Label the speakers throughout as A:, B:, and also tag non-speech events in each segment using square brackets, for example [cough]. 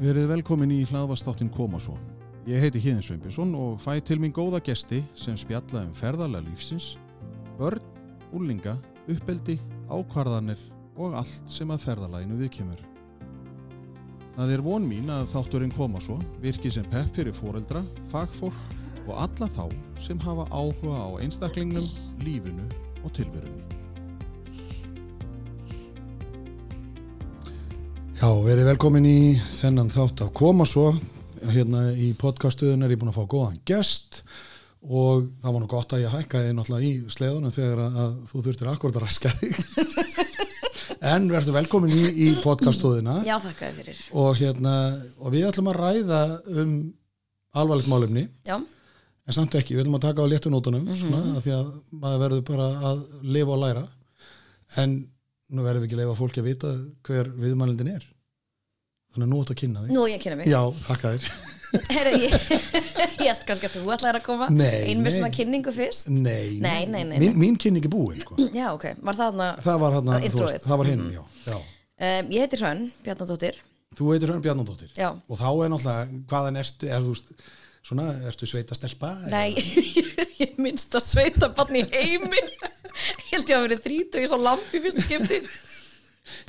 A: Verið velkomin í hlaðvastáttin koma svo. Ég heiti Híðin Sveinbjörnsson og fæ til mín góða gesti sem spjalla um ferðarlega lífsins, börn, úlinga, uppeldi, ákvarðanir og allt sem að ferðalaginu viðkemur. Það er von mín að þátturinn koma svo virki sem pepp fyrir fóreldra, fagfólk og alla þá sem hafa áhuga á einstaklingnum, lífinu og tilverunni. Já, verið velkomin í þennan þátt af koma svo. Hérna í podcastuðun er ég búin að fá góðan gest og það var nú gott að ég hækkaði náttúrulega í sleðunum þegar að að þú þurftir akkurat að raska þig. [laughs] en verður velkomin í, í podcastuðuna
B: Já, þakkaði fyrir.
A: og, hérna, og við ætlum að ræða um alvarlegt málefni
B: Já,
A: en samt ekki, við ætlum að taka á léttunótunum
B: Mhm.
A: mm svona, af því að maður verður bara að lifa og læra en nú verðum við ekki að leifa fólki að vita hver viðmælindin er þannig að nú átt að kynna þig
B: nú ég kynna [laughs] mig.
A: Já, þakka þér
B: Herra, ég, [laughs] ég held kannski að þú ætlaðir að koma
A: Nei,
B: inn með
A: nei.
B: svona kynningu fyrst.
A: Nei,
B: Nei, nei, nei,
A: Mín, mín kynning er búin
B: [laughs]
A: sko.
B: Já, ok, var það þarna.
A: það var hann
B: Að introið.
A: það var hinn, já, já
B: Um, ég heiti Hrönn, Bjarnadóttir.
A: Þú heitir Hörn Bjarnadóttir
B: Já.
A: og þá er náttúrulega hvaðan ertu, er, þú, veist, svona, ertu sveita stelpa?
B: Nei, ég, [laughs] ég minnst að sveita bann í
A: [laughs]
B: heiminn. Ég held ég að verið þrítu, ég sá lampi fyrst skipti.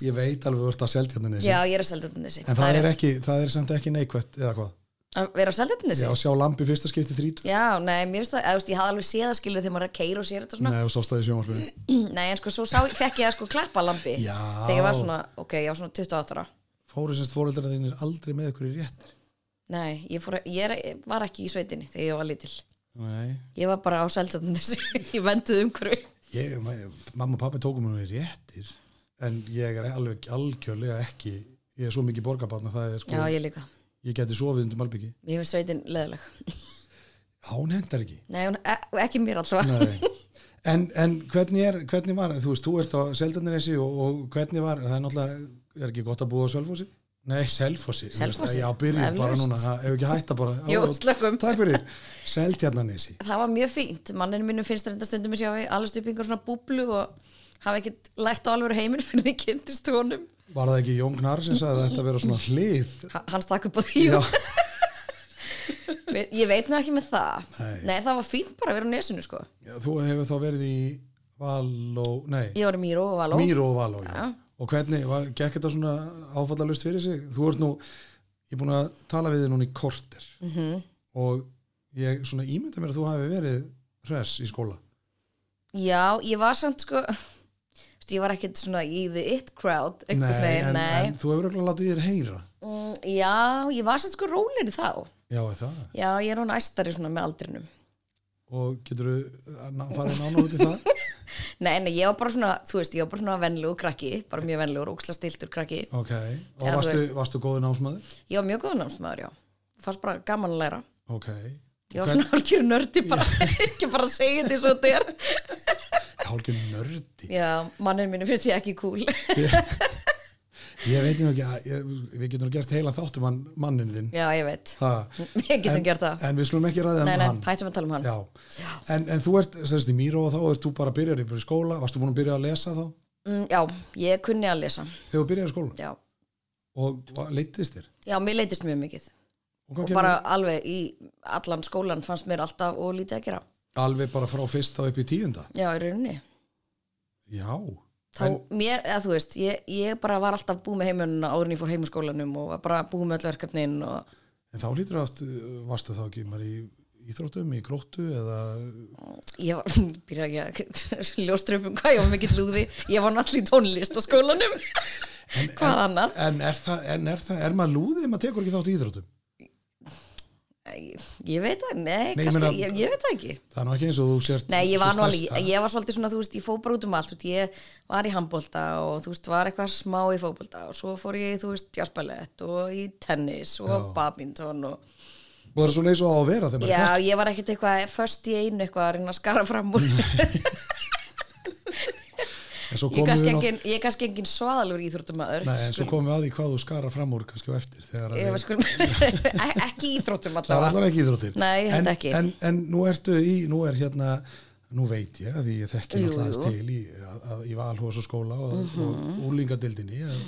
A: Ég veit alveg þú ert að selja hérna
B: Já, ég er að selja þetta þessi.
A: en það er, ekki, það er samt ekki neikvætt eða hvað?
B: Að vera að selja þetta
A: Já,
B: þessi?
A: sjá lampi fyrsta skipti þrít
B: Já, nei, mér finnst það, eða, þú veist, ég hafði alveg séð að skilja þegar maður er að keira og sér þetta svona. [clears throat]
A: Nei, og sást það í sjónvarpinu
B: Nei, en sko, svo sá, fekk ég að sko klappa lampi.
A: Já.
B: Þegar ég var svona, ok, ég var svona 28 ára.
A: fóru semst fóreldrar þínir aldrei með ykkur í réttir
B: Nei, ég, fór, að- ég er, var ekki í sveitinni þegar ég var lítil.
A: Nei.
B: Ég var bara á seldöndis, [laughs] ég venduð umhverfi.
A: Ég, ma mamma og pappi tókum mér í réttir en ég er alveg algjörlega ekki ég er svo mikið borgarbarn að það er sko
B: Já, ég líka.
A: ég geti sofið undir malbyggi
B: Ég finnst sveitin leðileg.
A: hún hendar ekki
B: Nei, hún, e ekki mér alltaf.
A: Nei. en, en hvernig, er, hvernig var þú veist, þú ert á Seldarniresi og, og hvernig var, það er náttúrulega er ekki gott að búa á Selfossi? Nei, Selfossi, þú veist,
B: Selfossi,
A: Já, byrjum bara
B: eflaust.
A: núna, ha, ef ekki hætta bara
B: Jú,
A: Á,
B: slökum.
A: Takk fyrir, Seldarniresi
B: [laughs] Það var mjög fínt. Manninu mínum finnst þetta stundum að sjá ég allast upp í einhver svona búblu og hafa ekkert lært á alveg heiminn fyrir ég kynntist honum.
A: Var það ekki Jón Gnar sem sagði að þetta vera svona hlið
B: Ha- Hann stakk upp á því.
A: Já,
B: og- [laughs] Ég veit nú ekki með það.
A: Nei.
B: það var fínt bara að vera á nesinu, sko.
A: Já, þú hefur þá verið í Való, nei,
B: Ég var í Míró og Való.
A: Mýró og Való, já.
B: Já.
A: Og hvernig, var, gekk þetta svona áfallalust fyrir sig? Þú ert nú, ég er búin að tala við þig núna í korter
B: Mhm.
A: og ég svona ímynda mér að þú hafi verið hress í skóla.
B: Já, ég var samt, sko... [laughs] þú veist, Ég var ekkert svona í the it crowd. einhvern veginn,
A: en, en þú hefur örugglega látið þér heyra.
B: Mm, já, ég var sem sko róleri þá.
A: Já, er það.
B: Já, ég er hún æstari svona með aldrinum.
A: Og getur þú farið nána út í
B: [laughs]
A: það?
B: Nei, nei, ég var bara svona, þú veist, ég var bara svona venlugur krakki, bara mjög venlugur, óksla stiltur krakki.
A: Ok, og
B: Já, þú
A: varstu, varstu góði námsmaður?
B: Ég var mjög góð námsmaður, já. Fannst bara gaman að læra.
A: Ok,
B: Ég var svona hálfgjör nördi, bara, [laughs] ekki bara að segja því svo þetta er.
A: hálfgjörn nördi.
B: Já, mannin mínu finnst ég ekki cool. [laughs]
A: Ég veit nú ekki að, ég, við getum nú gert heila þáttum hann mannin þinn.
B: já, ég veit.
A: Ha.
B: Við getum
A: En-
B: gert það.
A: En við skulum ekki ræða um
B: Nei, nei,
A: hann.
B: hættum að tala um hann.
A: Já. En, en þú ert, semst í Míró og þá ert þú bara byrjar í bara í skóla, varstu búin að byrja að lesa þá
B: Mm, já, ég kunni að lesa,
A: þegar þú byrjar í skóla
B: já.
A: og va- leiddist þér?
B: Já, mér leitist mjög mikið.
A: Og hvað
B: Og
A: gerðir?
B: bara alveg í allan skólan fannst mér alltaf og lítið að gera.
A: Alveg bara frá fyrsta upp í tíunda?
B: Já, í rauninni.
A: Já.
B: þá mér, eða þú veist, ég, ég bara var alltaf búið með heimununa áður en ég fór heim úr skólanum og var bara búið með öll verkefnin og
A: En þá hlýtur aft, varstu þá ekki bara í íþróttum, í gróttu eða
B: ég var, [laughs] byrja ekki [laughs] að ljóstra upp um hvað, ég var mikill lúði, ég var náttúrulega í tónlist á skólanum, hvað annað?
A: [laughs] En er það, en er það, er maður lúðið, maður tekur ekki þátt í íþróttum?
B: Ég, ég veit það, nei,
A: Nei, ég
B: kannski,
A: meina-
B: ég, ég veit það ekki.
A: Það er nú ekki eins og þú sért
B: Nei, ég
A: sú
B: var nú alveg,
A: stærsta.
B: ég var svolítið svona, þú veist, ég fór bara út um allt, þú veist, ég var í handbólta og þú veist, var eitthvað smá í fótbólta og svo fór ég, þú veist, jazzballett og í tennis og Já. badminton og
A: Bara svona eins og á að vera þegar maður er
B: Já, ég var ekkert eitthvað först í einu eitthvað að reyna að skara
A: [laughs]
B: fram úr
A: krakki. En svo
B: Ég er
A: komum
B: kannski
A: við nátt-
B: engin, ég er kannski engin svaðalur íþróttumæður
A: Nei, en svo komum við að því hvað þú skara fram úr kannski á eftir þegar að
B: Ég
A: við- [laughs]
B: var skulum e- [laughs] ekki íþróttum
A: Það er
B: allavega
A: allar ekki íþróttir.
B: Nei, ég held
A: En-
B: ekki.
A: En, en nú ertu í, nú er hérna, nú veit ég að því ég þekki
B: Jú,
A: náttúrulega aðeins
B: jú. Mhm.
A: til í, að, að, í valhúsaskóla og, og úlingadildinni að,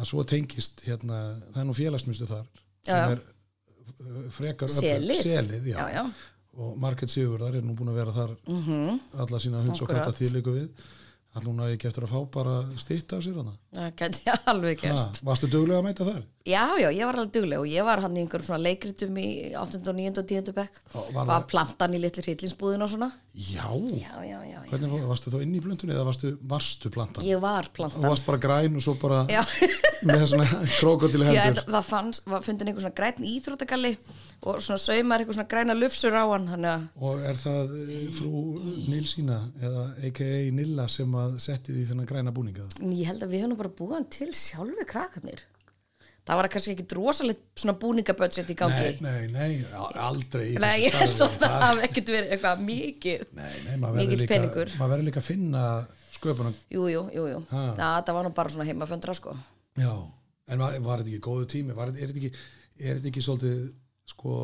A: að svo tengist hérna, það er nú félagsmyndu þar
B: já,
A: sem
B: já.
A: er uh, frekar öflugt-
B: Selið.
A: selið já.
B: Já, já.
A: og Margaret Sigurðar er nú búin að vera þar alla sína hunds og
B: Mhm. Akkurat.
A: katta þýrleiku við allir hún að ekki eftir að fá bara stýtt af sér hana
B: Það gæti alveg gerst.
A: Ha, varstu duglega að mæta þar?
B: Já, já, ég var alveg dugleg og ég var hann í einhverjum svona leikritum í 8. og 9. og 10. bekk.
A: Já, var
B: Var,
A: það-
B: plantan í litlu hryllinsbúðin og svona.
A: Já,
B: Já, já, já, já.
A: hvernig fór, varstu þá inn í blöndunni eða varstu, varstu plantan?
B: Ég var
A: Þú
B: plantan.
A: varst bara græn og svo bara
B: Já.
A: með
B: [laughs]
A: svona krokodil
B: Já,
A: hendur
B: það, það fannst, var fundin einhver svona græn íþróttagalli og svona saumar einhver svona græna lufsur á hann, þannig að
A: og er það eh, frú Nilsína eða a.k.a. Nilla sem að setti því þennan græna búninga
B: en ég held að við höfum nú bara búið hann til sjálfi krakkarnir. Það var kannski ekki drosalegt svona búningabudget í gangi.
A: Nei, nei, nei, a- aldrei í þessu
B: Nei, [laughs] ég held að
A: starfi.
B: það hafi ekkert verið eitthvað mikið.
A: Nei, nei, maður verður
B: Mikill
A: líka,
B: peningur.
A: maður verður líka að finna sköpunum
B: Jú, jú, jú, jú.
A: Ha.
B: Það, það var nú bara svona heimaföndra, sko.
A: Já, en var, var þetta ekki góðu tími? Var, er, þetta ekki, er þetta ekki svolítið, sko,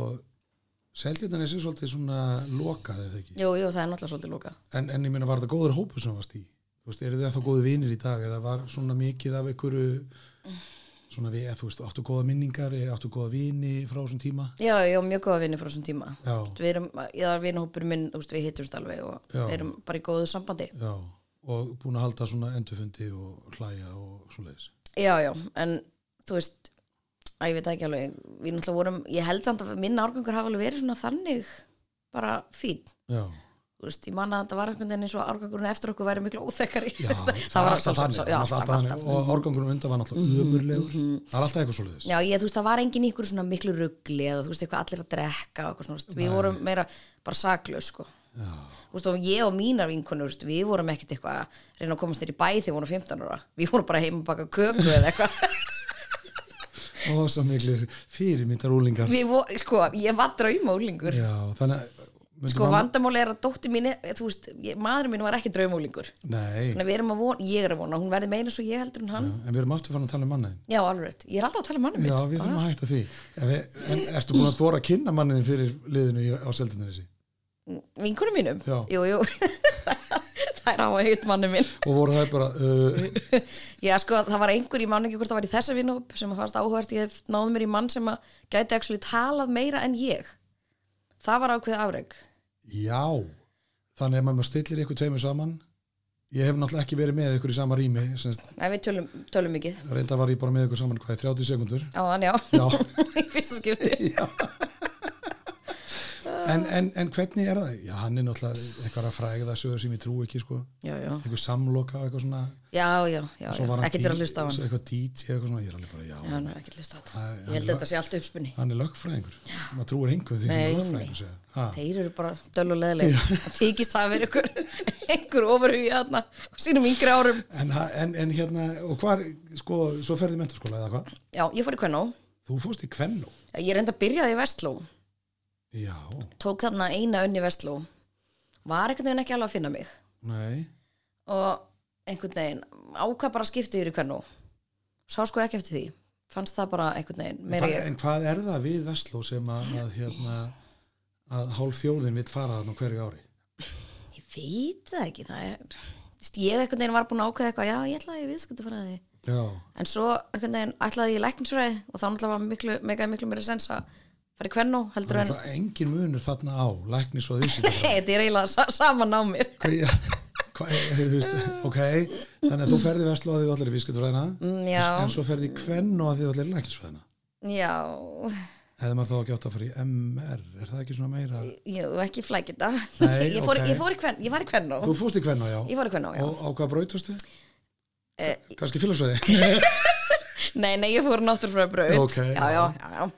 A: seldjarnan er sér svolítið svona lokað eða ekki?
B: Jú, jú, það er náttúrulega svolítið lókað.
A: En, en ég meina, var þetta góður hópur sem þú varst í? Þú veist, eru þið ennþá góðu vinir í dag eða var svona mikið af einhverju, svona við, þú veist, áttu góða minningar, eða áttu góða vini frá þessum tíma?
B: Já, ég á mjög góða vinni frá þessum tíma.
A: Já.
B: Þú veist, Við erum, ég þarf vinahópur minn, þú veist, við hittumst alveg og
A: Já.
B: við erum bara í góðu sambandi.
A: Já, og búin að halda svona endurfundi og hlæja og svoleiðis.
B: Já, já, en þú veist, að ég veit það ekki alveg, við náttúrulega vorum, ég held samt að minn árgangur hafa alveg verið svona þannig, bara fín.
A: Já,
B: Þú veist, ég manna að þetta var einhvern veginn eins og árgangurinn eftir okkur væri miklu óþekkari. [laughs]
A: já [laughs] það, er alltaf þannig, það er alltaf Mhm, þannig og organgunum undan var náttúrulega ömurlegur, það er alltaf eitthvað svoleiðis.
B: Já, ég, þú veist, það var enginn í ykkur svona miklu ruggli eða þú veist, eitthvað allir að drekka og eitthvað svona, þú veist, við vorum meira bara saklaus, sko. Já. Þú veist, og ég og mínar vinkonur, þú veist, við vorum ekkert eitthvað að reyna að komast þér í bæ þegar við vorum 15 ára. Við vorum bara heim að baka köku eða eitthvað. [laughs]
A: og svo miklu fyrirmyndar úlingar
B: við vorum, sko, ég var draumólingur.
A: já, þannig að myndi
B: Sko,
A: mamma-
B: vandamáli er að dóttir mín, er- þú veist, ég, maðurinn mín var ekki draumólingur.
A: nei,
B: Þannig að við erum að vona, ég er að vona, að hún verði meira svo ég heldur en hann.
A: en við erum aftur fann að tala um mannaðin
B: Já, alveg, rétt. ég er alltaf að tala um mannum
A: já,
B: minn.
A: við þurfum að hætta því en, við, en ertu búin að þóra að kynna manniðin fyrir liðinu í- á seldinarisi
B: Vinkunum mínum?
A: Já.
B: Jú, jú. [laughs] Það er á að heit mannum minn.
A: og voru það bara uh,
B: Já, sko, það var einhver, ég man ekki hvort það var í þessa vinahóp sem að fannst áhvert, ég náði mér í mann sem að gæti actually talað meira en ég. Það var ákveðið afreg.
A: já, þannig að maður stillir ykkur tveimur saman ég hef náttúrulega ekki verið með ykkur í sama rými semst,
B: Nei, við tölum, tölum mikið.
A: reynda var ég bara með ykkur saman hvað í 30 sekundur
B: Já, þannig já. [laughs]
A: já, [laughs]
B: Í fyrsta skipti.
A: en, en, en hvernig er það já, hann er náttúrulega eitthvað að fræða sögur sem ég trú ekki, sko,
B: Já, já.
A: eitthvað samloka og eitthvað svona
B: Já, já, já.
A: Svo var
B: já.
A: hann
B: Ekki til
A: dí-
B: að hlusta á
A: svo
B: hann.
A: eitthvað DJ eitthvað svona, ég er alveg bara, já,
B: Já, hann er ekki til að hlusta á þetta.
A: Æ,
B: Ég
A: hann
B: held að þetta sé allt uppspunni.
A: hann er lögfræðingur maður trúir einhver því
B: Nei,
A: hann er
B: nei.
A: lögfræðingur segja. Ha,
B: Þeir eru bara döl og leðileg. Þykist það að vera einhver, [laughs] einhver ofurhugi þarna á sínum yngri árum.
A: en, ha- en, en hérna, og hvar sko, svo ferði mentarskóla eða hvað
B: Já, ég fór í Kvennó.
A: þú fórst í Kvennó
B: Ég reynda að byrjaði í Vestló.
A: já,
B: Tók þarna eina önni Vestló. Var einhvern veginn ekki alveg að finna mig.
A: nei,
B: og einhvern veginn ákvað bara að skipta yfir í hvern og sá sko ekki eftir því fannst það bara einhvern veginn meira
A: Hva,
B: ég
A: en hvað er það við Vestló sem að, að hérna að hálf þjóðin vill fara þarna á hverju ári
B: ég veit það ekki það er Vist, ég einhvern veginn var búin að ákveða eitthvað já ég ætlaði ég viðskipta fyrir því
A: já,
B: en svo einhvern veginn ætlaði ég læknisfræði og þá náttúrulega var miklu, mega miklu meira sens að fara í hvern og heldur en
A: það er engin munur þarna á læknis og vissi
B: [laughs] þetta er eiginlega sa saman á mér
A: hvað, já, hvað, þú veist, ok þannig að þú ferði í Vestló að því þú allir viðskiptfræðina
B: Mm, já.
A: en svo ferði í Kvennó að því þú allir læknisfræðina
B: já,
A: hefði maður þá ekki átt að fara í MR er það ekki svona meira
B: ég var ekki flækita
A: Nei,
B: ég, fór,
A: ok.
B: ég, fór í hvern, ég var í hvern og
A: þú fórst í hvenna já
B: ég var í hvern og já
A: og á hvað brautast þið?
B: Eh,
A: kannski
B: [laughs]
A: félagsfræði
B: nei, nei, ég fór náttúrulega braut
A: Ok,
B: já, já, já, já.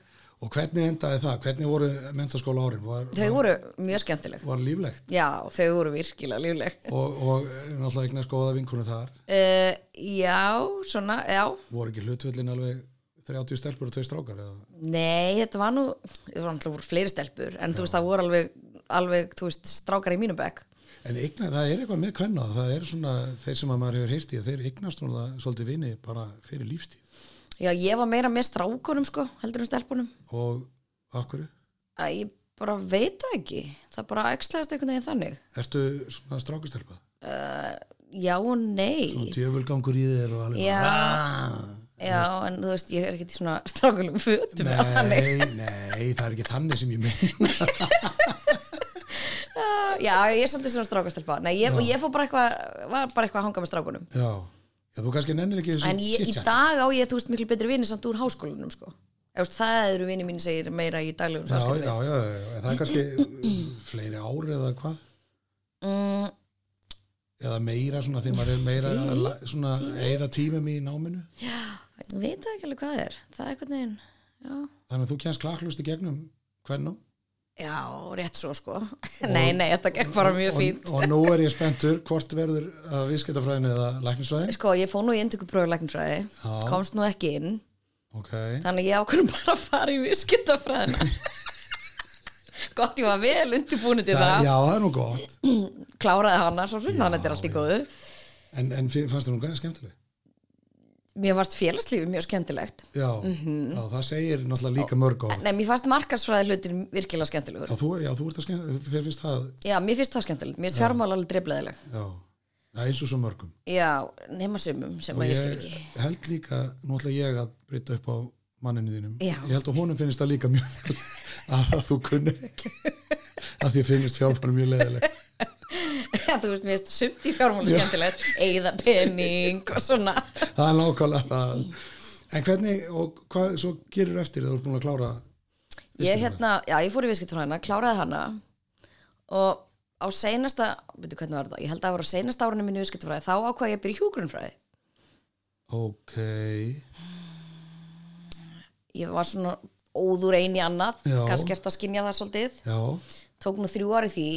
A: og hvernig endaði það? hvernig voru mentaskóla árin? var,
B: Þau voru mjög skemmtileg.
A: var líflegt
B: Já, þau voru virkilega lífleg.
A: og, og eh, náttúrulega eignast góða vinkonu þar
B: Uh, já, svona, já.
A: voru ekki hlutvöllin alveg 30 stelpur og 2 strákar eða?
B: Nei, þetta var nú, það var alltaf voru fleiri stelpur, en þú veist, það voru alveg, alveg, þú veist, strákar í mínu bekk.
A: en eignast, það er eitthvað með hvenna það er svona, þeir sem að maður hefur heyrt í þeir eignast svona svolítið vini bara fyrir lífstíð
B: Já, ég var meira með strákunum, sko, heldur en stelpunum.
A: og af hverju?
B: Æ, ég bara veit það ekki. Það bara ekstlaðist einhvern veginn þannig.
A: Ertu svona strákastelpa?
B: Já og nei.
A: og djöfulgangur í þeir og alveg
B: Já.
A: bara, "Ah."
B: já, en þú veist, ég er ekkert í svona strákulum fötum eða þannig.
A: Nei, nei, það er ekki þannig sem ég
B: [laughs]
A: meina
B: já, ég er svolítið svona strákastelpa nei, ég,
A: Já.
B: ég fór bara eitthvað, var bara eitthvað að hanga með strákunum
A: Já, já þú kannski nennir ekki þessu
B: en ég, í
A: chit-chat.
B: dag á ég, þú veist, miklu betri vini samt úr háskólanum, sko Eða, þú veist, það eru vini mín segir meira í daglegum
A: Já,
B: samskiptum við.
A: já, já, já, en það er
B: [clears throat]
A: kannski fleiri ári eða hvað
B: mm,
A: eða meira svona þegar maður er meira að la- svona eða tímum í náminu
B: ég veit það ekki alveg hvað það er það er eitthvað neginn, já
A: þannig að þú kennst klakklust í gegnum hvernum
B: já, rétt svo, sko [laughs] nei, nei, þetta gekk bara mjög fínt
A: og, og nú er ég spenntur hvort verður að viðskiptafræðinu eða læknisfræðin
B: sko, ég fór nú í endöku bröðulæknisfræði
A: Já.
B: komst nú ekki inn
A: ok,
B: þannig að ég ákvörðum bara að fara í viðskiptafræðina [laughs] gott ég var vel undirbúin til
A: það,
B: það,
A: já það er nú gott
B: kláraði hana svo svona, þannig að þetta er allt í góðu
A: en, en fi- fannst það nú gæði skemmtileg
B: mér fannst félagslífi mjög skemmtilegt
A: já,
B: Mhm.
A: já, það segir náttúrulega líka mörg orð
B: Nei, mér fannst markarsfræði hlutin virkilega skemmtilegur
A: já, þú, já, þú ert að skemmtileg, þér finnst það
B: Já, mér finnst það skemmtilegt, mér finnst fjármál alveg dreifleðileg
A: já, það er eins og svo mörgum
B: Já, nema sumum sem
A: og
B: að ég skil
A: ég
B: ekki [laughs]
A: held líka nú ætla ég að breyta upp á manninu þínum
B: Já.
A: ég held að honum finnist það líka mjög vel [laughs] að þú kunnir ekki [laughs] að því finnist fjárfærum mjög leðileg
B: Já, þú veist, mér finnst sumt í fjármál skemmtilegt Eða pening og
A: [laughs]
B: svona
A: það er nákvæmlega það en hvernig og hvað svo gerir eftir þegar þú ert búin að klára
B: Ég hérna, já, ég fór í viðskiptfræðina, kláraði hana Og á seinasta, veitu hvernig var það Ég held að það var á seinasta árunni minni í viðskiptfræði Þá ákvað ég að byrja í hjúgrunfræði
A: ok
B: Ég var svona óður ein í annað
A: Já.
B: Kannski ert að skynja það svolítið
A: já,
B: tók nú þrjú ári því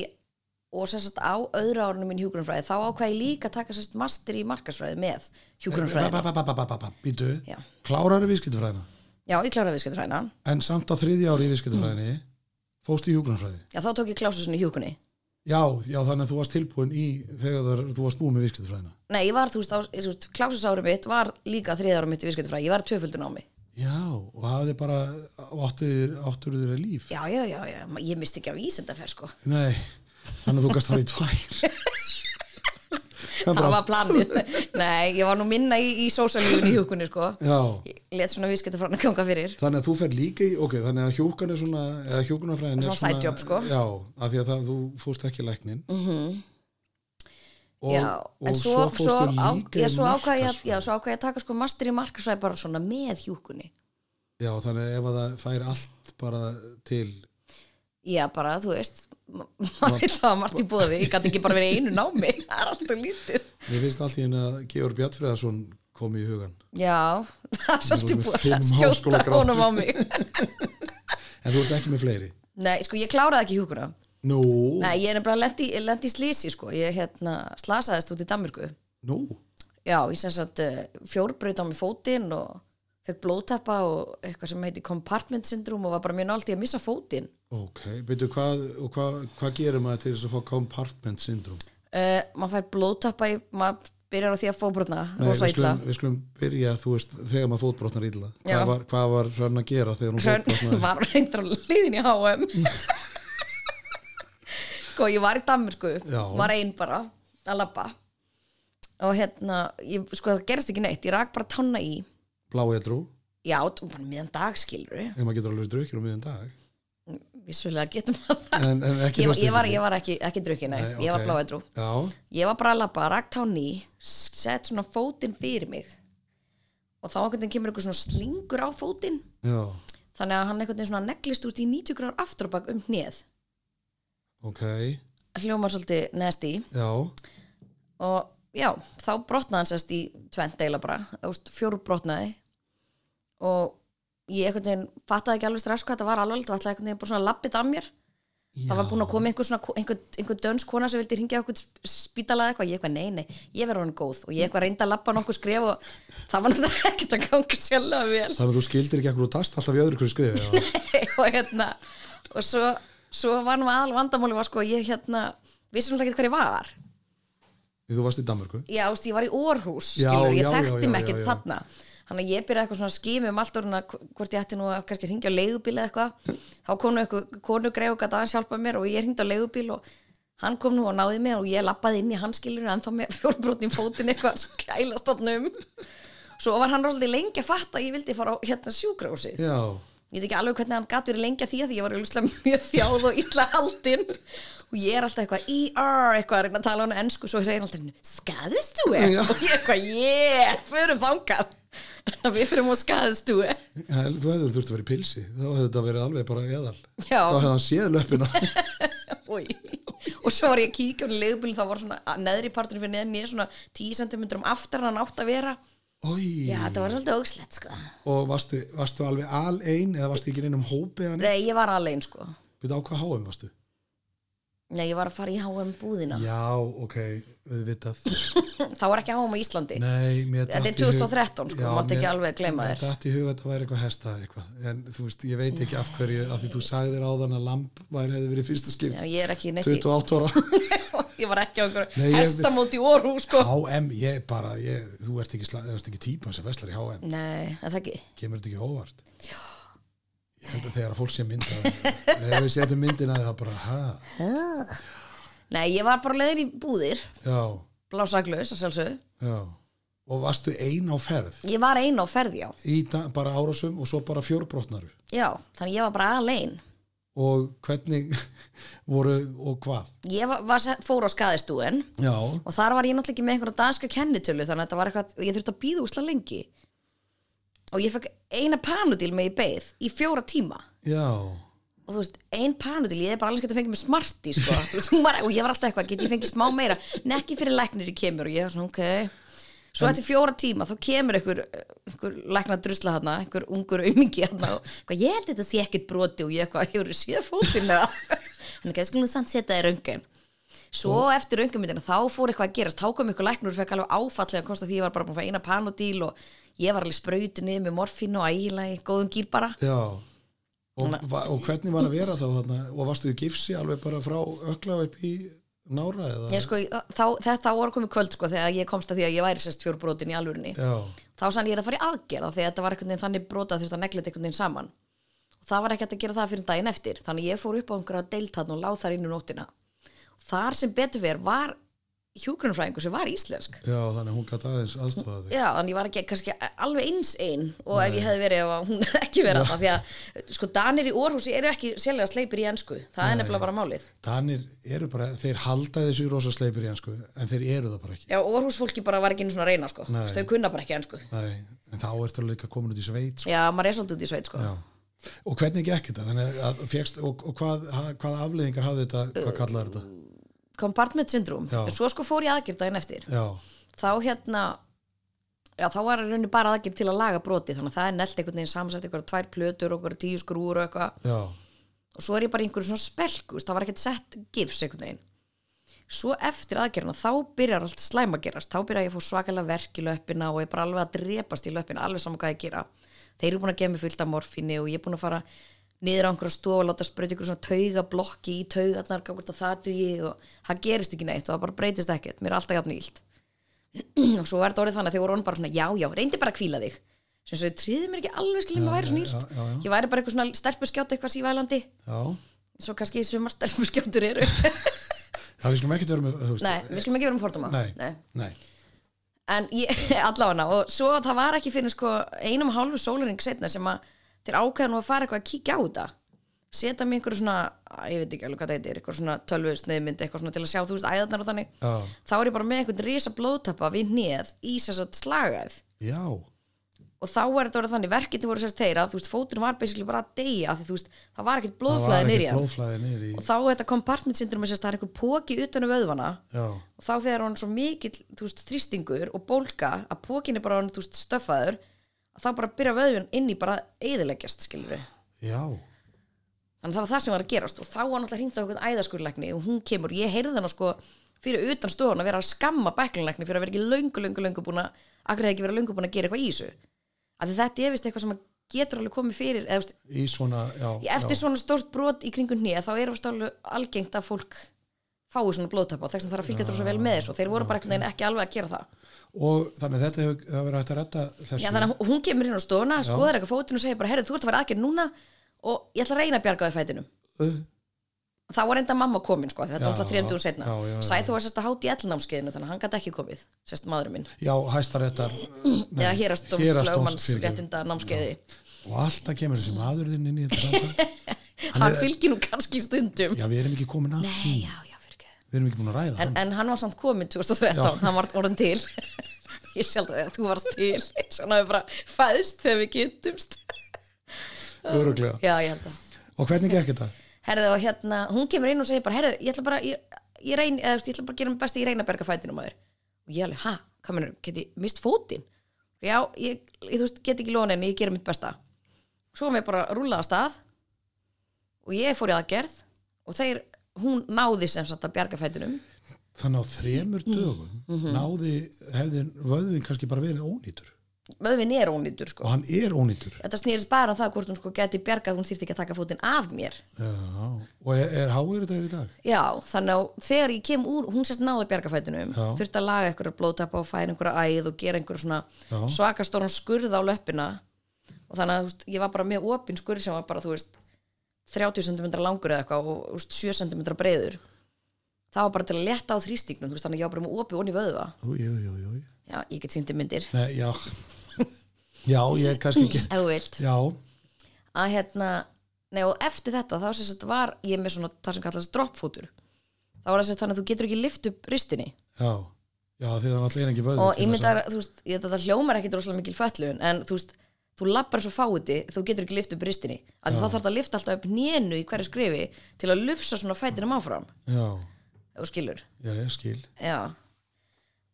B: og sérst á öðru árunum minn hjúgrunfræði þá ákvað ég líka að taka sérst master í markasfræði með hjúgrunfræðina
A: býtu
B: Já.
A: klárar í viðskiptafræðina
B: Já, ég kláraði viðskiptfræðina
A: en samt á þriðja ári í
B: Mm.
A: viðskiptafræðinni fóst í hjúgrunfræði
B: Já, þá tók ég klásusin í hjúkunni
A: já, já, þannig að þú varst tilbúin í þegar þú varst búin með viðskiptafræðina
B: Nei, ég var, þú veist, á, ég, þú veist klásusárum mitt var líka þriða árum mitt í viðskiptfræði ég var tvöföldun á mig
A: Já, og hafði bara áttuður áttur þeirra líf.
B: Já, já, já, já, ma- ég misti ekki af ísendaferð sko
A: Nei, þannig að þú gast farið í
B: [laughs]
A: tvær. er
B: Það var planið [laughs] Nei, ég var nú minna í, í sósalífun í hjúkunni sko
A: Já,
B: Ég let svona viðskiptfræðina ganga fyrir
A: þannig að þú fer líka í, ok, þannig að hjókan er svona, eða hjókunarfræðin er
B: Svona side job, sko. Mhm.
A: Já, af því að það, þú fóst ekki í læknin. Mm -hmm. Og,
B: já, en
A: og
B: svo,
A: fóstu
B: svo, á,
A: líka
B: já,
A: í
B: svo ákvað ég, að-
A: markaðsfræði.
B: já, svo ákvað ég að taka sko master í markasfræði bara svona með hjúkunni
A: Já, þannig að ef að það fær allt bara til,
B: Já, bara, þú veist, ma- maður það var margt í bóði, ég gæti ekki bara verið í einu námi, [laughs] það er alltaf lítið.
A: mér finnst allt í henni að Georg Bjartfriðarsson kom í hugan.
B: Já, það er svolítið
A: með
B: búið að
A: fimm
B: skjóta
A: háskólagráður.
B: honum á mig. [laughs]
A: En þú ert ekki með fleiri.
B: Nei, sko, ég kláraði ekki hjúkuna.
A: Nú,
B: Nei, ég er nefnilega lendi, lendi í slísi, sko, ég hérna slasaðist út í Danmörku.
A: nú,
B: Já, ég sem sagt eh, fjórbraut á mig fótinn og fekk blóðtappa og eitthvað sem heiti compartment syndrome og var bara mjög nált í að missa fótinn.
A: Ok, byrju, hvað, og hvað, hvað gerir maður til þess að fá compartment syndrom?
B: Uh, maður fær blóðtappa, í, maður byrjar á því að fóbrotna, rosa
A: við
B: illa.
A: skulum, við skulum byrja, þú veist, þegar maður fótbrotnar illa.
B: Já.
A: Hvað var, hvað var hrönn að gera þegar hún
B: Hrönn
A: fótbrotnar?
B: var reyndar á liðin í HM sko ég var í Danmörku
A: Já.
B: var einn bara að labba og hérna, ég, sko það gerist ekki neitt ég rak bara tanna í
A: Blá edru,
B: já, t- bara miðan dag skilur við
A: ef maður getur alveg drukkir um miðan dag.
B: vissulega getum að það
A: En, en ekki
B: ég,
A: föstu
B: ég, var,
A: ekki.
B: ég var ekki, ekki drukkin nei,
A: Nei,
B: ég var
A: ok.
B: bláætrú
A: Já,
B: ég var bara að labba, rak tanna í sett svona fótinn fyrir mig og þá einhvern veginn kemur einhver svona slingur á fótinn
A: já,
B: þannig að hann einhvern veginn svona neglist út í 90 gráður afturbak um hnið
A: ok,
B: hljómar svolítið nasty
A: já,
B: og já, þá brotnaði hann sérst í tvent deila bara, þú veist, fjóru brotnaði og ég einhvern veginn fattaði ekki alveg strax hvað þetta var alveg og ætlaði einhvern veginn bara svona lappið af mér það var búin að koma einhver, svona, einhver, einhver dönsk kona sem vildi hringja okkur spítalaði eitthvað, ég eitthvað nei, nei, ég verður hann góð og ég eitthvað reyndi að lappa nokkur skref og það var náttúrulega [laughs] ekkert að ganga sjálfa vel
A: þannig að þú skildir ekki akkur og dast alltaf í öðru hverju skrifi. Já,
B: og hérna og svo, svo var nú aðal vandamáli var sko, að ég hérna, vissi náttúrulega ekki hvað ég var
A: Því þú varst í Danmörku.
B: já, þú veist, ég var í Orhus
A: Já,
B: skilur,
A: já,
B: ég
A: já, já,
B: þekkti mig
A: já,
B: ekkert
A: já.
B: þarna þannig að ég byrjaði eitthvað svona að skimi um allt orðina hvort ég ætti nú að kannski hringja á leigubíl eða eitthvað þá konu eitthvað, konu greið og gæti aðeins hjálpa mér og ég hringdi á leigubíl og hann kom nú og náði [laughs] mig og ég lappaði inn í hans skilur en þá með fjórbrotni fótinn eitthvað skælast hann um svo var hann ráðlega lengi að fatta að ég vildi fara á hérna sjúkrahúsið
A: já,
B: ég veit ekki alveg hvernig hann gat verið lengi að því að því ég var auðvitað mjög þjáð og illa haldin og ég er alltaf eitthvað ER eitthvað að reyna að tala á hann ennsku svo segir hann alltaf skadist þú er
A: Já.
B: og ég eitthvað yeah, förum þangað við förum og skadist þú er
A: Hel- þú hefur þurft að vera í pilsi þá hefði þetta verið alveg bara eðal
B: Já.
A: þá hefði hann séð löppina
B: Oj. og svo var ég að kíkja á leigubíl þá var svona að neðri parturinn fyrir neðan ég svona 10 cm um aftar en hann átt að vera
A: Oi.
B: já þetta var svolítið ógslegt sko
A: og varstu, varstu alveg alein eða varstu ekki í neinum hópi eða neitt?
B: nei ég var alveg sko
A: Býtu á hvað háum varstu?
B: nei ég var að fara í HM búðina
A: Já, ok, við vitað [laughs]
B: þá var ekki HM á Íslandi
A: Nei, mér
B: Þetta er
A: datt í hug-
B: 2013, sko,
A: mér-
B: mátti ekki alveg gleyma
A: mér
B: þér.
A: datt í hug að þetta væri eitthvað hestað eitthvað En þú veist, ég veit ekki af hverju Af því þú sagðir áðan að lamp væri hefði verið í fyrsta
B: já,
A: skipt
B: ég er ekki neitt í
A: 28 ára [laughs]
B: [laughs] ég var ekki á einhverju
A: Nei, ég-
B: hestamóti í orru sko
A: HM, ég bara, ég, þú ert ekki, sla- þú ert ekki típan sem veslar í HM
B: nei, er það ekki
A: Kemur þetta ekki óvart? Já Ég held að þegar að fólk sé mynda Þegar við setjum myndina það bara, ha,
B: nei, ég var bara leðin í búðir
A: já,
B: blásaklaus að sjálfsögðu
A: já Og varstu ein á ferð
B: ég var ein á ferð já
A: Í da, bara árásum og svo bara fjórbrotnaru
B: já, þannig ég var bara alein
A: og hvernig [laughs] voru og hvað
B: ég var, var, sett- fór á skadistúen
A: já,
B: og þar var ég náttúrulega ekki með einhverja danska kennitölu þannig að þetta var eitthvað, ég þurfti að býða úsla lengi og ég fekk eina panudil með ég beið í fjóra tíma
A: já
B: og þú veist, ein panudil, ég er bara alveg skætt að fengja mér smarti sko. Þú veist, hún var, og ég var alltaf eitthvað, get ég fengið smá meira en ekki fyrir læknir í kemur og ég var svona, ok svo eftir fjóra tíma, þá kemur einhver, einhver lækna drusla hana einhver ungur aumingi hana og eitthvað, ég held þetta sé ekkit broti og ég eitthvað, hefur þú séð fótinn eða [laughs] en ekki, það skulum samt setja í röngen svo eftir röngamindina, þá fór eitthvað að gerast þá kom eitthvað læknir og fekk alveg áfallega kosta því ég var bara búin að fá eina panodíl og ég var alveg sprautinni með morfín og ægilega góðum gýr bara
A: já og, va- og hvernig var að vera þá þarna og varstu í gifsi alveg bara frá ökla upp í nára eða
B: Ég sko, þá, þetta var komið kvöld sko þegar ég komst að því að ég væri sérst fjórbrotin í alvörinni
A: já,
B: þá sann ég er að fara í aðgerða þegar þetta var einhvern veginn þannig brota þurft að negla þetta einhvern veginn saman og það var ekki hægt að gera það fyrir daginn eftir þannig ég fór upp á einhverja deiltatn og láð þar inn um nóttina þar sem betur fyrir var hjúgrunfræðingur sem var íslensk
A: já, þannig að hún gæti aðeins aðstofa þig
B: Já, þannig ég var ekki kannski alveg eins einn og ef ég hefði verið ef að hún [laughs] hefði ekki verið það því að sko danir í Orhúsi eru ekki sérlega sleipir í ensku það er nefnilega bara málið
A: Danir eru bara, þeir halda þessu í rosa sleipir í ennsku, en þeir eru það bara ekki
B: Já, Orhús bara var ekki einu svona að reyna sko
A: Nei.
B: þau kunna bara ekki ensku
A: Nei, en þá ertu alveg líka komin út í sveit sko.
B: Já, maður er svolítið út í sveit sko
A: já. og hvernig gekk þetta Þannig að, fékkst, og, og hvað, ha- hvað afleðingar hafði þetta, hvað kallaði þetta
B: Compartment syndrome,
A: Já.
B: svo sko fór ég aðgjörð daginn eftir
A: já,
B: þá hérna já, þá var rauninni bara aðgjörð til að laga broti þannig að það er nelt einhvern veginn samsætt einhverja tvær plötur og einhverja tíu skrúur og eitthvað
A: já
B: og svo er ég bara í einhverju svona spelku það var ekkert sett gifs einhvern veginn svo eftir aðgerðina þá byrjar allt slæm að gerast þá byrjar ég að fá svakalega verk í löppina og ég er bara alveg að drepast í löppina alveg saman hvað ég gera þeir eru búin að gefa mig fullt af morfinni og ég er búin að fara niður á einhverju stofu og láta sprauta ykkur svona taugablokki í taugarnar gafur þetta það dugi og það gerist ekki neitt og það bara breytist ekkert, mér er alltaf jafn ílt [clears throat] og svo var þetta orðið þannig að þeir voru orðin bara svona já, já, reyndi bara að hvíla þig sem svo tríði mér ekki alveg skiljum að væri svona ílt
A: já, já, já.
B: ég væri bara eitthvað svona stelpuskjátt eitthvað sívælandi
A: Já,
B: svo kannski sumar stelpuskjáttur
A: [laughs]
B: eru
A: já við skulum ekkert vera með þú veist,
B: nei, við skulum ekki vera um fordóma
A: nei, nei.
B: en ég, [laughs] allavega og svo það var ekki fyrir sko einum og hálfu sólaring setna sem að þeir ákveða nú að fara eitthvað að kíkja á þetta setja mig einhverju svona, að, ég veit ekki alveg hvað þetta er eitthvað svona tölvusneiðmynd, eitthvað svona til að sjá þú veist æðarnar og þannig,
A: Já.
B: þá er ég bara með einhvern risa blóðtappa við hnið í sér satt slagað
A: Já,
B: og þá er þetta verið þannig, verkefni voru sér þeir að þú veist, fóturinn var basically bara að deyja af því þú veist, það var ekkert
A: það var
B: blóðflæði
A: ekki
B: nýri hann
A: blóðflæði niður í
B: og þá er þetta compartment syndrom það er einhver póki utan um vöðvana
A: Já,
B: og þá þegar hann er svo mikill þú veist, þrýstingur og bólga að pókin er bara hann þú veist, stöffaður að þá bara byrja vöðun inn í bara að eyðileggjast skilur við
A: já,
B: þannig að það var það sem var að gerast og þá var náttúrulega hringt á einhvern æðaskurlækni og hún kemur, ég heyrði hana sko fyrir utan stofan að vera að skamma bæklinlækni fyrir að vera ekki löngu, löngu, löngu búin að akkur hefði ekki verið löngu búin að gera eitthvað í þessu af því þetta er vist eitthvað sem að getur alveg komið fyrir eða, þú veist,
A: í svona já,
B: eftir
A: já,
B: svona stórt brot í kringum hnýja þá er það alveg algengt að fólk fái svona blóðtapa og þess að það að fylgja svo vel með þessu og þeir voru bara einhvern veginn ekki alveg að gera það
A: Og þannig að þetta hefur hef verið hægt að redda þessu
B: Já, þannig að hún- hún kemur inn á stofuna, skoðar eitthvað fótinn og segir bara, herru, þú ert að vera aðgerð núna og ég ætla að reyna að bjarga þér fætinum.
A: Uh,
B: þá var enda mamma komin sko, þetta
A: Já,
B: var alltaf þrjöndu og setna
A: já, já, já.
B: Sæþór var sérst að hátt í ellnámskeiðinu þannig að hann gæti ekki komið, sérst maðurinn minn
A: já, hæstaréttar
B: eða hérastóms lögmanns réttinda námskeiði
A: og alltaf kemur þessi maður þinn inn í þetta
B: [laughs]
A: samtal.
B: hann, fylgir nú kannski stundum
A: já, við erum ekki komin að því
B: nei, já, já, fyrir ekki
A: við erum ekki búin að ræða
B: en,
A: hann
B: en hann var samt komin 2013
A: Já.
B: hann var orðin til [laughs] ég sjálf það að þú varst til [laughs] svona við bara fæðst þegar við kynntumst
A: öruglega,
B: já, ég held að
A: og hvernig gekk þetta?
B: herðu og hérna, hún kemur inn og segir bara herðu, ég ætla bara, ég, ég reyn eða, þú veist, ég ætla bara að gera mér best ég reyna að berga fætinum maður og ég alveg, ha, hvað mennur, geti mist fótinn já, ég, ég þú veist, get ekki lóna en ég gera mitt besta svo var mér bara rúlaði af stað og ég fór í aðgerð og þeir, hún náði sem sagt að bjarga fætinum
A: þannig á þremur dögum náði, hefði vöðvin kannski bara verið ónýtur
B: vöðvin er ónýtur sko
A: og hann er ónýtur
B: þetta snýrist bara um það hvort hún sko geti bjargað hún þýrti ekki að taka fótinn af mér
A: já. og er, er háir þetta er í dag?
B: já, þannig að þegar ég kem úr hún sérst náði bjargafætinum
A: Já.
B: þurfti að laga einhverja blóðtapa og færa einhverja æð og gera
A: Já.
B: einhverja svona svakastóran skurð á löppina og þannig að þú veist, ég var bara með opin skurð sem var bara, þú veist 30 cm langur eða eitthvað og þú veist, 7 cm breiður það var bara til að letta á þrýstíknum þú veist, þannig að ég var bara með opið onni vöðva
A: Jú, jú, jú, jú.
B: já, ég get sýndi myndir,
A: Nei, já já, ég kannski ekki
B: ef þú vilt
A: já,
B: að hérna nei, og eftir þetta þá sem sagt var ég með svona það sem kallast droppfótur þá var það sem sagt þannig að þú getur ekki lift upp ristinni
A: já já, því það er náttúrulega ekki vöðvin
B: og
A: til þess
B: ég
A: að-
B: myndar, þú veist, ég, þetta hljómar ekkit rosalega mikil föllun en þú veist, þú lappar svo fáiði þú getur ekki lift upp ristinni að þá þarf það að lifta alltaf upp nénu í hverju skrifi til að lufsa svona fætinum áfram
A: já,
B: ef þú skilur,
A: já, ég skil
B: já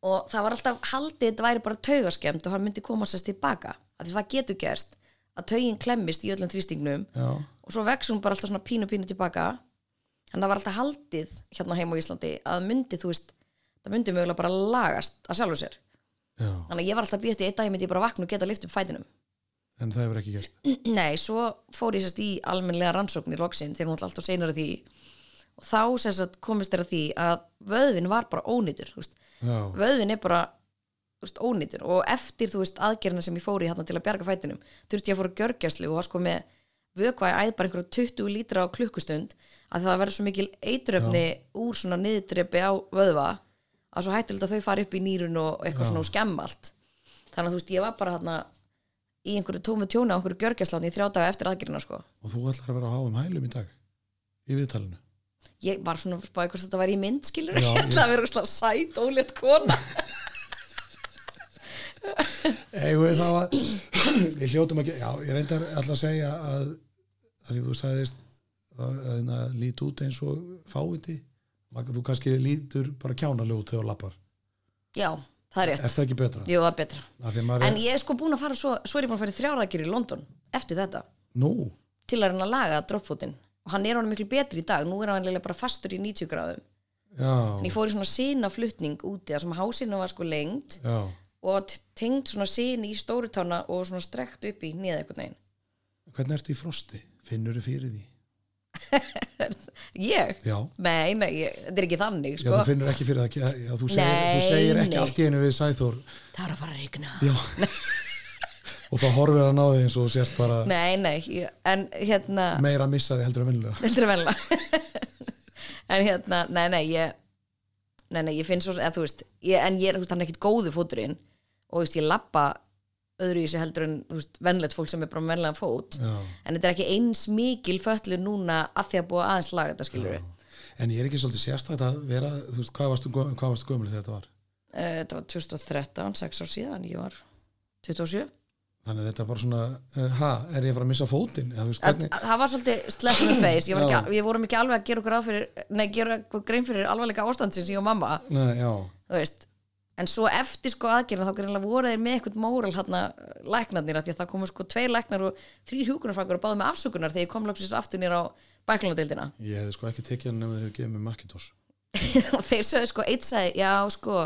B: og það var alltaf haldið þetta væri bara taugaskemmt og hann myndi koma sérst tilbaka af því það getur gerst að taugin klemmist í öllum þrýstingnum
A: já,
B: og svo vex hún bara alltaf svona pínu pínu tilbaka en það var alltaf haldið hérna heim á Íslandi að myndi þú veist það myndi mögulega bara lagast að sjálfu sér
A: já,
B: þannig að ég var alltaf býtt í einn dag ég myndi ég bara vakna og geta lyft upp fætinum [clears throat]
A: en það hefur ekki gert
B: nei, svo fór ég sérst í almennlega rannsóknir loksinn þegar hún var alltaf seinar að því og þá sérst komist þér að því að vöðvin var bara ónýtur þú veist.
A: já,
B: vöðvin er bara þú veist, ónýtur og eftir þú veist aðgerðina sem ég fór í hérna til að bjarga fætinum þurfti ég að fóra gjörgjæslu og var sko með vökva í æð bara einhverjum 20 lítra á klukkustund að það verður svo mikil eitröfni úr svona niðurdrepi á vöðva að svo hættilegt að þau fari upp í nýrun og eitthvað svona og skemma allt þannig að þú veist ég var bara hérna í einhverju tómu tjóna á einhverju gjörgjæslan í þrjá daga eftir aðgerðina sko
A: og þú ætlar að vera á háum hælum í dag í viðtalinu
B: ég var svona að spáði hvort þetta væri í mynd skilur
A: Já,
B: [laughs] ég
A: ég-
B: ætla að vera svona sæt ólétt kona
A: [laughs] Eigum við það að [clears throat] við hljótum ekki, já, ég reyndar alltaf að segja að, að því þú sagðist að, að, að lít út eins og fáiði, þú kannski lítur bara kjánalega út þegar þú lappar
B: já, það er rétt,
A: er það ekki betra?
B: jú það er betra
A: Af því að maður
B: En
A: er,
B: ég er sko búin að fara svo, svo er ég búin að fara í þrjáraðgjur í London eftir þetta
A: nú,
B: til að reyna að laga droppfótinn og hann er honum miklu betri í dag, nú er hann eiginlega bara fastur í 90 gráðum en
A: já,
B: ég fór í svona sína flutning úti þar sem hásinu var sko lengd
A: já
B: og t- tengd svona síni í stórutána og svona strekt upp í niður einhvern veginn
A: hvernig ertu í frosti? Finnur þú fyrir því?
B: Ég?
A: Já,
B: Nei, nei, ég, þetta er ekki þannig
A: já,
B: sko.
A: þú finnur ekki fyrir það já, þú, segir,
B: Nei,
A: þú segir
B: nei.
A: ekki allt í einu við Sæþór
B: Það er að fara að rigna
A: já
B: [laughs]
A: og þá horfir hann á því eins og þú sért bara
B: Nei, nei, ég, en hérna
A: meira að missa því heldur að vinnulega
B: heldur að venla [laughs] en hérna, nei, nei, ég nei, nei, ég finn svo, eða þú veist ég, en ég er, þú veist, hann er ekkit góðu fóturinn og þú veist, ég lappa öðru í sig heldur en, þú veist, venlegt fólk sem er bara með venlegan fót,
A: Já.
B: en þetta er ekki eins mikil föllu núna að því að búa aðeins laga þetta skilur við,
A: En ég er ekki svolítið sérstætt að vera, þú veist, hvað varstu, gö- hvað varstu gömul þegar þetta var?
B: Eh, þetta var 2013 sex ár síðan, ég var 27
A: Þannig að þetta er bara svona, uh, ha, er ég að fara að missa fótinn? Eða, þú veist,
B: Að-
A: hvernig,
B: það var svolítið slepp með feis, ég var
A: Já.
B: ekki, við vorum ekki alveg að gera okkur ráð fyrir, nei, gera okkur grein fyrir alvarleika ástandsins, ég og mamma
A: Nei, já,
B: þú veist en svo eftir sko aðgerðina þá greinlega voru þeir með eitthvað móral hérna læknarnir af því að það komu sko tveir læknar og þrýr hjúkunarfangur og báðu með afsökunar þegar ég kom loksins aftur nýra á bæklunardeildina
A: ég hefði sko ekki tekið hann nema þeir hefði gefið mér Macintosh.
B: [laughs] og þeir sögðu sko eitt sagði, já sko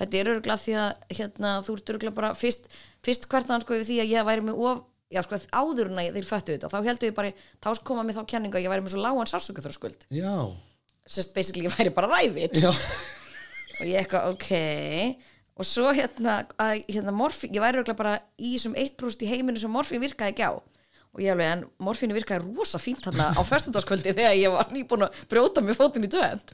B: þetta er örgulega því að hérna, þú ert örgulega bara fyrst, fyrst hvert hann sko yfir því að ég væri með of já sko áður en að þeir föttu þetta þá heldur ég bara, þá koma mér þá kenninga ég væri með svo lágan sársökuþröskuld
A: Já,
B: sérst basically ég væri bara ræfið
A: já, [laughs]
B: og ég eitthvað ok og svo hérna, að, hérna morfín, ég væri auðvitað bara í þessum 1% í heiminu sem morfín virkaði ekki á og ég alveg, en morfínu virkaði rosa fínt þarna á föstudagskvöldi þegar ég var nýbúin að brjóta mér fótinn í tvönd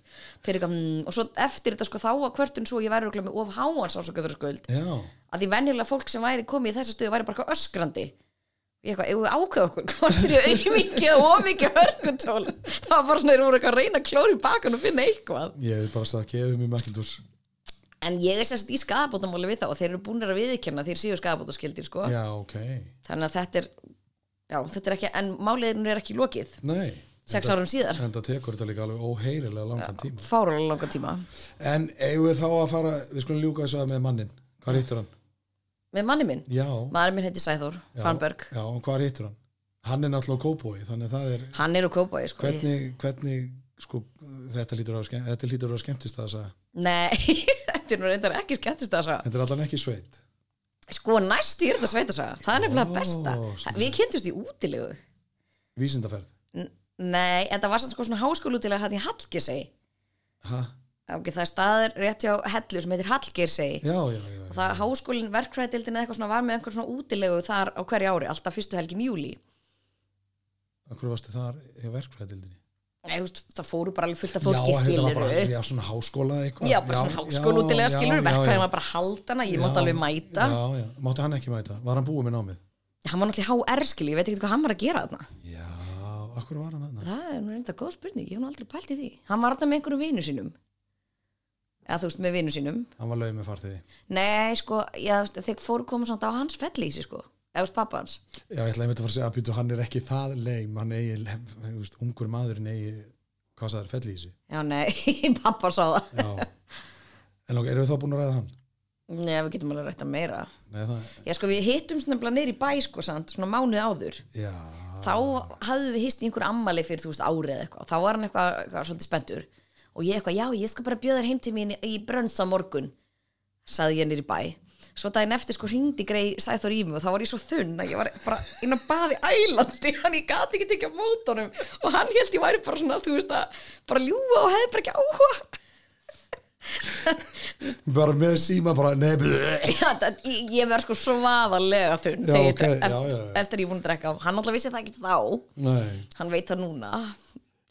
B: þeir eitthvað, mm, og svo eftir þetta sko þá að hvertun svo ég væri örugglega með of háans ásökuðurskvöld
A: já,
B: að því venjulega fólk sem væri komið í þessa stöðu væri bara eitthvað öskrandi ég eitthvað, ef við ákveða okkur hvort er ég auðmikið og ómikið hörkutról það var bara svona, þeir voru eitthvað að reyna að klóra í bakan og finna eitthvað
A: ég hef bara sagt að gefa mér makildús
B: en ég er sérst í skadabótamáli við þá og þeir eru búinir að viðkjanna þeir séu skadabótaskildir sko
A: já, ok,
B: þannig að þetta er, já, þetta er ekki en máliðinu er ekki lokið
A: nei
B: sex
A: Enda-
B: árum síðar,
A: enda tekur þetta líka alveg óheyrilega langan tíma
B: fáralega langa tíma
A: en eigum við þá að fara, við skulum ljúka þessu að með mannin hvað hittur hann?
B: með manni minn,
A: já,
B: maður minn heiti Sæþór
A: já,
B: Fannberg,
A: já, og hvað hittur hann? hann er náttúrulega kópói, þannig að það er
B: hann er úr kópaði sko Ég-
A: hvernig, hvernig sko, þetta lítur að skemmt, þetta lítur að skemmtist að þessa
B: nei, [laughs] þetta er nú reyndar ekki skemmtist að
A: þetta er allan ekki sveit
B: sko næstu er þetta sveitasaga það er nefnilega
A: Ó,
B: besta,
A: skemmtilegt.
B: við kynntumst í útilegu
A: vísindaferð,
B: N- nei, en það var samt sko svona háskóluútilega hann í Hallgeirsey
A: ha?
B: ok, það er staður rétt hjá Hellu sem heitir Hallgeirsey
A: já, já, já, já.
B: það háskólinn verkfræðildin eða eitthvað svona var með einhver svona útilegu þar á hverju ári, alltaf fyrstu helgin í júli
A: Akkur varstu þar í verkfræðildinni?
B: Nei, þú veist, það fóru bara alveg fullt af
A: Já,
B: fólki
A: þetta var
B: skilur
A: bara, já, svona háskóla eitthvað.
B: Já, bara svona háskólútilega
A: já,
B: skilur
A: já,
B: verkfæðin
A: já.
B: var bara haldana, ég
A: Já,
B: mátti alveg mæta
A: Já, já, máttu hann ekki mæta? Var hann búið með námið?
B: Hann var náttúrulega HR skilur, ég veit ekki hvað hann var að gera þarna
A: Já, akkur var hann hann?
B: Það er nú reynda góð spurning, ég hef nú aldrei pælt í því Hann var þarna með einhverjum vinnu sínum Eða þú veist, með vinnu sínum
A: Hann var lauð með farþegi.
B: Nei, sko, já, þú veist, þeir fóru koma svona á hans fellísi, sko Eða hos pappa hans
A: Já, ég ætlaði einmitt að fara að segja að býtu, hann er ekki það leim, hann eigi, leim, þú veist, ungur maðurinn eigi, hvað sagði þær, fell í þessi.
B: Já, nei, [laughs] pappa sá það [laughs]
A: Já. en ok, erum við þá búin að ræða hann?
B: Nei, við getum alveg rætt að meira
A: Nei, það,
B: Já, sko, við hittum nefnilega niður í bæ, sko, sant, svona mánuð áður
A: já.
B: þá hafðum við hist í einhver ammali fyrir þú veist árið eða eitthvað, þá var hann eitthvað, eitthvað svolítið spenntur og ég eitthvað, já ég skal bara bjóða þér heim til mín í- í brönns á morgun saði ég nýr í bæ svo daginn eftir sko hringdi grei Sæþór í mig og þá var ég svo þunn að ég var bara inn að baði ælandi, hann ég gati ekki tekið á mót honum og hann held ég væri bara svona þú veist að bara ljúga og hefði bara ekki áhuga [laughs]
A: Bara með síma, bara, nei, blö.
B: Já, það, ég, ég verð sko svaðalega þunn
A: Já,
B: þegar ég
A: ok,
B: drekk-
A: já,
B: eft-
A: já, já.
B: eftir ég búin að drekka hann alltaf vissi það ekki þá,
A: Nei.
B: hann veit það núna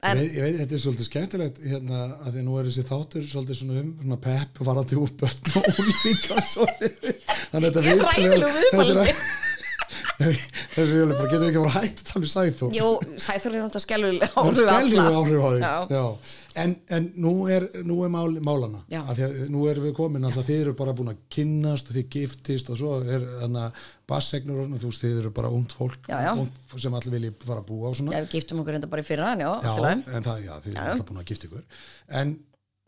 A: Ég
B: en
A: veit, ég veit, þetta er svolítið skemmtilegt hérna, að því að nú er þessi þáttur svolítið svona um svona pepp varandi úr börn og úlíka svolítið þannig að þetta
B: Ég er
A: viðtal er-
B: hræðilegur viðmælandi.
A: þetta er- [laughs] Þetta er jölu bara, getum við ekki að vera hægt að tala um Sæþór
B: Jú, Sæþór er náttúrulega skelluleg
A: Það er
B: áhrif á alla.
A: skelfileg áhrif á því
B: Já.
A: Já. En, en nú er, nú er mál, málana
B: Já.
A: að því að nú erum við komin alltaf þið eru bara búin að kynnast og þið giftist og svo er þannig að bassegnur og svona, þú veist þið eru bara ungt fólk
B: Já, já.
A: ungt sem allir vilji fara að búa og svona
B: Já, við giftum okkur enda bara í fyrra, en já, allt í
A: Já,
B: lagi.
A: en það, já, þið eru alltaf búin að gifta ykkur en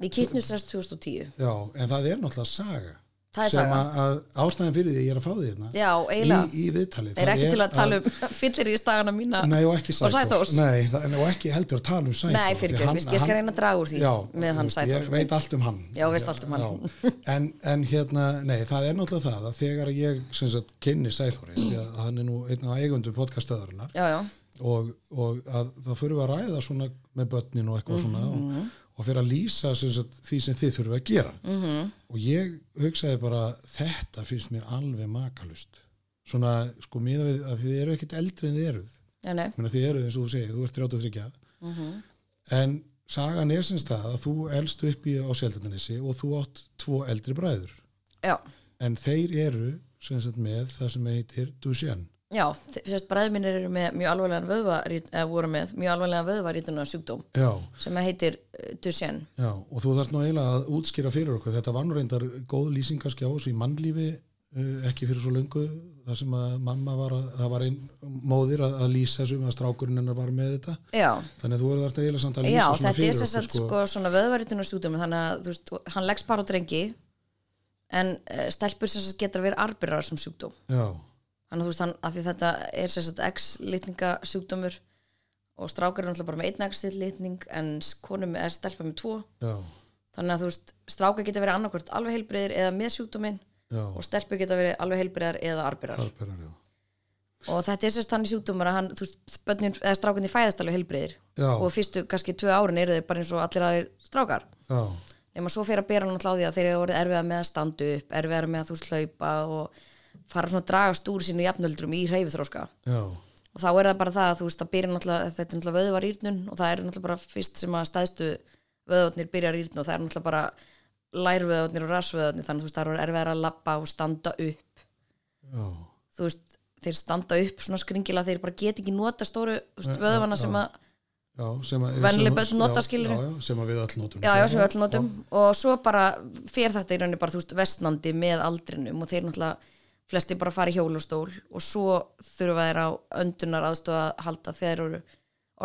B: Við giftum sérst 2010.
A: Já, en það er náttúrulega saga
B: Það er
A: sem
B: saga.
A: að, að ástæðan fyrir því ég er að fá því hérna
B: Já, eiginlega.
A: í, í viðtalið
B: Það er ekki til að tala um [laughs] fyllir í stagana mína.
A: Nei, og ekki
B: Og
A: Sæþórs
B: Sæþórs.
A: Nei, það, en- og ekki heldur að tala um Sæþór
B: Nei,
A: því
B: fyrir
A: hann-
B: ekki, ég skal
A: hann-
B: reyna að draga úr því
A: já,
B: með
A: þú
B: hann
A: veist,
B: Sæþór.
A: Ég veit allt um hann
B: Já, veist allt um hann.
A: Já, en, en hérna, nei, það er náttúrulega það að þegar ég sem sagt, kynni Sæþóri því að hann er nú einn af eigundum podcastöðurinnar
B: Já, já,
A: og, og að það fyrir við að ræða svona með börnin og eitthvað svona
B: Mhm.
A: og, og fyrir að lýsa sem sagt, því sem þið fyrir að gera
B: Mhm.
A: -hmm. og ég hugsaði bara þetta finnst mér alveg makalust svona sko miða við að þið eru ekkit eldri en þið eruð
B: já, nei,
A: Menna, þið eruð eins og þú segir, þú ert 33 mm
B: Mhm.
A: en sagan er sem það að þú elst upp í á Sjeldanesi og þú átt tvo eldri bræður
B: já,
A: en þeir eru sem sagt með það sem heitir Duchenne
B: já, þe- sérst bræður mínir eru með mjög alvarlegan vöðvarít, eða voru með mjög alvarlegan vöðvarítuna sjúkdóm
A: Já,
B: sem heitir eh, Duchenne.
A: Já, og þú þarf nú eiginlega að útskýra fyrir okkur, þetta var nú reyndar góð lýsingarskjá þessu í mannlífi eh, ekki fyrir svo löngu, þar sem að mamma var að, það var einn móðir að, að lýsa þessu með að strákurinn hennar var með þetta
B: Já,
A: þannig að þú þarf eiginlega samt að lýsa
B: já,
A: svona
B: þetta er
A: fyrir
B: sérst
A: okkur
B: sko, sko svona vöðvarítuna sjúkdóm, þannig að þú veist, hann leggst bara á drengi, en uh, stelpur sérst getur að vera arbirar sem sjúkdóm.
A: Já,
B: þannig að þú veist hann að því þetta er sérstætt X-litninga sjúkdómur og strákar er náttúrulega bara með einn X-litning en s- konum er stelpa með tvo
A: já,
B: þannig að þú veist, strákar geta verið annarkvort alveg heilbriðir eða með sjúkdóminn
A: já,
B: og stelpur geta verið alveg heilbriðar eða arbirar
A: harperar, já
B: og þetta er sérst þannig sjúkdómur að hann, þú veist, bönnin, eða strákunni fæðast alveg heilbriðir
A: Já.
B: og fyrstu kannski tvö árin eru þeir bara eins og allir aðrir strákar
A: Já,
B: nema svo fyrir að bera hann alltaf á því að þeir eru orðið erfiða með að standa upp erfiða með að þú slaupa og fara svona að dragast úr sínu jafnöldrum í hreyfithróska
A: já,
B: og þá er það bara það að þú veist það byrja náttúrulega, þetta er náttúrulega vöðvarýrnun og það er náttúrulega bara fyrst sem að stæðstu vöðvarnir byrja að rýrna og það er náttúrulega bara lærvöðvarnir og rassvöðvarnir þannig að þú veist það eru erfiðar að labba og standa upp
C: Já.
B: þú veist þeir standa upp svona skringilega þeir bara get ekki nota stóru
A: Nei,
B: þú veist, vöðvana
A: já,
B: sem að
A: já, sem að
B: Venjuleg
A: sem að-
B: börn nota,
A: já,
B: skilurðu.
A: já, já, sem að við öll notum
B: já, já, sem við öll notum og svo bara fer þetta í rauninni bara þú veist vestnandi með aldrinum og þeir náttúrulega flesti bara fara í hjólustól og svo þurfa þeir á öndunar aðstofa að halda þegar þeir eru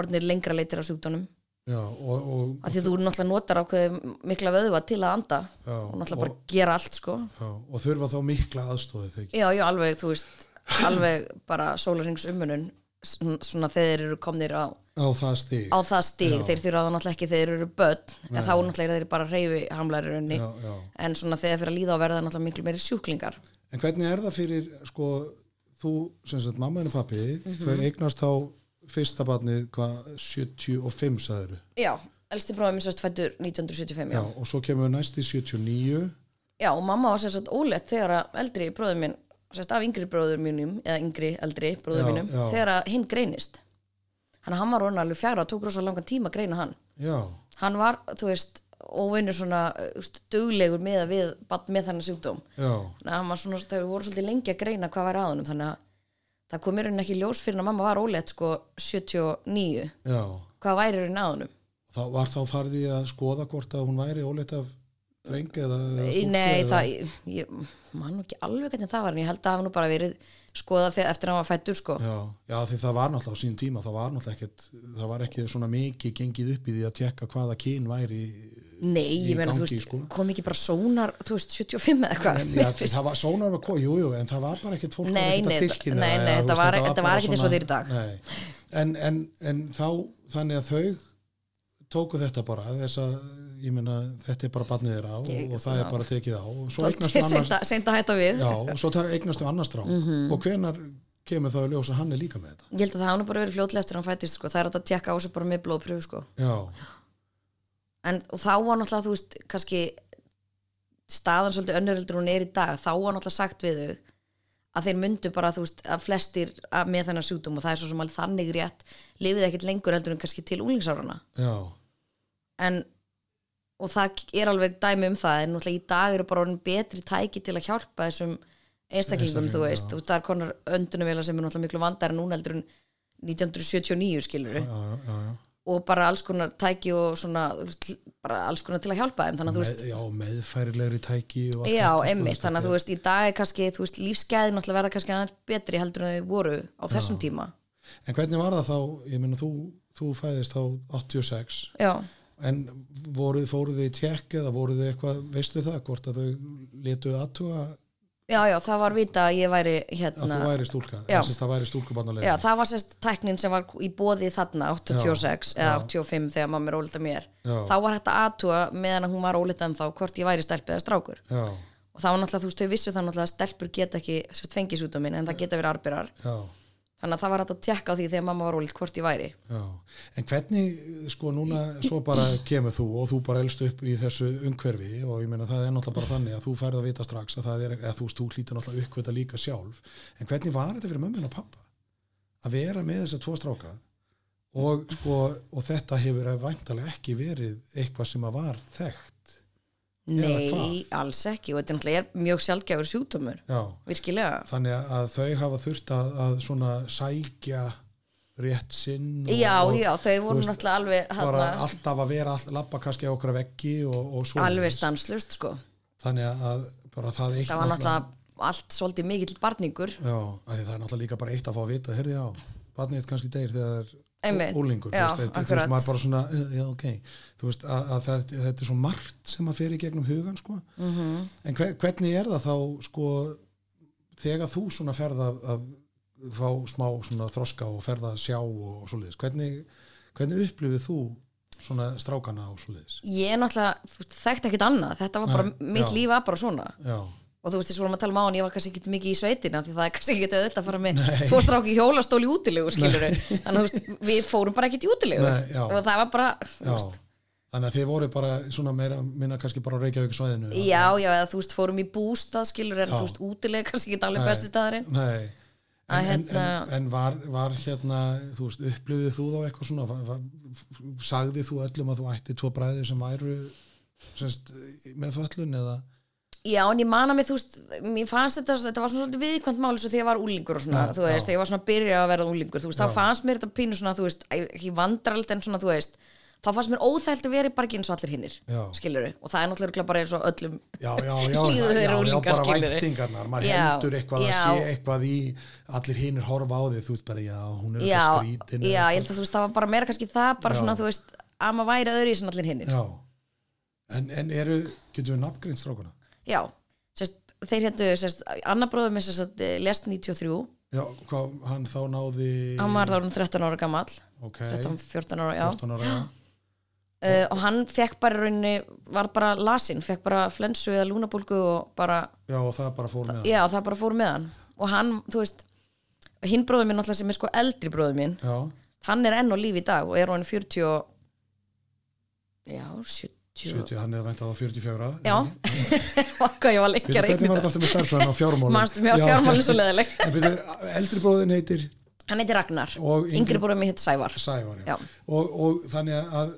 B: orðnir lengra leitir af sjúkdónum
A: já, og, og,
B: að því þú náttúrulega notar ákveð mikla vöðva til að anda
A: já,
B: og náttúrulega bara gera allt sko
A: já, og þurfa þá mikla aðstóði þegar
B: já, já, alveg, þú veist alveg bara sólarings ummunun svona þeir eru komnir á,
A: á það stig
B: á það stig þeir þurfa það náttúrulega ekki þeir eru börn en þá náttúrulega eru þeir bara hreyfi hamlæri
A: já, já.
B: en svona þegar fyrir að líða á verða náttúrulega miklu meiri sjúklingar
A: en hvernig er það fyrir sko, þú, sem sagt, mamma en pappi
B: Mhm.
A: þau eignast þá fyrsta barnið hvað, 75 sagður
B: já, elsti bróðum minn sérst fættur 1975 já.
A: já, og svo kemur næst í 79
B: já, og mamma var sérst ólegt þegar að eldri bróðum minn sérst af yngri bróður mínum eða yngri eldri
A: Já,
B: bróður mínum
A: já.
B: þegar að hinn greinist hann, hann var orðin alveg fjara og tók rosa langan tíma að greina hann
A: já,
B: hann var, þú veist, óvinnur svona uh, þú veist, duglegur með að við barn með þannig sjúkdóm
A: já,
B: þannig að hann var svona, þau voru svolítið lengi að greina hvað var aðunum þannig að það kom í rauninni ekki í ljós fyrir að mamma var ólegt sko 79
A: já
B: hvað væri í rauninni aðunum
A: þá var þá farið í að skoða hvort að hún væri óleitt af dreng eða eða
B: Í-
A: stúlku
B: Nei,
A: eða-
B: það, ég, ég man nú ekki alveg hvernig það var en ég held að hafa nú bara verið skoðað þegar eftir að hann var fættur sko.
A: Já, já, því það var náttúrulega á sín tíma, það var náttúrulega ekkert, það var ekki svona mikið gengið upp í því að tekka hvaða kyn
B: [laughs]
A: væri,
B: Nei,
A: Í
B: ég meina, þú
A: gangi,
B: veist,
A: sko.
B: kom ekki bara sónar, þú veist, 75 eða eitthvað.
A: já,
B: [laughs]
A: það var sónar var kóð, jú, jú, en það var bara ekkert fólk var
B: Nei,
A: ekkert að
B: nei,
A: tilkynna
B: nei,
A: það,
B: nei,
A: eða, þú
B: þetta var-
A: þetta
B: þetta
A: bara
B: var ekkert eins og
A: svona-
B: þeir í dag.
A: Nei, en, en, en þá, þannig að þau tóku þetta bara, þess að, ég meina, þetta er bara barnið þeirra og,
B: Ég-
A: og það
B: já.
A: er bara tekið á og svo
B: Allt
A: eignast þú
B: er
A: annars,
B: seint að- Mhm. seint að hætta við.
A: já, og svo ta- eignast þú annars drá og hvenar kemur þá í ljós að hann er líka með þetta?
B: Ég held að það hafa nú bara verið fljótlega eftir að hann fættist sko. Það er hægt að tjekka á þessu bara með blóðpröfu sko.
A: Já,
B: En og þá var náttúrulega, þú veist, kannski staðan svolítið önnuröldur hún er í dag. Þá var náttúrulega sagt við þau að þeir myndu bara, þú veist, að flestir að með þennan sjúkdóm og það er svo sem alveg þannig rétt lifið ekkit lengur heldur en kannski til úlingsárana.
A: já,
B: en og það er alveg dæmi um það en náttúrulega í dag eru bara orðin betri tæki til að hjálpa þessum einstaklingum
A: Einstaklingum,
B: þú veist,
A: já.
B: og það er konar öndunumvela sem er náttúrulega miklu vandar en núna heldur en 1979 skilur
A: já, já, já, já.
B: og bara alls konar tæki og svona þú veist, bara alls konar til að hjálpa þeim þannig að þú
A: með,
B: veist,
A: já, meðfærilegri tæki og allt
B: já,
A: þetta, sko,
B: einmitt
A: þetta
B: þannig að þú veist, í dag er kannski, þú veist, lífsgæðin náttúrulega verða kannski aðeins betri heldur en þau voru á þessum tíma,
A: er- en hvernig var það þá, ég meina þú, þú fæðist þá 86
B: já
A: en voruð, fóruð þið í tjekk eða voruð þið eitthvað, veistu það hvort að þau letuð aðtuga
B: já, já, það var vita að ég væri
A: að
B: hérna
A: þú væri stúlka,
B: Já.
A: eða sem sagt það væri stúlkubannulega
B: Já, það var sérst tæknin sem var í bóði þarna 86
A: Já,
B: eða
A: já.
B: 85 þegar mamma er ólita mér
A: Já.
B: þá var hægt að aðtúa meðan að hún var ólita en þá hvort ég væri stelpið eða strákur
A: já,
B: og það var náttúrulega, þú veist, þau vissu það náttúrulega að stelpur geta ekki sérst fengis út á minn en það geta verið arberar
A: já,
B: þannig að það var hægt að tjekka á því þegar mamma var ólit hvort ég væri
A: já en hvernig, sko núna svo bara kemur þú og þú bara elst upp í þessu umhverfi og ég meina það er náttúrulega bara þannig að þú færð að vita strax að það er, eða þú veist, þú hlýtur náttúrulega uppkvita líka sjálf en hvernig var þetta fyrir mömmin og pappa að vera með þessa tvo stráka og, sko, og þetta hefur væntalega ekki verið eitthvað sem að var þekkt Eða
B: Nei,
A: hvað?
B: alls ekki og þetta náttúrulega er mjög sjálfgæfur sjúkdómur
A: já
B: virkilega
A: þannig að þau hafa þurft að, að svona sækja rétt sinn og,
B: Já,
A: og
B: já, þau
A: þú
B: voru
A: veist,
B: náttúrulega alveg
A: bara
B: hana,
A: alltaf að vera all, lappa kannski á okkur veggi og, og svo
B: alveg stanslust sko
A: þannig að bara það eitt
B: það var náttúrulega allt svolítið mikill barningur
A: já, af því það er náttúrulega líka bara eitt að fá að vita heyrði á, barnið þitt kannski deyr þegar það er
B: Einmitt,
A: úlingur,
B: já,
A: þú veist, þetta- þú
B: akkurat.
A: veist, maður bara svona "Eh, já, ok, þú veist, að, að þetta, þetta er svo margt sem að fer í gegnum hugan, sko
B: Mhm.
A: -hmm. en hver, hvernig er það þá, sko þegar þú svona ferð að, að fá smá svona þroska og ferð að sjá og, og svoleiðis, hvernig hvernig upplifið þú svona strákana og svoleiðis?
B: ég náttúrulega þú veist, þekkti ekkert annað, þetta var bara
A: Nei,
B: mitt
A: já.
B: líf var bara svona
A: Já,
B: og þú veist, þess vorum að tala um á hann, ég var kannski ekki mikið í sveitina því það er kannski ekki auðvitað að fara með tvo stráki hjólastól í útilegu, skilur þannig að þú veist, við fórum bara ekkert í útilegu
A: Nei, já.
B: og það var bara,
A: já Þannig að þið voru bara svona meira minna kannski bara á Reykjavík svæðinu
B: já, já, eða þú veist, fórum í bústað, skilur en þú veist, útilegu kannski ekki alveg besti staðurinn
A: Nei,
B: að
A: en,
B: hérna,
A: en, en var, var hérna, þú veist, upplifið þú þá eitthvað svona, var, var, sagði þú öllum að þú ætti tvo bræðir sem væru semst, með föllun eða
B: já, en ég man að mér, þú veist, mér fannst þetta, þetta var svona svolítið viðkvæmt máli svo því ég var úlingur og svona,
A: Já,
B: þú veist, þegar ég var svona að byrja að vera úlingur, þú veist, þá fannst mér þetta pínu svona, þú veist, ekki vandrald en svona, þú veist, þá fannst mér óþælt að vera í barginn svo allir hinnir,
A: Já.
B: skilurðu, og það er náttúrulega örugglega bara eins og öllum,
A: Já, já, já,
B: Líður
A: já,
B: þeir
A: já, já,
B: unglingar,
A: bara
B: skilurðu.
A: væntingarnar, maður
B: Já,
A: heldur eitthvað að
B: já.
A: sé eitthvað í, allir hinir horfa á þig, þú veist bara, já, hún er
B: já,
A: eitthvað skrítin.
B: já,
A: eða
B: ég held að þú veist, það var bara meira kannski það, bara
A: Já.
B: svona, þú veist, að maður væri öðru í allir hinnir,
A: Já, en, en eru, getum við nafngrind strákuna?
B: já, sérst, þeir héttu, sérst, annar bróður minn, sérst, lest 93,
A: Já, hvað, hann þá náði,
B: hann var þá orðinn 13 ára gamall,
A: ok,
B: 13, 14 ára, já,
A: 14 ára, já.
B: uh, og hann fekk bara í rauninni, var bara lasinn, fekk bara flensu eða lúnabólgu og bara,
A: já, og það bara fór með hann.
B: já það bara fór með hann og hann, þú veist hinn bróður minn alltaf sem er sko eldri bróður minn
A: Já,
B: hann er enn á lífi í dag og er hann 40 og- já, 70
A: 70, hann er vænt að það 44.
B: já, [laughs] hvað ég
A: Fyrir,
B: var lengi að
A: hvernig
B: reikna
A: var þetta
B: þetta
A: aftur með starffræðan á fjármálum?
B: mannstu mér á fjármálinn svo leðileg
A: En byrju, eldri bróðin heitir
B: hann heitir Ragnar,
A: Og yngri-
B: yngri bróður minn heitir Sævar
A: Sævar,
B: Já.
A: Og, og þannig að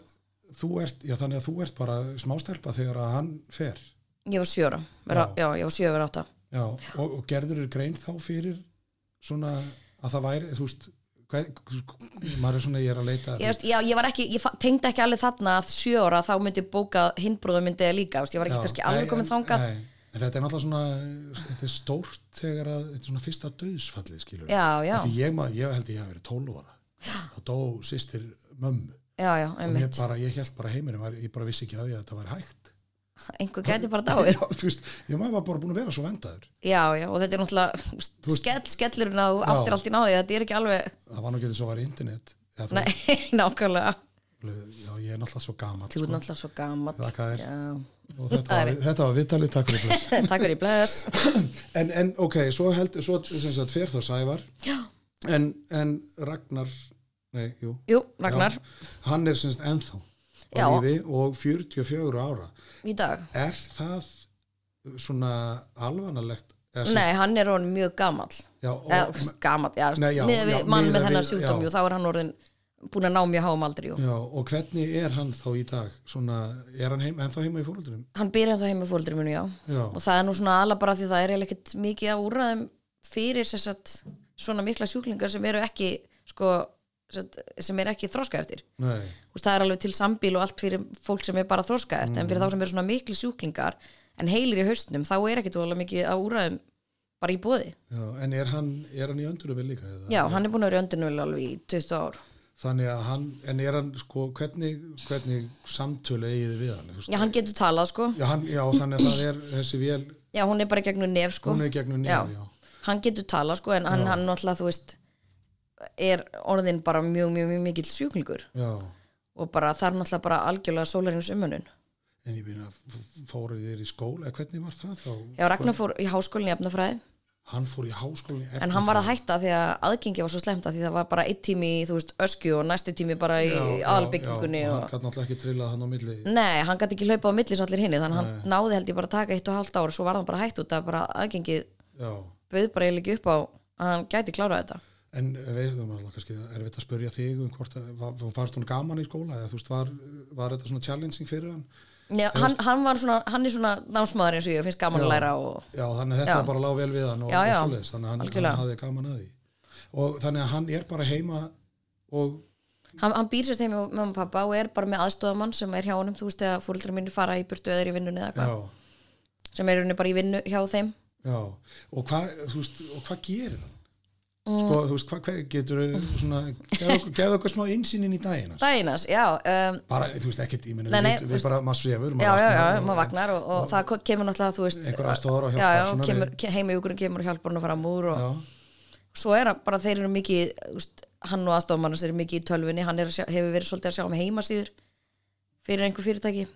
A: þú ert, já, þannig að þú ert bara smástelpa þegar að hann fer.
B: ég var 7 ára, vera, já. ég var 7 ára 8
A: Já, og, og gerður er grein þá fyrir svona að það væri, þú veist, hvað, maður er svona, ég er að leita.
B: ég, veist, já, ég var ekki, ég fa- tengdi ekki alveg þarna að 7 ára þá myndi bóka hinn bróður myndi líka, þú veist, ég var ekki kannski alveg komin þangað
A: Nei, en þetta er náttúrulega svona, þetta er stórt þegar að, þetta er svona fyrsta döðsfallið, skilur.
B: já, já,
A: Því ég, maður, ég held ég hafi verið 12 ára. Þá dó sýstir mömmu.
B: já, já,
A: Og ég,
B: einmitt
A: bara, ég held bara heimurinn, var, ég bara vissi ekki að því að þetta væri hægt
B: einhver gæti bara dáið
A: [laughs] Já, þú veist, ég maður var bara búin að vera svo vendaður
B: já, já, og þetta er náttúrulega úst,
A: Þú veist-
B: skell, skellurinn að þú
A: Já.
B: áttir allt í náði þetta er ekki alveg,
A: það var nú ekki eins og var internet Eða, þú
B: nei, [laughs] nákvæmlega
A: veist, já, ég er náttúrulega svo gamall
B: þú er
A: sko.
B: náttúrulega svo gammal
A: Þakka þér.
B: takk
A: og þetta var, þetta var vitalið takk fyrir
B: [laughs]
A: bless.
B: fyrir bless
A: en, en ok, svo held svo, sem sagt, fer þá Sævar
B: já,
A: en, en Ragnar nei, jú,
B: jú, Ragnar,
A: já, hann er sem sagt ennþá á
B: Já.
A: lífi og 44 ára
B: í dag
A: er það svona alvanalegt eða sem-
B: nei, hann er orðin mjög gammal
A: já, og,
B: gammal, já,
A: Nei, já,
B: miðað
A: já,
B: við mann
A: miðað
B: með þennan
A: við-
B: sjúkdóm
A: já. Mm.
B: jú, þá er hann orðin búin að ná mjög háum aldri jú.
A: já, og hvernig er hann þá í dag svona, er hann heim, ennþá heima í fóröldunum
B: hann byrjaði það heim með fóldri munu, já
A: já,
B: og það er nú svona ala bara því það er eiginlega ekkert mikið af úrraðum fyrir sem sagt, svona mikla sjúklingar sem eru ekki sko, sem sagt, sem eru ekki þroska eftir
A: nei
B: Úst, það er alveg til sambíl og allt fyrir fólk sem er bara þroska eftir en fyrir þá sem eru svona mikli sjúklingar en heilir í haustnum þá er ekkert alveg mikið af úrraðum bara í bóði
A: Já, en er hann, er hann í öndunum líka? Eða?
B: já, hann er búin að vera öndunvel alveg í 20 ár
A: Þannig að hann, en er hann, sko, hvernig, hvernig samtölu eigið þið við hann? þú veist?
B: já, hann getur talað sko
A: Já, hann, já, þannig að það er þessi vél,
B: já, hún er bara í gegnum nef sko
A: hún er í gegnum
B: Já.
A: nefn, já.
B: hann getur talað sko en hann, hann náttúrulega þú veist er orðin bara mjög, mjög, mjög mikill sjúklingur
A: já.
B: og bara þar náttúrulega bara algjörlega sólarins umönun.
A: En ég byrja, fóruð þér í skóla, eða hvernig var það þá?
B: Já, Ragnar fór í háskólinni í efnafræði
A: Hann fór í háskólinni.
B: en hann var að hætta því að aðgengi var svo slemmt að því það var bara eitt tími í, þú veist, öskju og næsti tími bara í aðalbyggingunni
A: Já, og hann
B: og...
A: gæti náttúrulega ekki trillað hann á milli.
B: Nei, hann gæti ekki hlaupa á milli svo allir hinni þannig að hann náði held ég bara að taka eitt og hálft ár svo var hann bara hætt út að bara aðgengið
A: Já,
B: bauð bara eiginlega ekki upp á að hann gæti klárað þetta.
A: en veitum maður kannski, er við að spyrja þig um hvort, að- var, varst hún gaman í skóla, eða þú veist, var, var þetta svona challenging fyrir hann?
B: Já, hann, hann, var svona, hann er svona námsmaður eins og ég finnst gaman að læra og
A: Já, þannig að þetta
B: Já.
A: bara lág vel við hann og,
B: Já, já,
A: og svoleiðis, þannig að hann,
B: algjörlega.
A: hann hafði gaman að því. Og þannig að hann er bara heima og,
B: hann, hann býr sérst heim með mamma og pappa og er bara með aðstofamann sem er hjá honum, þú veist, þegar fóreldrar minni fara í burtu eða eru í vinnunni eða eitthvað.
A: já,
B: sem er í rauninni bara í vinnu hjá þeim
A: já, og hvað, þú veist, og hvað gerir hann? Sko,
B: Mm.
A: þú veist, hvað, hvað getur svona, gefðu okkur- gefðu okkur smá insýnin í daginn hans?
B: daginas, já, um,
A: Bara, þú veist, ekkert, ég meina,
B: Nei,
A: við,
B: nei,
A: vitum-
B: þú
A: við
B: veist-
A: bara, maður sefur,
B: já, já, já,
A: og-
B: maður vagnar og, og það ko- kemur náttúrulega, þú veist
A: Einhver aðstoðar og
B: já,
A: hjálpar
B: já,
A: svona
B: kemur,
A: við.
B: ke- heimihjúkurinn kemur og hjálpar hann að fara múr og
A: Já,
B: svo er hann bara, þeir eru mikið þú veist, hann og aðstofamannas eru mikið í tölvunni hann er, að sjá- hefur verið svolítið að sjá um heimasýður fyrir einhver fyrirtæki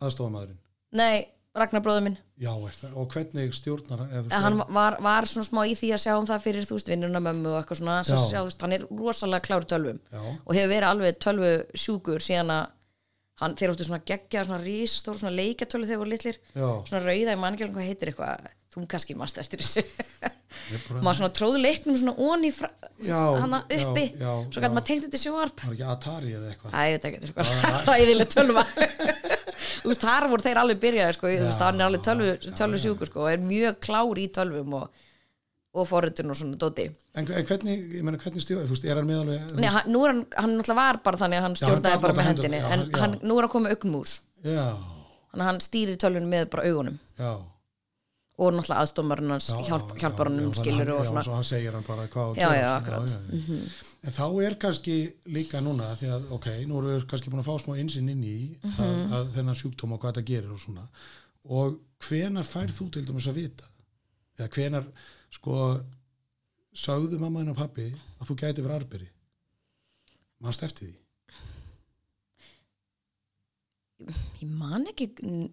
A: aðstofamæðurinn.
B: nei, Ragnar bróður minn
A: Já, er það, og hvernig stjórnar hann? eða þú veist,
B: hann var, var svona smá í því að sjá um það fyrir þú veist vinnuna mömmu og eitthvað svona sem
A: Já.
B: sjá, þú veist, hann er rosalega klár í tölvum
A: Já.
B: og hefur verið alveg tölvu sjúkur síðan að hann, þeir áttu svona geggja svona rísastór svona leikjatölu þegar þeir voru litlir
A: Já. [laughs]
B: svona rauða í mannkjálum hvað heitir eitthvað þú kannski mannst eftir þessu og maður svona tróði leiknum svona onni
A: Já,
B: hana
A: já,
B: uppi
A: já,
B: svo
A: já.
B: gæti maður tengt þetta í sjóarp
A: var ekki Atari eða eitthvað
B: Æ, þetta getur [laughs] eitthvað ræðileg tölva Þú veist, þar voru þeir alveg byrjaði sko, þú veist, hann er alveg tölvu, tölvu sjúkur sko, og er mjög klár í tölvum og, og forritun og svona dóti
A: en, en hvernig, ég meina hvernig stífa þú veist, er hann með alveg þú
B: Nei, hann, nú er hann, hann náttúrulega var bara þannig að hann
A: Já, hann
B: stjórnaði
A: gat
B: bara
A: notað
B: með
A: hendurnar,
B: hendinni
A: já,
B: en
A: já.
B: hann, nú er hann komið augnmús
A: veist- já,
B: þannig að hann stýrir tölvunum með bara augunum
A: já,
B: og náttúrulega aðstómarinn hans
A: já
B: hjálp,
A: já,
B: hjálpar hann
A: já,
B: um
A: þannig
B: skilur
A: hann-
B: og
A: já,
B: svona
A: svo hann segir hann bara hvað á að
B: Já,
A: gera,
B: já,
A: svona,
B: akkurat. Mhm.
A: já. en þá er kannski líka núna því að ok, nú erum við kannski búin að fá smá einsinn inn í að,
B: Mhm.
A: að þennan sjúkdóma og hvað þetta gerir og svona og hvenar færð þú til dæmis að vita eða hvenar sko sagðu mamma þinn og pappi að þú gæti verið arberi mannst eftir því
B: ég man ekki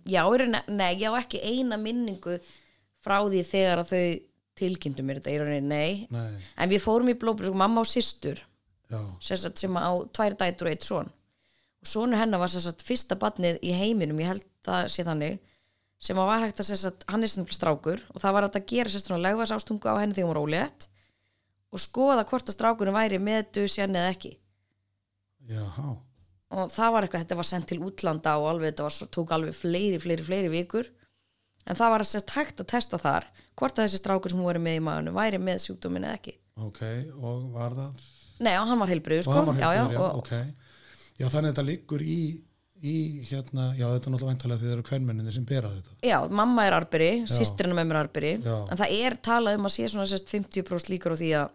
B: já, er, nei, ég á ekki eina minningu frá því þegar að þau tilkynntu mér þetta, ég rauninni nei
A: Nei,
B: en við fórum í blóbrið, sko, mamma og systur
A: já,
B: sem, sagt, sem á tvær dætur og eitt son og sonur hennar var sem sagt, fyrsta barnið í heiminum, ég held það sé þannig sem að var hægt að sem sagt, hann er sem sagt strákur og það var hægt að gera sem sagt, legvas ástungu á henni þegar hún var ólétt og skoða hvort að strákurinn væri með dusjan eða ekki
A: já, há
B: og það var eitthvað, þetta var sendt til útlanda og alveg, þetta var, svo- tók alveg fleiri, fleiri, fleiri vikur en það var sem sagt, hægt að testa þar hvort að þessi strákur sem hún væri með í maðunum væri með sjúkdómin eða ekki
A: ok, og var það
B: Nei, og hann var heilbrið, sko
A: og hann var
B: já,
A: heilbrigður,
B: já,
A: já,
B: og,
A: ok já, þannig að þetta liggur í í hérna, já þetta er náttúrulega væntalega því þeir eru kvenmenninni sem bera þetta
B: Já, mamma er arberi, sýstrina með mér er arberi
A: Já.
B: en það er talað um að sé svona sérst, 50% líkur á því að,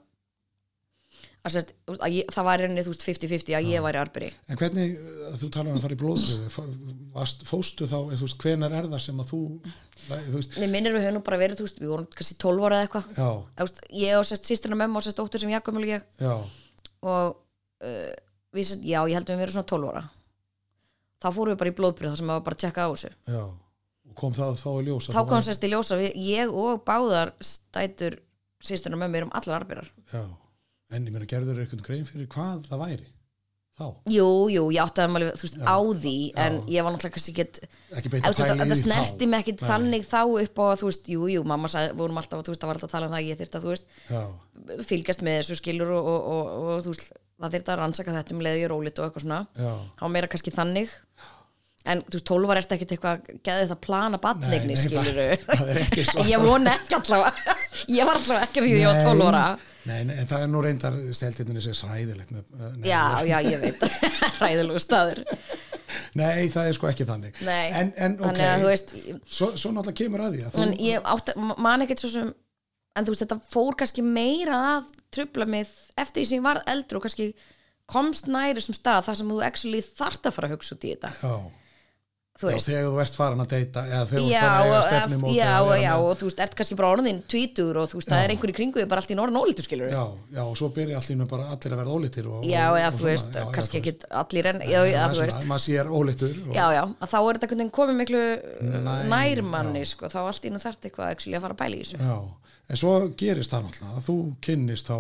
B: að, sérst, að ég, það var reyni 50-50 að ég væri arberi
A: en hvernig, eh, þú talar um að fara í blóðpröfu fóstu þá, eða þú veist, hvenar er það sem að þú, þú veist
B: Mér minnir við höfum nú bara verið, þú veist, við vorum kannski 12 ára eða eitthvað
A: já,
B: Þú veist, Ég og sérst, sýstrina með mér og sérst, dóttur sem Jakob og ég
A: já,
B: og uh, við, sérst, já, ég held við höfum verið svona 12 ára Þá fórum við bara í blóðbrið þar sem maður var bara að tjekka á þessu
A: já og kom það þá í ljós að
B: Þá
A: þú
B: kom
A: væri-
B: sérst í ljósa við, ég og báðar stætur sýstrina með mér um allar arberar
A: já, en ég meina gerður eitthvað grein fyrir hvað það væri þá,
B: Jú, jú, ég átti að maður, þú veist, á því en ég var náttúrulega kannski get
A: ekki
B: Þú
A: beita
B: veist, þetta-
A: pæli
B: þetta snerti mig ekkit
A: Nei.
B: þannig þá upp á að, þú veist, jú, jú, mamma sagði, vorum alltaf, þú veist, það var alltaf að tala um það að ég þyrfti að, þú veist,
A: já,
B: fylgjast með þessu skilur og, og, og, og þú veist, það þyrfti að rannsaka þetta um leiði og rólit og eitthvað svona
A: já
B: þá meira kannski þannig en þú veist, tólvar ertu ekkit eitthvað geðið þetta að plana
A: Nei, nei,
B: batnegni,
A: það-
B: skilur
A: það er
B: [laughs]
A: ekki svo.
B: ég vona ekki allavega [laughs] ég var allavega ekki því því að
A: Nei.
B: tólvara
A: Nei, nei, en það er nú reyndar steltinni sér sæðilegt með, nei,
B: já, já, ég veit, [laughs] ræðilegu staður
A: nei, það er sko ekki þannig
B: Nei,
A: en, en ok,
B: þannig að þú veist,
A: svo, svo náttúrulega kemur að því að þú,
B: en ég átti, man ekkert svo sem en þú veist þetta fór kannski meira að trubla mig eftir því sem ég varð eldri og kannski komst næri sem stað þar sem þú actually þart að fara að hugsa út í þetta
A: já,
B: þú
A: já,
B: veist
A: þegar þú ert farin að deyta eða
B: Já,
A: þegar þú ert farin að eiga
B: og,
A: stefnum
B: já, og, já, og þú veist, ert kannski bara orðin tvítur og þú veist, það er einhver í kringu þig bara allt í norðan ólítur skilur
A: já, já, og svo byrja allir nú bara allir að verða ólítir og,
B: já,
A: og,
B: eða
A: og
B: þú veist, kannski ekki allir en, já, eða þú veist,
A: maður sér ólítur og,
B: já, já, að þá er þetta einhvern veginn komið miklu
A: Nær,
B: nærmanni, sko, þá allt í nú þarft eitthvað actually að fara að bæla í þessu.
A: já, en svo gerist það náttúrulega að þú kynnist þá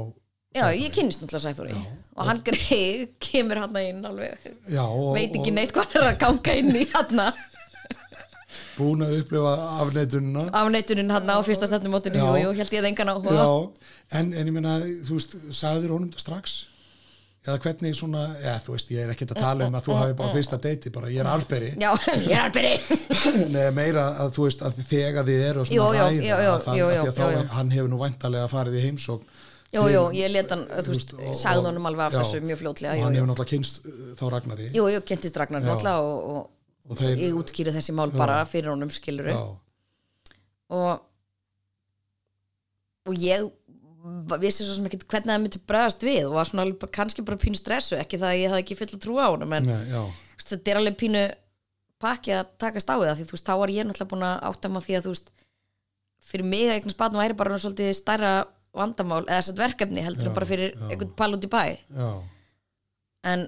B: Já, ég kynnist náttúrulega Sæþóri og hann greið kemur hann inn alveg,
A: já, og,
B: veit ekki
A: og
B: neitt hvað hann er að ganga inn í hann af
A: búin að upplifa afneitununa
B: neitunin hann á fyrsta stefnumótinu
A: Já.
B: og jú, held ég að engan áhuga
A: Já, en, en ég meina, þú veist, sagðir honum þetta strax? Eða hvernig svona, já, þú veist, ég er ekkert að tala um að þú hafi bara fyrsta deiti, bara ég er alberi, [laughs]
B: Já, [laughs] ég er alberi
A: neða meira að þú veist að þegar þið eru
B: Jú,
A: svona
B: jú,
A: ræða,
B: jú, jú,
A: að það,
B: jú,
A: að
B: jú,
A: því að þá
B: jú, jú.
A: hann hefur nú væntalega farið í heimsókn
B: Jú,
A: til-
B: jú, ég let hann, þú veist,
A: og-
B: sagði
A: og-
B: honum alveg af
A: já,
B: þessu mjög fljótlega,
A: Og
B: jú,
A: hann
B: jú.
A: hefur náttúrulega kynst uh, þá Ragnari
B: Jú, jú, kynntist Ragnar náttúrulega og, og
A: og þeir,
B: ég útkýri þessi mál bara fyrir honum skiluru
A: já,
B: og og ég va- vissi svo sem ekkert hvernig það myndi bregðast við og var svona alveg bara- kannski bara pínu stressu ekki það að ég hafði ekki fulla trú á honum en
A: ne, já,
B: Þú veist, þetta er alveg pínu pakki að takast á það því þú veist, þá var ég náttúrulega búin að átta mig á því að þú veist, fyrir mig að eignast barn væri bara svona svolítið stærra vandamál eða þess verkefni heldur en bara fyrir einhvern pall út í bæ
A: já,
B: en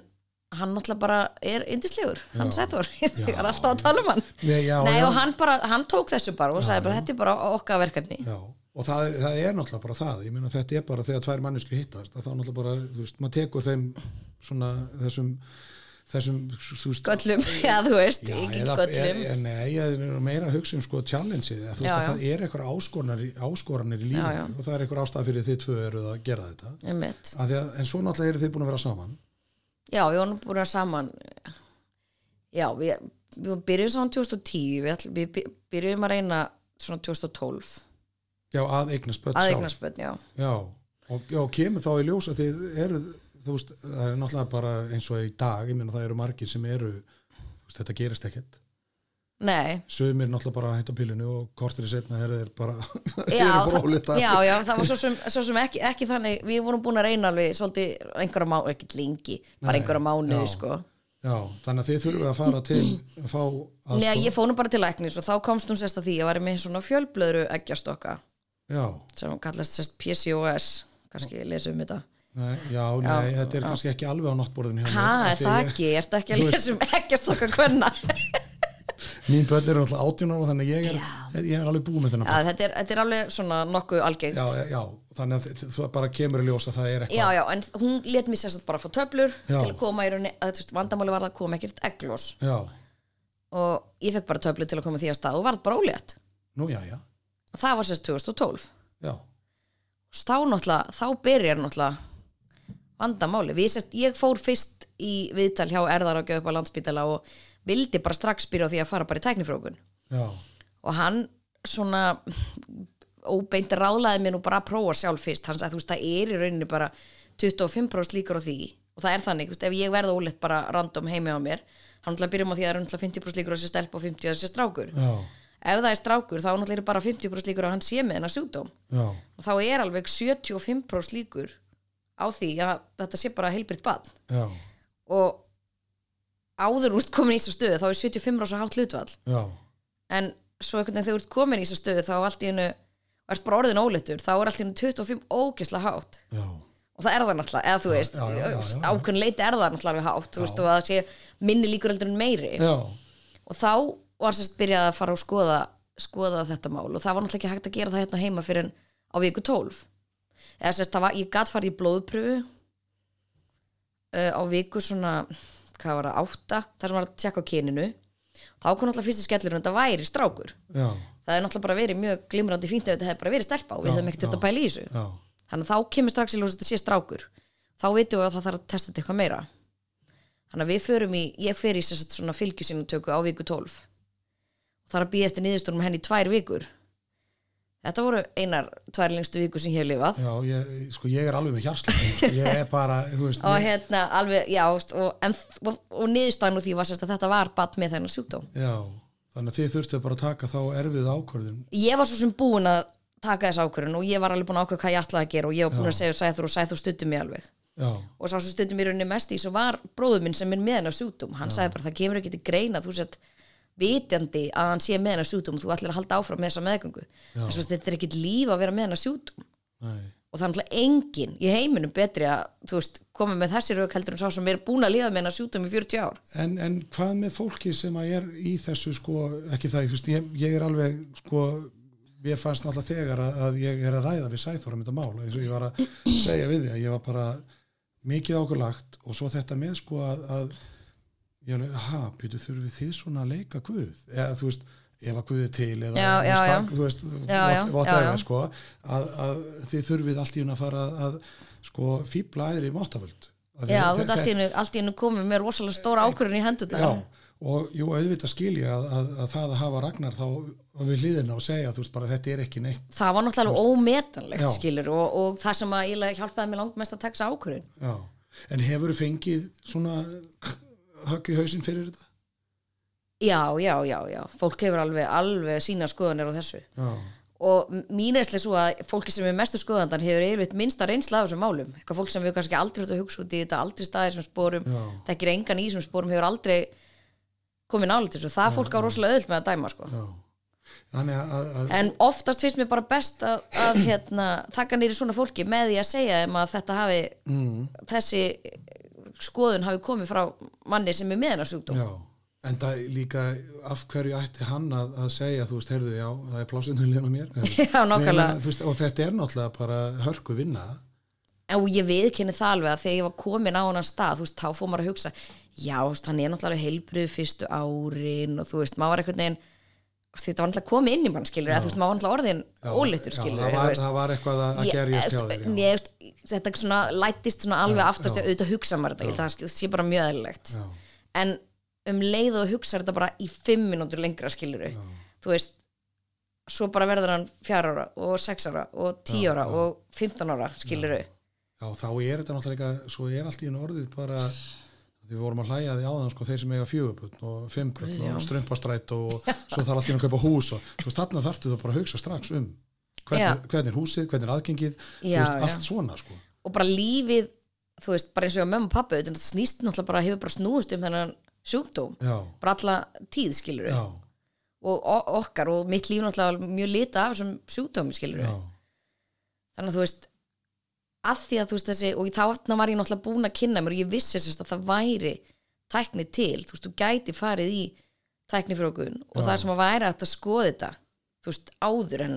B: hann náttúrulega bara er yndislegur, hann sæður [laughs] ég er alltaf að tala um hann
A: Nei, já,
B: Nei,
A: já.
B: og hann bara, hann tók þessu bara og sagði bara, þetta er bara okkar verkefni
A: já. Og það, það er náttúrulega bara það, ég meina þetta er bara þegar tvær manneskur hittast, að þá náttúrulega bara, þú veist, maður tekur þeim svona þessum þessum þú veist,
B: göllum, [laughs] já þú veist,
A: Já,
B: ekki
A: eða,
B: göllum
A: e, nei, ég er meira að hugsa um sko challengeið, að þú veist
B: Já,
A: að
B: já.
A: það er eitthvað áskoranir, áskoranir í
B: Já, já.
A: lífinu og það er eitthvað ástæð fyrir að þið tvö eruð að gera þetta
B: einmitt.
A: að að, en svo náttúrulega eru þið búin að vera saman
B: Já, við vorum búin að saman Já, við, við vorum byrjuðum saman 2010 Við, ætl, við by- byrjuðum að reyna svona 2012
A: já, að eignast börn sjálf.
B: aðeignarspötn, já
A: já, og, já, og kemur þá í ljós að þið eruð, þú veist, það er náttúrulega bara eins og í dag, ég meina það eru margir sem eru, þú veist, þetta gerist ekkert
B: Nei,
A: sögumir náttúrulega bara að hætta á pílinu og kortir í setna er þeir bara [laughs]
B: já,
A: það,
B: það, já, já, það var svo sem, svo sem ekki, ekki þannig, við vorum búin að reyna alveg svolítið einhverja mánu, ekkert lengi bara
A: Nei,
B: einhverja mánuði,
A: já.
B: sko
A: já, þannig að þið þurfum að fara til að fá aðstoð
B: Nei, ég fór nú bara til læknis og þá komst hún sérst að því ég var með svona fjölblöðru eggjastokka
A: já,
B: sem kallast sérst PCOS kannski lesum um þetta
A: nei, já, nei, þetta er kannski ekki alveg á náttborðinu hjá mér,
B: Ha,
A: af
B: er
A: því
B: það
A: ég-
B: ekki, ertu ekki að
A: Þú veist-
B: lesum eggjastokka hvenna
A: mín börn eru náttúrulega 18 ára þannig að ég er, ég er alveg búin með þennan
B: Já, þetta er, þetta er alveg svona nokkuð algengt.
A: já,
B: Já,
A: já, þannig að þi- það bara kemur í ljós að það er
B: já,
A: eitthvað
B: en hún let mér sérstætt bara að fá töflur
A: Já.
B: til að koma í rauninni, að þú veist, vandamáli var það að koma ekkert egglós
A: já,
B: og ég fekk bara töflur til að koma því að stað og varð bara ólétt.
A: nú já, já,
B: Og það var sérst 2012.
A: já
B: Svo Þá náttúrulega, þá byrjar náttúrulega vandamáli. Við sérst, ég fór fyrst í viðtal hjá erðar að upp á landspítala og vildi bara strax byrja á því að fara bara í tæknifrókun.
A: já,
B: og hann svona óbeint rálaði mér nú bara að prófa sjálf fyrst hann sagði þú veist það er í rauninni bara 25% líkur á því og það er þannig, þú veist, ef ég verða óleitt bara random heimi á mér hann náttúrulega byrjum á því að það er náttúrulega 50% líkur á þessi stelp og 50% á þessi strákur
A: já,
B: ef það er strákur þá náttúrulega er bara 50% líkur á að hann sé með hennar sjúkdóm
A: já,
B: og þá er alveg 75% líkur á því að þetta sé bara heilbritt badn
A: já,
B: og áður úrst komin í þessu stöðu þá er 75% hátt hlutvall
A: já
B: en svo einhvern veginn þegar þú ert komin í þessa stöðu þá allt í hennu, og ert bara orðin óléttur þá er allt í hennu 25 ógisla hátt
A: já,
B: og það er það náttúrulega, eða þú veist
A: já, já, já, já.
B: ákveðin leiti er það náttúrulega alveg hátt þú veist,
A: Já.
B: og að það sé minni líkur heldur en meiri
A: já,
B: og þá var sérst byrjað að fara og skoða skoða þetta mál og það var náttúrulega ekki hægt að gera það hérna heima fyrir en á viku 12 eða sérst, það var, ég gat farið í blóðpröfu uh, á viku svona hvað var það, átta þar sem var að tjekka á kyninu þá kom náttúrulega fyrsti skellurinn að þetta væri strákur
A: já,
B: það er náttúrulega bara verið mjög glimrandi fínt ef þetta hefði bara verið stelpa og við
A: Já,
B: höfum ekkert þurft
A: já.
B: að pæla í þessu
A: já,
B: þannig að þá kemur strax í ljós að þetta sé strákur þá veitum við að það þarf að testa þetta eitthvað meira þannig að við förum í ég fer í sér satt svona fylgjusinnatöku á viku 12 það er að býja eftir niðurstunum henni í tvær vikur þetta voru einar tvær lengstu viku sem ég hef lifað
A: já ég, sko ég er alveg með hjarslega ég er bara, þú veist
B: og
A: ég,
B: hérna alveg, já og, en, og, og niðurstæðan úr því var sérst að þetta var bat með þennan sjúkdóm
A: já, þannig að þið þurftu bara að taka þá erfið ákvörðun
B: ég var svo sem búin að taka þess ákvörðun og ég var alveg búin að ákvörða hvað ég ætlaði að gera og ég var búin að segja Sæþur og Sæþur stuttum mig alveg
A: já,
B: og sá sem stundum í rauninni mest í svo var bróður minn sem er með hennar sjúkdóm hann sagði bara það kemur ekki til greina þú sett vitjandi að hann sé með hennar sjúkdóm þú ætlir að halda áfram með þessa meðgöngu en svo þetta er ekki líf að vera með hennar sjúkdóm
A: nei,
B: og það er náttúrulega engin í heiminum betri að þú veist koma með þessi rauk heldur en sá sem er búin að lifa með hennar sjúkdóm í 40 ár
A: en, en hvað með fólki sem að er í þessu sko, ekki það, þú veist ég, ég er alveg, sko ég fannst náttúrulega þegar að, að ég er að ræða við sæþóra um þetta mál, eins og ég var að segja við því að ég var bara mikið ákurlagt og svo þetta með sko að, að ég alveg, ha, býtu þurfið þið svona að leika Guð, eða þú veist ef að Guð er til, eða
B: Já, já, já.
A: þú veist,
B: Já, já,
A: what-
B: já,
A: whatever
B: já.
A: sko, að, að þið þurfið allt í hún að fara að, að sko, fíbla aðri í máttavöld
B: já þú veist allt í hennu, allt í hennu komið með rosalega stóra ákvörðun í hendur
A: Já, og jú, auðvitað skilja að, að, að það að hafa Ragnar þá við hliðina og segja, þú veist bara, þetta er ekki neitt
B: það var náttúrulega alveg ómetanlegt
A: Já.
B: skilur og, og það sem að ég hjálpaði mér langt mest að taka þessa ákvörðun
A: já. en hefur þú fengið svona högg í hausinn fyrir þetta?
B: Já, já, já, já, fólk hefur alveg, alveg sína skoðanir á þessu
A: Já,
B: og m- mín reynsli er svo að fólki sem er mestu skoðandan hefur yfirleitt minnsta reynsla af þessum málum eitthvað fólk sem hefur kannski aldrei verið að hugsa út í þetta aldrei staðið í þessum spórum,
A: Já.
B: þekkir engan í þessum spórum hefur aldrei komið nálægt þessu, það fólk á rosalega öðult með að dæma sko.
A: já. Þannig að, að, að
B: en oftast finnst mér bara best að, að hérna, þakka nýri svona fólki með því að segja þeim að þetta hafi
A: Mm.
B: þessi skoðun hafi komið frá manni sem er með hennar sjúkdóm
A: já. En það líka, af hverju ætti hann að, að segja, þú veist, heyrðu, já, [laughs] það er plásinulegna mér.
B: Já, nákvæmlega.
A: Nei, ég meina, þú veist, og þetta er náttúrulega bara hörku vinna.
B: og ég viðkynni það alveg að þegar ég var komin á hann stað, þú veist, þá fór maður að hugsa já, þú veist, hann er náttúrulega heilbrið fyrstu árin og þú veist, maður var einhvern veginn þú veist, þetta var náttúrulega komið inn í mann skilur, þú veist, maður var náttúrulega orðin ólittur skilur
A: það, var, það var eitthvað að, að gerjast hjá
B: ég,
A: þér
B: þú veist,
A: já.
B: ég, þú veist, þetta er svona lætist svona alveg aftast að auðvitað hugsa maður þetta, ég held að það sé bara mjög eðlilegt
A: Já.
B: en um leið og hugsa þetta bara í fimm mínútur lengra skilur þú veist, svo bara verður hann fjár ára og sex ára og tíu ára og 15 ára skilur
A: já, þá er þetta náttúrulega eitthvað svo er allt í einu orðið bara við vorum að hlæja því áðan sko þeir sem eiga fjögubutn og fimmbutn og strömpastrætt og svo þarf allt í einu að kaupa hús og þú veist þarna þarftu þú bara að hugsa strax um hvernig,
B: Já.
A: hvernig er húsið, hvernig er aðgengið þú
B: Já,
A: veist,
B: já.
A: allt svona sko
B: og bara lífið þú veist, bara eins og ég á mömmu og pappa þetta snýst náttúrulega bara, hefur bara snúist um þennan sjúkdóm,
A: já,
B: bara alla tíð skilur
A: já,
B: og o- okkar og mitt líf náttúrulega mjög lita af þessum sjúkdómi skilur
A: já,
B: þannig að þú veist að því að þú veist þessi og þá þarna var ég náttúrulega búin að kynna mér og ég vissi sérst að það væri tækni til, þú veist, þú gæti farið í tækni fyrir okkur og það er sem að væri hægt að skoða þetta þú veist, áður en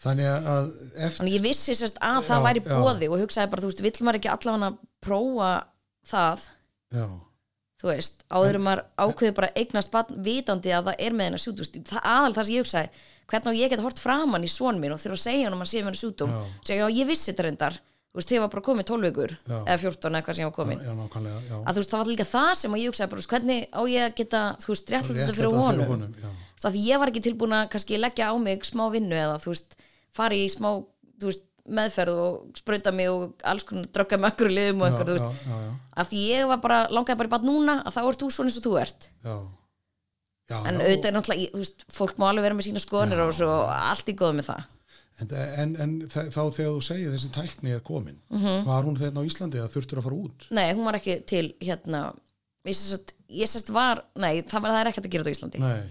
A: þannig að eftir,
B: þannig að ég vissi sérst að það
A: Já,
B: væri
A: já.
B: bóði og hugsaði bara, þú veist, vill maður ekki allavega að prófa það
A: já,
B: þú veist, áður en maður ákveður bara eignast batn vitandi að það er með hennar sjúdum það aðal það sem ég hugsaði, hvernig á ég get hort framan í svon minn og þurfa að segja hann að hann sé með hennar sjúdum,
A: Já.
B: segja já ég vissi þetta reyndar þú veist, þegar var bara komið 12 vikur
A: Já.
B: eða 14 eða hvað sem ég var komin
A: já, nákvæmlega já,
B: að þú veist, það var líka það sem að ég hugsaði bara, þú veist, hvernig á ég að geta, þú veist, réttlætt
A: Réttlæta
B: þetta fyrir honum, honum.
A: já,
B: það því ég var ekki tilbúin að kannski leggja á mig smá vinnu eða, þú veist, fara í smá, þú veist, meðferð og sprauta mig og alls konar drögga með akkur liðum og
A: já,
B: einhver, þú
A: já,
B: veist,
A: já, já.
B: að því ég var bara, langaði bara í bara núna að þá ert þú svona eins og þú ert
A: já. Já,
B: en
A: já,
B: auðvitað er náttúrulega, ég- þú veist, fólk má alveg vera með sína skoðanir og svo allt í góð með það
A: En, en, en þa- þá þegar þú segir þessi tækni er komin,
B: Mhm.
A: var hún þeirna á Íslandi eða þurftur að fara út?
B: nei, hún var ekki til, hérna ég sérst, ég sérst var, nei, það, var, það er ekkert að gera þetta á Íslandi
A: Nei,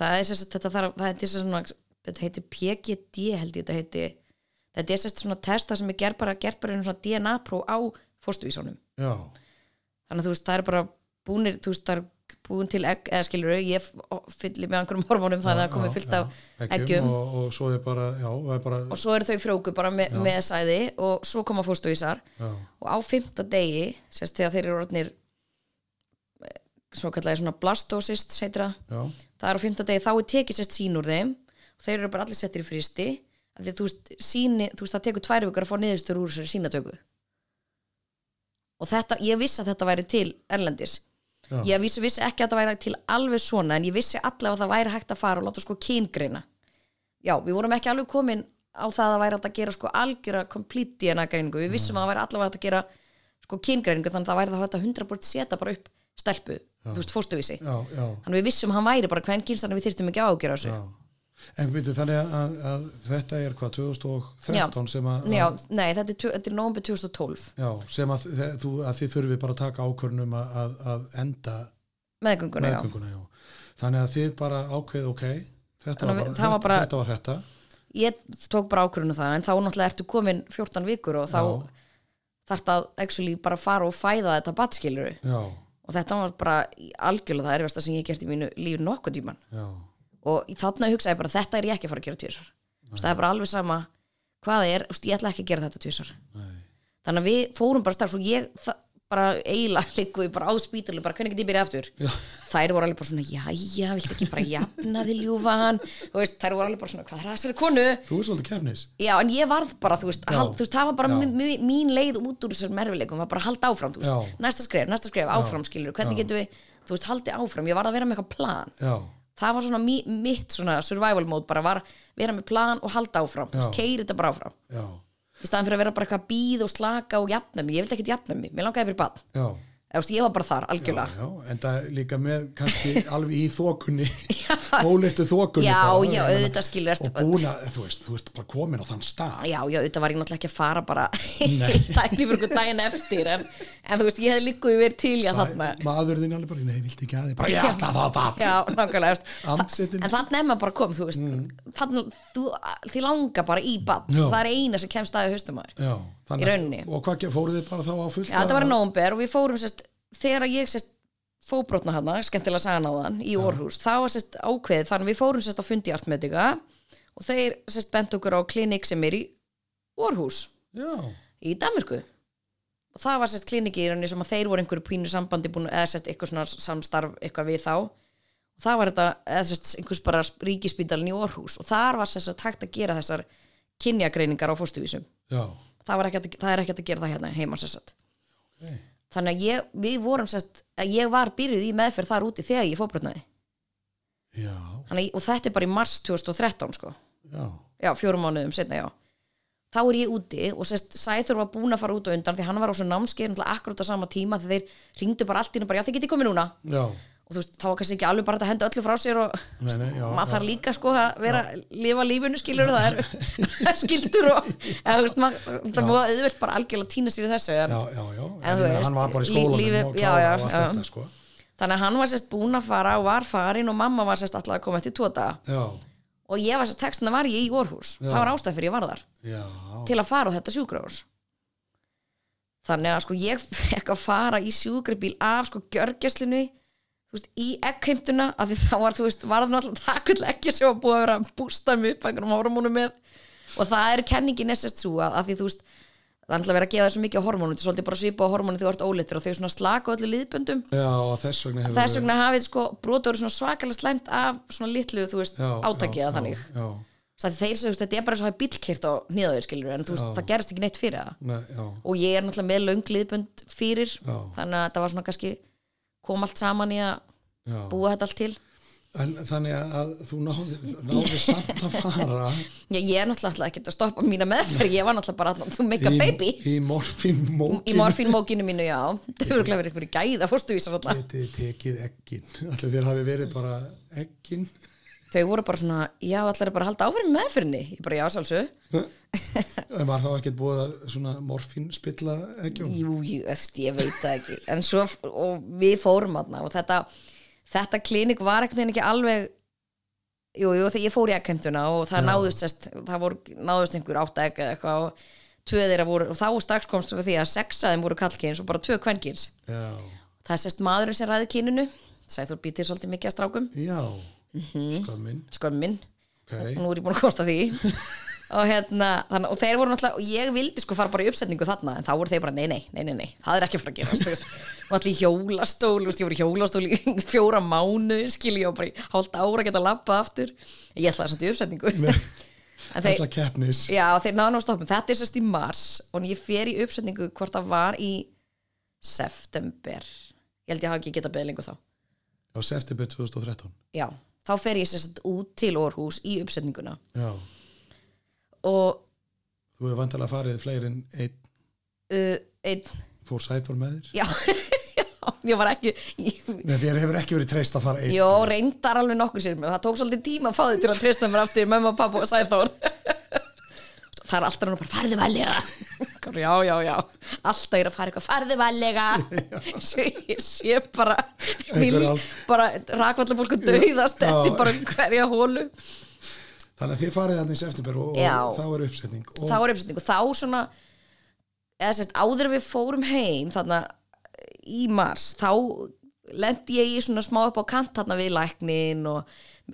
B: það er sérst, þetta þarf, það er til svona þetta heiti PGD held ég þetta heiti þetta er sérst svona testa sem er gert bara, gert bara einu svona DNA próf á fóstuvísónum
A: já,
B: þannig að þú veist, það er bara búnir þú veist, það er búin til egg, eða skilur ég f- fylli með einhverjum hormónum þannig að það
A: já,
B: komið fyllt
A: já.
B: af eggjum
A: og, og svo er bara, já, það er bara,
B: og svo eru þau frjóku bara me, með sæði og svo koma fóstuvísar
A: já,
B: og á fymta degi sérst þegar þeir eru orðnir eh, svo kallaði svona blastosist heitir það,
A: já,
B: það er á fymta degi þá er tekið sérst sín úr þeim og þeir eru bara allir settir í fristi af því að þú veist, síni, þú veist það tekur tvær vikar að fá niðurstur úr sér sínatöku og þetta, ég vissi að þetta væri til Erlendis
A: Já.
B: ég vissi, vissi ekki að þetta væri til alveg svona en ég vissi allavega að það væri hægt að fara og láta sko kyngreina já, við vorum ekki alveg komin á það að það væri hægt að gera sko algjöra complete DNA greiningu, við vissum að það væri allavega hægt að gera sko kyngreiningu þannig að það væri það hægt að 100% setja bara upp stelpu, þú veist, fóstuvísi
A: já, já,
B: þannig að við vissum að hann væri bara hvern kynst þannig að við þyrftum ekki að ágjöra þessu
A: já. En byrju, þannig að, að, að þetta er hvað, 2013 sem að,
B: Já, nei, þetta er, tu- þetta er nómbi 2012
A: já, sem að, þe- þú, að þið þurfið bara að taka ákvörnum að, að, að enda
B: meðgönguna, já.
A: meðgönguna, já. Þannig að þið bara ákveð, ok, þetta var
B: Þannig að
A: bara,
B: það var bara-
A: þetta var þetta,
B: ég tók bara ákvörðun um það en þá náttúrulega ertu komin 14 vikur og þá þarft að actually bara fara og fæða þetta batskiluru
A: já,
B: og þetta var bara í- algjörlega það erfasta sem ég hef gert í mínu lífi nokkuð tíman
A: já,
B: og þannig hugsaði ég bara þetta er ég ekki að fara að gera tvisar það er bara alveg sama hvað það er, þú veist, ég ætla ekki að gera þetta tvisar
A: nei,
B: þannig að við fórum bara starf og ég það, bara eiginlega [laughs] liggu við bara á spítalum bara hvernig get ég byrja aftur
A: Já.
B: þær voru alveg bara svona, jæja, viltu ekki bara jafna þig ljúfan, þú veist, þær voru alveg bara svona hvað er að þessari konu
A: þú er svolítið kefnis.
B: Já, en ég varð bara, þú veist, hald, þú veist það var bara
A: já.
B: mi- mi- mín leið út úr þessar merfileikum var bara að halda áfram, þú veist,
A: Já.
B: næsta skref, næsta skref, áfram skilur, hvernig getum við, þú veist, haldið áfram, ég varð að vera með eitthvað plan,
A: Já,
B: það var svona mi- mitt svona survival mode bara var að vera með plan og halda áfram, þú veist,
A: Já.
B: keiri þetta bara áfram,
A: já,
B: í staðan fyrir að vera bara eitthvað að býð og slaka og jafna mig, ég vildi ekkert jafna mig, mér langaði fyrir bann,
A: já,
B: þú veist, ég var bara þar, algjörlega.
A: já, en það er líka með
B: [laughs]
A: kannski alveg í þokunni, óleittu þokunni.
B: Já,
A: bara,
B: já,
A: ég meina,
B: auðvitað skilur, ertu-
A: Og búin að, þú veist, þú ert bara komin á þann stað.
B: Já, já, auðvitað var ég náttúrulega ekki að fara bara [laughs] tækni fyrir okkur daginn eftir en, en þú veist, ég hefði líku verið til ég að þarna
A: Maður þinn alveg bara, nei, viltu ekki að þið, bara ég ætla það það.
B: Já, nákvæmlega veist.
A: Andsetin-
B: En þannig er maður bara kom, þú veist þannig, þú, þið langar bara í bann
A: Já.
B: það er eina sem kemst að í haustum maður
A: Já,
B: Í rauninni.
A: Og hvað ge- fóruð þið bara þá á fullt?
B: Já, þetta var í
A: að-
B: nómber og við fórum sérst, þegar ég sérst fóbrotna hana, skemmtilega sagan á þann í Orhus, þá var sérst ákveðið þannig við fórum sérst á fundi artmedika og þeir sérst bent okkur á klinik sem er í Orhus
A: Já,
B: í Danmörku og það var sérst kliniki í rauninni sem að þeir voru einhverju pínu sambandi búin eða sérst eitthvað svona samstarf eitthvað við þá og það var þetta, eða sérst einhvers bara ríkispítalinn í Orhús og þar var sérst hægt að gera þessar kynjagreiningar á fóstuvísum
A: já,
B: það, var ekki hægt að, það er ekki hægt að gera það hérna heima sérst
A: okay.
B: þannig að ég, við vorum sérst að ég var byrjuð í meðferð þar úti þegar ég fóbrotnaði
A: já,
B: Þannig, að- og þetta er bara í mars 2013 sko.
A: já,
B: já, fjórum mánuðum setna, já þá er ég úti og sérst Sæþur var búin að fara út og undan því hann var á svo námskeið náttúrulega akkurat á sama tíma þegar þeir ringdu bara allt í hennu bara já þið getið komið núna
A: já,
B: og þú veist þá var kannski ekki alveg bara hægt að henda öllu frá sér og
A: Nei, nei, já,
B: maður
A: já.
B: þarf líka sko að vera lifa lífinu skilur það er það er skildur og eða, þú veist maður það var auðvelt bara algjörlega týna sér í þessu en,
A: já, já, já. Ég
B: En þú
A: meina,
B: veist,
A: hann var bara í
B: lí-
A: skólanum
B: lífið-
A: og
B: já,
A: kláraði
B: já,
A: og allt
B: já.
A: þetta sko
B: þannig að hann var sérst búin að fara og var farin og mamma var sérst alltaf að koma eftir tvo daga
A: já,
B: og ég var sérst textina var ég í Orhus það var ástæð fyrir ég var þar
A: já,
B: til að fara á þetta sjúkrahús þannig að sko ég [laughs] fekk að fara í sjúkrabíl af sko gjörgjaslinu veist, í eggheimtuna af því þá var þú veist var það [laughs] náttúrulega takull ekki sem var búið að vera að bústa mig upp einhverjum hormónum með og það er kenningin essert svo að, að því þú veist það er náttúrulega verið að gefa þessu mikið af hormónum þetta er svolítið bara svipa á hormónum þegar þú ert óleittur og þau svona slaka á öllu liðböndum
A: já, og þess vegna hefur
B: þess vegna hafið sko brotur svona svakalega slæmt af svona litlu þú veist
A: Já, já,
B: átakiða
A: já,
B: þannig
A: já,
B: Svo að þeir sem þú veist, þetta er bara svo að hafa bílkýrt á nýðaður skilur en þú veist, það gerist ekki neitt fyrir það
A: ne, já,
B: og ég er náttúrulega með löngliðbund fyrir
A: Já.
B: þannig að þetta var svona kannski kom allt saman í að
A: já.
B: búa þetta allt til
A: En, þannig að þú náði, náði samt að
B: [laughs]
A: fara
B: Já, ég er náttúrulega ekki að stoppa mína meðferð ég var náttúrulega bara að þú make a
A: í,
B: baby
A: í morfinmókin
B: í morfínmókinu mínu, já það hefur glæður einhverju gæða fórstuvísar alltaf
A: getið þið tekið ekkin allir þér hafi verið bara ekkin
B: þau voru bara svona, já, allar er bara að halda áfram með meðferðinni ég bara, já, sjálfsög
A: en var þá ekkert búið að svona morfin spilla ekkjum
B: Jú, jú, eftir, ég veit það ekki en svo, og við fórum aðna og þetta, þetta klinik var ekkert ekki alveg jú, jú, þegar ég fór í ekkheimtuna og það náðust sest, það voru, náðust einhver átta ekk eða eitthvað og tvö þeirra voru, og þá strax komst við því að sex af þeim voru kallkyns og bara tvö kvenkyns
A: já,
B: það er sérst maðurinn sem ræður kyninu Sæþór býtir svolítið mikið að strákum
A: já
B: Mhm.
A: skömmin,
B: skömmin, og
A: ok
B: nú er ég búin að komast að því og hérna, þannig, og þeir voru náttúrulega og ég vildi sko fara bara í uppsetningu þarna en þá voru þeir bara, nei, nei, nei, nei, nei, það er ekki að fara að gerast þú veist. og allir í hjólastól, þú veist, ég voru í hjólastól í [laughs] fjóra mánu, skilji og bara í hálft ára að geta labbað aftur ég ætlaði samt í uppsetningu [laughs] en þeir,
A: þessla keppnis
B: já, þeir náðan á stoppum þetta er sérst í mars og ég fer í uppsetningu hvort það var í september ég held ég hafa ekki getað beðið lengur þá
A: á september 2013
B: já, þá fer ég sérst út til Orhús í uppsetninguna
A: já,
B: og
A: þú hefur vantilega farið fleiri en einn
B: uh, einn [laughs]
A: fór sæþór með þér
B: já, já, ég var ekki ég,
A: Nei, þér hefur ekki verið treyst að fara einn
B: Jó, reyndar alveg nokkur sér mér Það tók svolítið tíma að fá þau til að treysta mér aftur Mömmu og pappu og Sæþór Það er alltaf núna bara, farðu valega Bara, [laughs] Já, já, já Alltaf er að fara eitthvað, farðu valega [laughs] Svo ég sé bara vil,
A: Einhver al-
B: Bara rakvallabólku dauðast
A: Já.
B: Þetta bara um hverja hólu
A: þannig að þið farið þannig í september og,
B: Já.
A: og þá er uppsetning og
B: Þá er uppsetning og þá svona eða sérst, áður en við fórum heim þarna eh, í mars þá lendi ég í svona smá upp á kant þarna við læknin og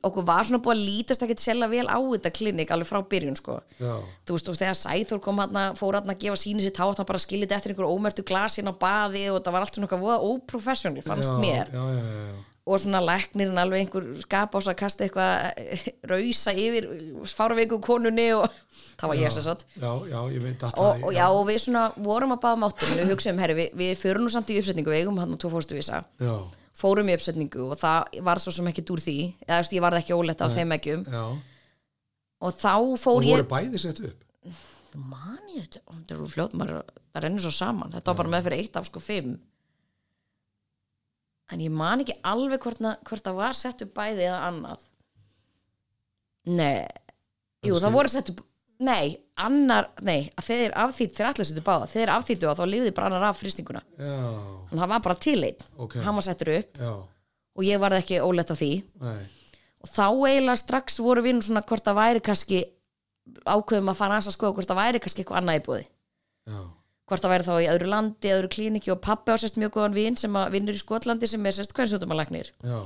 B: okkur var svona búið að lítast ekkert selja vel á þetta klinik alveg frá byrjun sko
A: já,
B: þú veist og þegar Sæþór kom hann fór hann að gefa síni sitt þá átt hann bara að skilja þetta eftir einhver ómertu glasin á baði og það var allt svona eitthvað voða óprofessional fannst
A: já,
B: mér
A: já, já, já, já.
B: og svona læknirinn alveg einhver skap á svo að kasta eitthvað eh, rausa yfir fárveiku konunni og það var ég sér satt
A: já, já, ég veit að
B: og, og já, og við svona vorum að báða máttinu við hugsaðum, herri, við, við förum nú samt í uppsetningu við eigum hann og tvo fórstu visa
A: já,
B: fórum í uppsetningu og það var svo sem ekki úr því eða þú veist, ég varð ekki óletta á þeim ekki
A: já
B: og þá
A: og
B: fór
A: voru
B: ég
A: bæði sett upp
B: man ég þetta, ó, þetta eru fljótt maður, það rennur svo saman, þetta var bara með fyrir eitt af sko fimm en ég man ekki alveg hvort, na- hvort það var sett upp bæði eða annað nei jú, það voru sett upp nei, annar, nei, að þeir afþýtt þeir allir settu báða, þeir afþýttu að þá lifði bara annar af fristinguna,
A: já,
B: en það var bara til einn
A: Ok.
B: hann var settur upp
A: já,
B: og ég varð ekki ólett á því
A: nei
B: og þá eiginlega strax voru við nú svona hvort það væri kannski ákveðum að fara aðeins að skoða hvort það væri kannski eitthvað annað í búði
A: já,
B: hvort það væri þá í öðru landi, öðru klíniki og pappi á sérst mjög góðan vin sem að vinnur í Skotlandi sem er sérst kvensjóttumalæknir
A: já,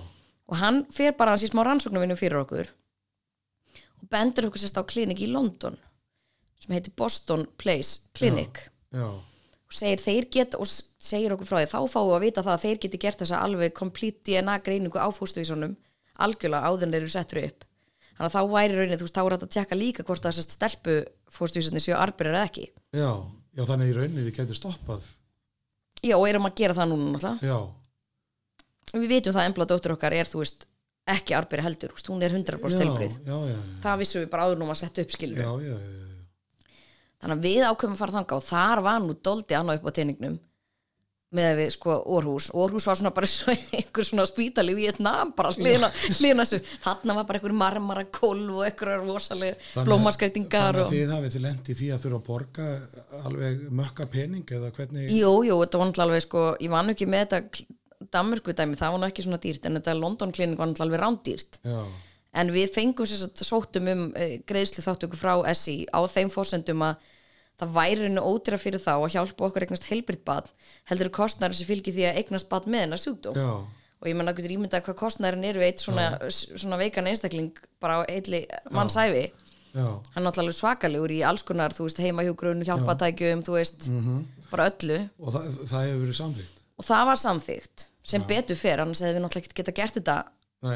B: og hann fer bara hans í smá rannsóknarvinnu fyrir okkur og bendur okkur sérst á klinik í London sem heitir Boston Place Clinic
A: já,
B: og segir þeir geta og s- segir okkur frá því þá fáum við að vita það að þeir geti gert þessa alveg komplít DNA greiningu á fóstuvísunum algjörlega áður en þeir eru settur upp þannig að þá væri raunin, þú veist, þá er hægt að tjekka líka hvort það sérst stelpu fóstuvísunni séu arberar eða ekki
A: já, já þannig í rauninni þið getur stoppað
B: já, og erum að gera það núna náttúrulega
A: já,
B: við vitum það að embla dóttur okkar er, þú veist, ekki arberi heldur, þú veist, hún er 100%
A: já,
B: tilbrið
A: já, já,
B: það vissum við bara áður núna að setja upp
A: já,
B: skilur
A: já, já, já, já.
B: þannig að við ákveðum að fara þangað og þar var nú doldi annað upp á teiningnum með að við sko Orhús Orhús var svona bara svo [laughs] einhver svona spítali í eitt nam bara hlýna þessu þarna var bara einhver marmara kólf og einhverjar rosalega
A: Þannig að-
B: blómaskreitingar
A: þannig að
B: og...
A: þið hafið þið lent í því að þurfa að borga alveg mökka pening eða hvernig
B: Jú, jú, þetta var náttúrulega alveg sko ég vann ekki með þetta Danmörku dæmi, það var nú ekki svona dýrt en þetta London klinik var náttúrulega alveg rándýrt
A: já,
B: en við fengum sér að sóttum um eh, greiðslu þáttöku frá SI á þeim fórsendum að það væri henni ódýra fyrir þá að hjálpa okkur eignast heilbritt badn heldur kostnæri sem fylgir því að eignast badn með hennar sjúkdóm
A: já,
B: og ég menna getur ímyndað hvað kostnærin er við eitt svona, s- svona veikan einstakling bara á heilli mannsæfi
A: já
B: hann er náttúrulega svakalegur í alls konar þú veist heimahjúgrun, hjálpatækjum, þú veist bara öllu
A: og það, það hefur verið samþýtt
B: og það var samþygt sem betur fer, annars hefði við náttúrulega ekki geta gert þetta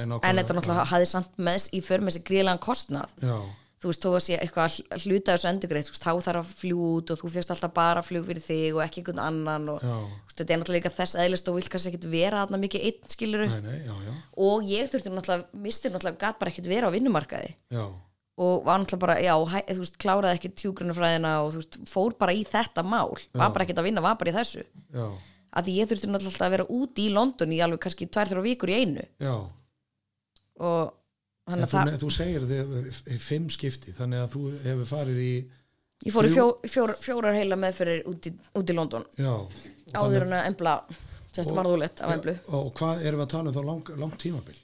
B: en þetta náttúrulega hafði samt með í för með sér gríðlegan kostnað
A: já,
B: þú veist, þó að sé eitthvað að hluta þessu endurgreitt, þú veist, þá þarf að fljú út og þú fyrst alltaf bara flug fyrir þig og ekki einhvern annan og
A: Já.
B: þú veist, þetta er náttúrulega líka þess eðlist og vil kannski ekkit vera þarna mikið einn skiluru
A: nei, nei, já, já,
B: og ég þurfti náttúrulega, mistir náttúrulega gat bara ekkit vera á vinnumarkaði
A: já
B: og var náttúrulega bara, já, hæ, þú veist, kláraði ekkit hjúgrunafræðina og þú veist, fór bara í þetta mál, var bara ekkit að vinna, var bara í þessu
A: já,
B: að því ég þurfti náttúrulega alltaf að vera úti í London í alveg kannski tvær, þrjá vikur í einu
A: já
B: og
A: En
B: þannig að
A: þú,
B: það,
A: þú segir þið eh, fimm skipti þannig að þú hefur farið í
B: ég fór í fjó,
A: þrjú-
B: fjór, fjórar heila meðferðir úti, úti í London
A: já,
B: áður en að embla semst
A: Og-
B: marðulegt af emblu
A: og hvað erum við að tala um þá lang, langt tímabil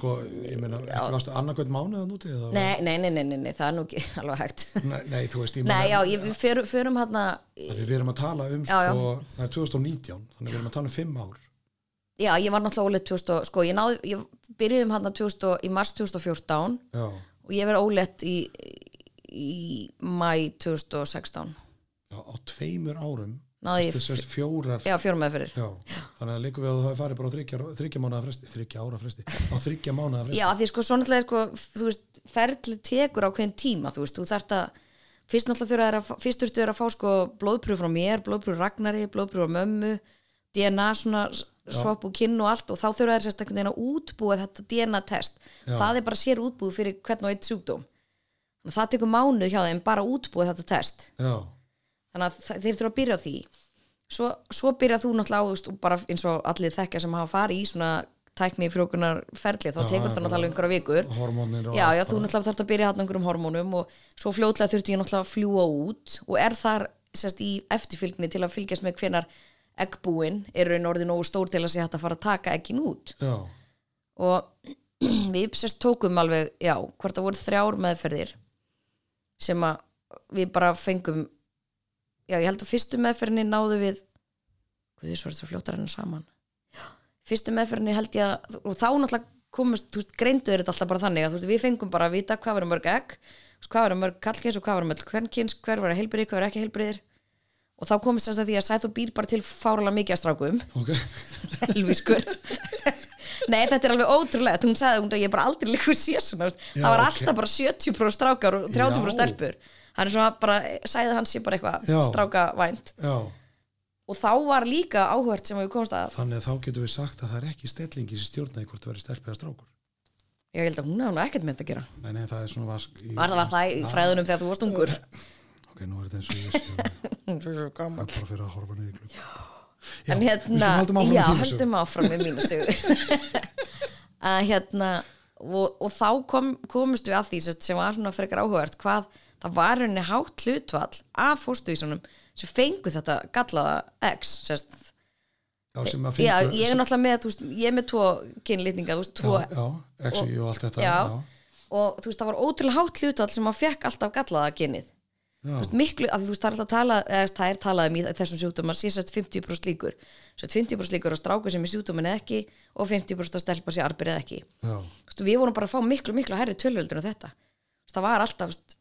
A: sko, ég meina ekki varstu annarkvæmt mánuðan úti eða
B: nei, nei, nei, nei, nei, nei, það er nú ekki [laughs] alveg hægt
A: nei, nei, þú veist, ég
B: nei, já,
A: meina
B: ég, við förum, förum hérna
A: að við erum að tala um
B: Já, já.
A: sko, það er 2019 þannig við erum að tala um fimm ár
B: já, ég var náttúrulega óleitt 2000, sko, ég náði ég byrjuðum hérna 2000, í mars 2014
A: já,
B: og ég verið óleitt í í mæ 2016
A: já, á tveimur árum
B: náði ég,
A: þess
B: f-
A: að fjórar
B: já, fjórum meðferðir
A: Já, þannig að líka við að þú hafi farið bara á þryggja, þryggja mánuða fresti, þryggja ára fresti, á þryggja mánuða fresti.
B: Já, af því sko, svo náttúrulega, sko, þú veist, ferli tekur á hvern tíma, þú veist, þú þarft að, fyrst náttúrulega þurfa þér að, fá- fyrst þurftu þér að fá, sko, blóðpröf frá mér, blóðpröf frá Ragnari, blóðpröf frá mömmu, DNA, svona, s- svapp og kinn og allt og þá þurfa þér sérst einhvern veginn að útbúa þetta DNA-test.
A: Já.
B: Það er bara sér útbúið fyrir hvern og eitt sjúkdóm. Þannig að Það tekur mánuð hjá þeim bara að útbúa þetta test
A: Já,
B: þannig að þa- þeir þurfa að byrja á því svo, svo byrja þú náttúrulega á þú veist, og bara eins og allir þekkja sem hafa farið í svona tækni frjókunar ferli þá
A: já,
B: tekur það náttúrulega einhverja vikur
A: hormónir og...
B: já, já, þú náttúrulega þarf að byrja hann einhverjum hormónum og svo fljótlega þurfti ég náttúrulega að fljúa út og er þar sérst í eftirfylgni til að fylgjast með hvenar eggbúin eru en orðin nógu stór til að sé hægt að fara að taka eggin út
A: Já,
B: og [clears throat] við sérst tókum alveg, já, hvort það voru þrjár meðferðir sem að við bara fengum já, ég held að fyrstu meðferðinni náðu við Guði, svo er þetta fljótar hennar saman Já, fyrstu meðferðinni held ég að og þá náttúrulega komust, þú veist, greindu er þetta alltaf bara þannig að þú veist, við fengum bara að vita hvað verður mörg egg þú veist, hvað verður mörg kallkins og hvað verður mörg kvennkins hver verður heilbrið, hver verður ekki heilbriðir og þá komist þess að því að sæðu býr bara til fáralega mikið að strákum
A: ok, [laughs]
B: helvískur Nei, þetta er alveg ótrúlega hún sagði hún að ég bara aldrei líkur sé svona þú veist.
A: Já,
B: það var
A: ok.
B: alltaf bara 70% strákar og 30%
A: Já.
B: stelpur hann er svona bara, sagði að hann sé bara
A: Já.
B: eitthvað strákavænt
A: já,
B: og þá var líka áhört sem við komst að
A: þannig að þá getum við sagt að það er ekki stellingi sem stjórnaði hvort það verið stelp eða strákur.
B: ég held að hún hefði nú ekkert mynd að gera
A: Nei, nei, það er svona vask... Í...
B: var það, var það í fræðunum þegar þú varst ungur
A: Ok, nú er þetta eins og ég sé að-
B: Svo- svo gaman.
A: bara fyrir að horfa niður í klukk.
B: en
A: við
B: hérna,
A: skulum höldum áfram
B: já,
A: með þína sögu.
B: höldum áfram með
A: [laughs]
B: mínu sögu [laughs] að hérna og, og þá kom, komust við að því sem, sem var svona frekar áhugavert hvað það var henni hátt hlutvall af fórstuvísunum sem fengu þetta gallaða X sérst.
A: Já, sem að
B: já,
A: fengu-
B: ég er náttúrulega með, þú veist, ég er með tvo kynlýtninga, þú veist, tvo
A: Já, já, exi og allt þetta.
B: já. og þú veist, það var ótrúlega hátt hlutvall sem að fekk alltaf gallaða kynið
A: já,
B: Þú veist, miklu, að þú veist, það er alltaf talað eða það er talað um í þessum sjúkdóma sé sett 50% líkur sett 50% líkur á stráku sem er sjúkdómin eða ekki og 50% að stelpa sér arbyrð eða ekki Þú
A: já,
B: veist, við vorum bara að fá miklu, miklu hærri tölvöldur en þetta Þú veist, það var alltaf þú veist,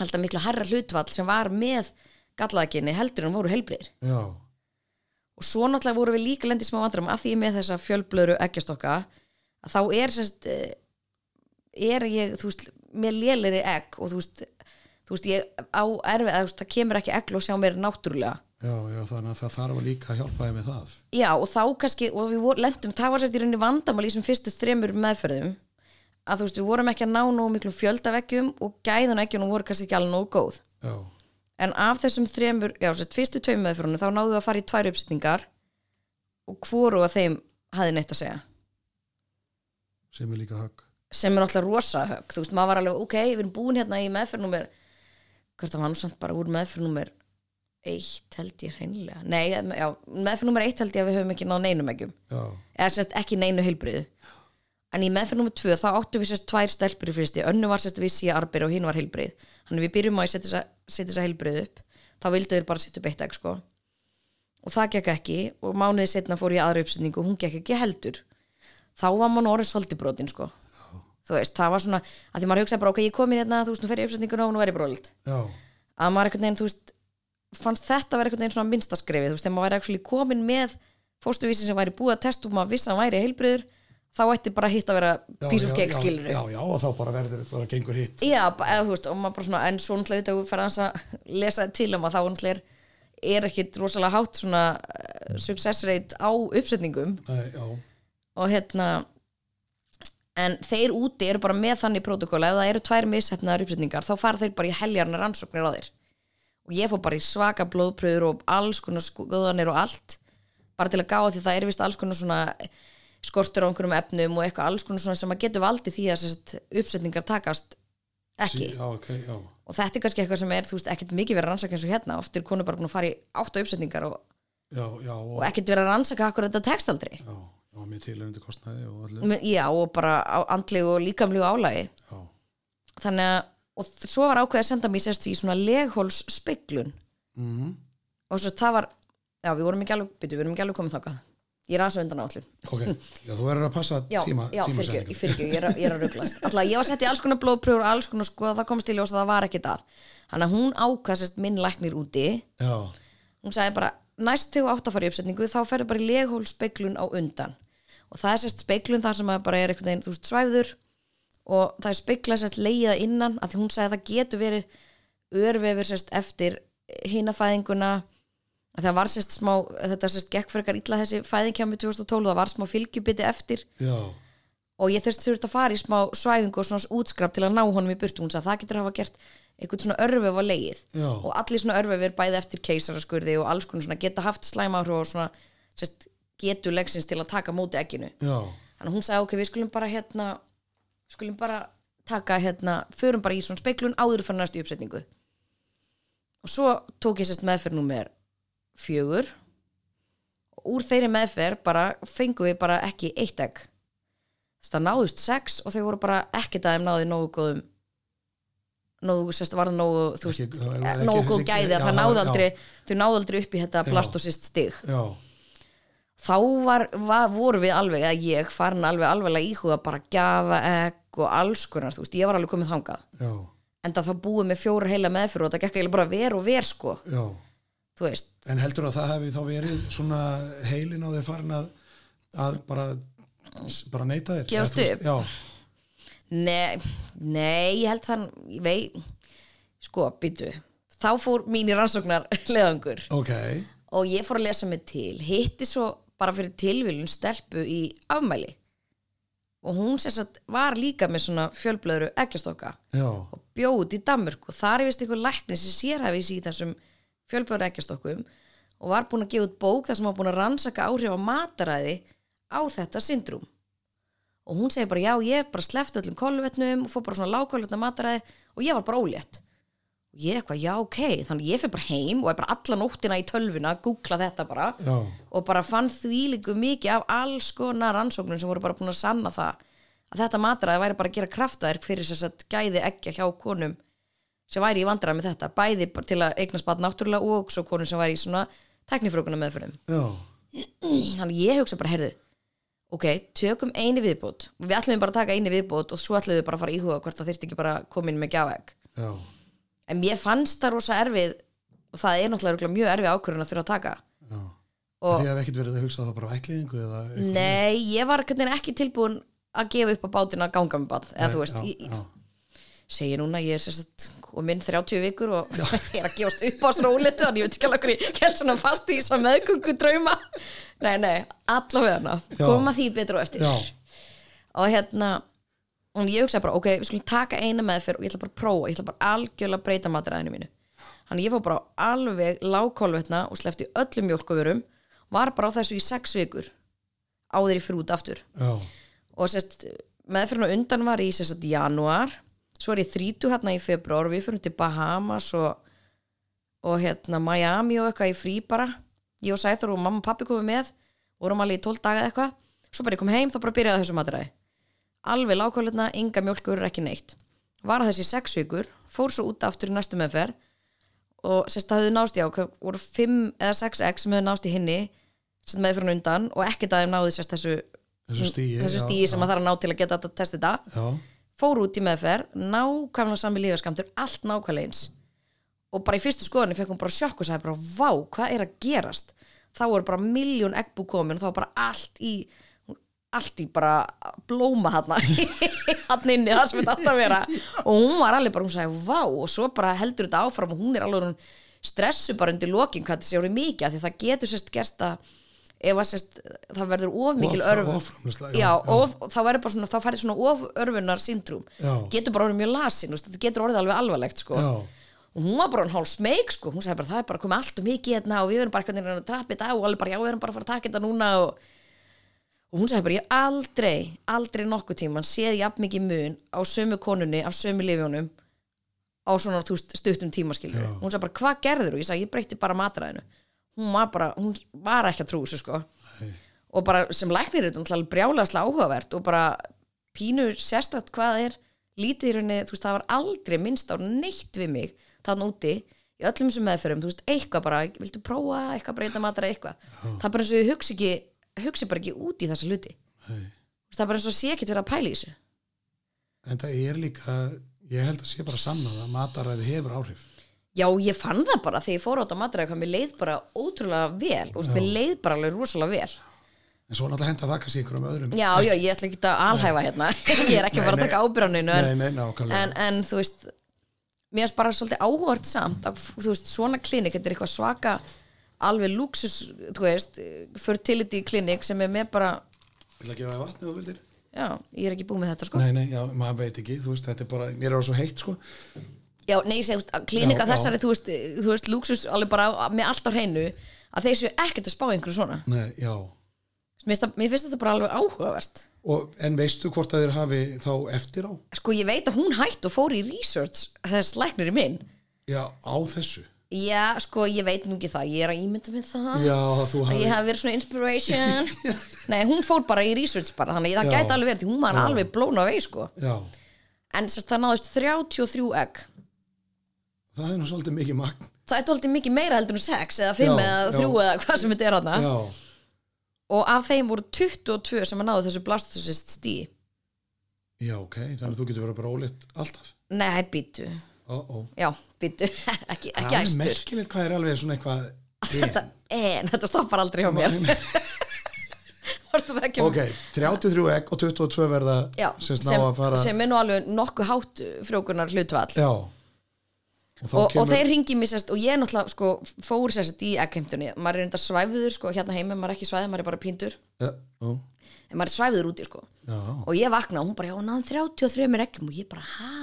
B: alltaf miklu hærra hlutvall sem var með gallaðaginni heldur en voru helbriðir
A: já,
B: og svo náttúrulega vorum við líka lendið smá vandram að því ég er með þessa fjölblöðru eggjastokka að þá er sérst er ég, þú veist, með léleri egg og þú veist, þú veist ég á erfið, eða, þú veist, það kemur ekki eggl og sjá mér náttúrulega
A: já, já, þannig að það þarf að líka að hjálpa þið með það
B: Já, og þá kannski, og við vor, lendum, það var sérst í rauninni vandamál í þessum fyrstu þremur meðferðum að þú veist, við vorum ekki að ná nógu miklum fjöldaveggjum og gæðan eggjunum voru kannski ekki alveg nógu góð.
A: já,
B: En af þessum þremur, já, sérst, fyrstu tveim meðferðunum þá náðu við að fara í tvær uppsetningar og hvoru að þeim hafði neitt að segja.
A: sem er líka högg
B: Sem er náttúrulega rosa högg, þú veist, maður var alveg, ok, við erum búin hérna í meðferðnúmer, hvert að var nú samt bara úr meðferðnúmer eitt held ég hreinlega. Nei, já, meðferðnúmer eitt held ég að við höfum ekki náð neinum eggjum.
A: já,
B: eða sérst ekki neinu heilbriðu en í meðferð nummer tvö þá áttum við sérst tvær stelpur í fyrsti, önnu var sérst við síða arbyrð og hinn var heilbrið, þannig við byrjum á að setja þessa- setja þess að heilbrið upp, þá vildu þeir bara setja upp eitt egg sko og það gekk ekki og mánuði setna fór ég í aðra uppsetningu og hún gekk ekki heldur þá var mann orðið svolítið brotin sko þú veist, það var svona, að því maður hugsaði bara ok, ég kom inn hérna, þú veist, nú fer ég í uppsetninguna og nú er ég brólið
A: já,
B: að maður einhvern veginn, þú veist fannst þetta vera einhvern veginn svona minnsta skrefið þú veist, þegar maður væri actually komin með fóstuvísin sem væri búið að testa og maður vissi að hann væri heilbriður þá ætti bara hitt að vera
A: já,
B: piece of
A: já,
B: cake
A: já,
B: skilur
A: já, já, og þá bara verður, bara gengur hitt
B: já, ba- eða þú veist, og maður bara svona en svo náttúrulega þetta við ferðans að lesa til um að þá náttúrulega er- er ekkit rosalega hátt svona eh, success rate á uppsetningum
A: Nei, já,
B: og hérna en þeir úti eru bara með þannig protokóla ef það eru tvær mishefnaðar uppsetningar þá fara þeir bara í heljarna rannsóknir á þeir og ég fór bara í svaka blóðpröður og alls konar skoðanir og allt bara til að gá því það er vist alls konar svona skortur á einhverjum efnum og eitthvað alls konar svona sem að getur valdi því að sérst, uppsetningar takast ekki
A: sí, já, ok, já
B: og þetta er kannski eitthvað sem er þú veist ekkert mikið verið að rannsaka eins og hérna oft er konu bara búin að fara í átta uppsetningar og,
A: já, já, og,
B: og ekkert verið að rannsaka akkur þetta tekst aldrei
A: já, já, með tilhengandi kostnaði og allir,
B: Men- já og bara á andlegu og líkamlegu álagi
A: já,
B: þannig að og þ- svo var ákveðið að senda mér sérst í svona leghóls speiklun
A: mhm
B: og svo það var, já við vorum ekki alveg byrju, við vorum ekki alveg komið þákað ég er aðeins á undan áallum [laughs]
A: ok, já, þú verður að passa
B: já,
A: tíma,
B: já, fyrirgjöf,
A: tímasendingum.
B: ég fyrirgjöf, ég er, að- ég er að rugglast alltaf ég var sett í alls konar blóðpröfur og alls konar sko það komst í ljós að það var ekki það þannig að hún ákvað sérst minn læknir úti
A: já,
B: hún sagði bara, næst þegar þú átt að fara í uppsetningu þá ferðu bara í leghóls speiklun á undan og það er sérst speiklun þar sem að bara er einhvern veginn, þú veist, svæfður og það er speikla sérst leiða innan að því hún sagði að það getur verið örvefur sérst eftir hinafæðinguna að það var sérst smá, þetta sérst gekk frekar illa þessi fæðingkjámi 2012, það var smá fylgjubiti eftir
A: já,
B: og ég þurfti þurft að fara í smá svæfingu og svona útskraf til að ná honum í burtu hún sagði að það getur hafa gert einhvern svona örvef á leið
A: Já.
B: og allir svona örvef er bæði eftir keisaraskurði og alls konar svona geta haft slæma áhrif og svona sérst, getu legsins til að taka á móti ekkinu
A: já,
B: þannig að hún sagði ok, við skulum bara hérna skulum bara taka hérna förum bara í svona speiklun áður fyrir næstu uppsetningu og svo tók ég sérst meðferð númer fjögur og úr þeirri meðferð bara fengum við bara ekki eitt egg þess það náðust sex og þau voru bara ekki dæmi náði nógu góðum nógu, sérst, var það nógu þú veist, eh,
A: Ekki- það var ekki
B: nógu góð
A: þessi-
B: gæði
A: já,
B: að það
A: það var-
B: náði
A: já.
B: aldrei þau náði aldrei upp í þetta blastosist stig
A: já,
B: þá var, var, voru við alveg eða ég farin alveg alveglega íhuga bara gjafa ekk og alls konar þú veist, ég var alveg komið þangað
A: já,
B: en það þá búið með fjóra heila meðfyrir og það gekk eiginlega bara ver og ver sko
A: já,
B: þú veist,
A: en heldur að það hefði þá verið svona heilin á þeir farin að, að bara, bara neita þér Eða
B: Gefast
A: þú veist-
B: upp?
A: Já,
B: nei, nei ég held þann, ég vei sko, býtu þá fór mín í rannsóknar leðangur
A: ok,
B: og ég fór að lesa mig til hitti svo bara fyrir tilvílun stelpu í afmæli og hún sér satt var líka með svona fjölblöðru ekkjastokka
A: já,
B: og bjóð út í Danmörku og þar er vist einhver lækni sem sérhæfi sig í þessum fjölbjörn ekkjastokkum og var búin að gefa út bók þar sem var búin að rannsaka áhrif á mataræði á þetta syndrúm og hún segir bara já ég bara slefti öllum kolvetnum og fór bara svona lágkólvetna mataræði og ég var bara ólétt og ég eitthvað já ok þannig ég fyrir bara heim og er bara alla nóttina í tölvuna að googla þetta bara
A: já,
B: og bara fann þvílíku mikið af alls konar rannsóknum sem voru bara búin að sanna það að þetta matræði væri bara að gera kraftverk fyrir þess að gæði ekki hjá konum sem væri í vandræði með þetta bæði bara til að eignast bara náttúrulega og svo konum sem væri í svona teknifrókuna meðfyrum
A: já,
B: þannig ég hugsa bara, heyrðu ok, tökum eini viðbót við ætlum bara að taka eini viðbót og svo ætlum við bara að fara að íhuga hvort það þyrfti ekki bara að koma inn með gjafæk
A: já,
B: en mér fannst það rosa erfið og það er náttúrulega örugglega mjög erfið ákvörðun að þurfa að taka
A: Já.
B: og
A: Þið hef ekkert verið að hugsa það bara ætliðingu eða eitthvað.
B: nei, ég var einhvern veginn ekki tilbúin að gefa upp á bátinn að ganga með bann eða þú veist,
A: já,
B: ég,
A: já.
B: segi núna ég er sérstætt komin 30 vikur og [laughs] ég er að gefast upp á sróletu þannig ég veit ekki alveg hvernig ég held svona fast í þess að meðgöngu drauma nei, nei, allavega hana,
A: Já.
B: koma því betur á eftir
A: Já,
B: og hérna og ég hugsaði bara, ok, við skulum taka eina meðferð og ég ætla bara að prófa, ég ætla bara algjörlega að breyta mataræðinu mínu þannig ég fór bara á alveg lágkólvetna og sleppti öllum mjólkuverum var bara á þessu í sex vikur áður í fyrir út aftur
A: já,
B: og sérst, meðferðin á undan var í sérst januar, svo er ég þrítu hérna í februar og við fyrir til Bahamas og, og hérna Miami og eitthvað í frí bara ég og Sæþur og mamma og pappi komum með vorum alveg í 12 daga eða eitthvað svo bara ég kom heim þá bara byrjaði þessu maturæði alveg lágkólutna, enga mjólkur ekki neitt var að þessi í sex vikur fór svo út aftur í næstu meðferð og sérst það höfðu nást í á hvað voru 5 eða 6 egg sem höfðu nást í hinni sem meðferðin á undan og ekkert að þeim náði sérst þessu
A: þessu stíi.
B: þessu
A: já,
B: stíi sem maður þarf að ná til að geta að testa þetta
A: Já,
B: fór út í meðferð, nákvæmlega sami lífaskamtur allt nákvæmlega eins og bara í fyrstu skoðunni fekk hún bara sjokk og sagði bara vá, hvað er að gerast þá voru bara miljón eggbú komin og þá var bara allt í allt í bara blóma hann [laughs] hann inni, það sem þetta átt að vera og hún var alveg bara, hún sagði vá og svo bara heldur þetta áfram og hún er alveg hún stressu bara undir lokin hvað þetta sé orðið mikið af því að það getur sérst gerst að ef að sérst, það verður of mikil
A: Of-
B: örf
A: offramleiðsla, já,
B: já,
A: já.
B: of, þá verður bara svona, þá færði svona of örfunar syndrúm,
A: Já.
B: getur bara orðið mjög lasin þú veist, þetta getur orðið alveg alvarlegt sko
A: já,
B: og hún var bara hann hálf smeg sko, hún sagði bara það er bara komið allt og mikið hérna og við erum bara einhvern veginn að trappa þetta á og alveg bara já, við erum bara að fara að taka þetta núna og, og hún sagði bara ég aldrei, aldrei nokkuð tíma hann séð jafn mikið mun á sömu konunni af sömu lifjónum á svona þú veist, stuttum tímaskilju hún sagði bara hvað gerður og ég sagði ég breytti bara matræðinu hún var bara, hún var ekki að trú þessu sko
A: Nei.
B: og bara sem læknir er þetta náttúrulega brjálaðslega áhugavert og bara pínu sérstætt hvað er lítið í rauninni, þú veist, það var aldrei minnst á neitt við mig þannig úti í öllum sem meðferðum, þú veist, eitthvað bara viltu prófa, eitthvað breyta matara, eitthvað það er bara eins og ég hugsi ekki hugsi bara ekki út í þessa hluti Þú
A: nei.
B: veist, það er bara eins og sé ekki verið að pæla í þessu
A: En það er líka, ég held að sé bara sannað að mataræði hefur áhrif.
B: já, ég fann það bara þegar ég fór át á matara eitthvað, mér leið bara ótrúlega vel og mér leið bara alveg rosalega vel
A: En svo náttúrulega henda það kannski ykkur um öðrum.
B: já, já, ég ætla ekki að alhæfa hérna [laughs] ég er ekki
A: Nei,
B: bara að
A: nei.
B: taka ábyrjaninu en,
A: Nei, nei, nákvæmlega.
B: en, en þú veist mér er bara svolítið áhvert samt að, þú veist, svona klinik, þetta er eitthvað svaka alveg luxus, þú veist fertility klinik sem er með bara
A: Ég ætla að gefa það vatni og vildir.
B: já, ég er ekki búið með þetta sko
A: Nei, nei, já, maður veit ekki, þú veist, þetta er bara, mér er á svo heitt, sko.
B: já, nei, ég segi, þú veist, að klinika
A: Já, já.
B: þessari, þú veist, þú veist luxus alveg bara á- með allt á hreinu að þeir séu ekkert að spá í einhverju svona
A: Nei, já.
B: mér finnst, það- mér finnst þetta bara alveg áhugavert
A: Og, en veistu hvort að þeir hafi þá eftir á?
B: sko, ég veit að hún hætt og fór í research þess læknir í minn
A: Já, á þessu.
B: já, sko, ég veit nú ekki það, ég er að ímynda með það
A: Já, þú
B: að
A: hafi.
B: ég hafi verið svona
A: [laughs]
B: inspiration nei, hún fór bara í research bara þannig að það
A: Já.
B: gæti alveg verið því hún var alveg blown away sko.
A: Já,
B: en sérst, það náðist 33 egg
A: það er nú svolítið mikið magn.
B: það er alltaf mikið meira heldur en 6 eða 5
A: Já,
B: eða
A: já.
B: 3 eða hvað sem þetta er hana
A: Já,
B: og af þeim voru 22 sem að náðu þessu blastosist stí
A: já, ok, þannig að þú getur verið bara ólitt alltaf.
B: nei, býtu,
A: Ó, ó.
B: já, býtu [laughs] ekki,
A: Það er
B: ekki æstur
A: merkilegt hvað er alveg svona
B: [laughs]
A: eitthvað
B: þetta, en, þetta stoppar aldrei hjá mér [laughs] Hortu það ekki
A: ok, 33 egg og 22 verða
B: já,
A: sem
B: sem,
A: sná að fara
B: sem er nú alveg nokkuð hátt frjókunar hlutvall
A: já og, þá
B: og, og þeir ringi mér sérst og ég náttúrulega sko, fór sérst í ekkheimtunni maður er enda svæfður sko, hérna heima maður er ekki svæðið, maður er bara píndur
A: já, ó,
B: en maður er svæfður úti sko.
A: já,
B: og ég vakna og hún bara, já, náðum 33 ekkum og ég bara, ha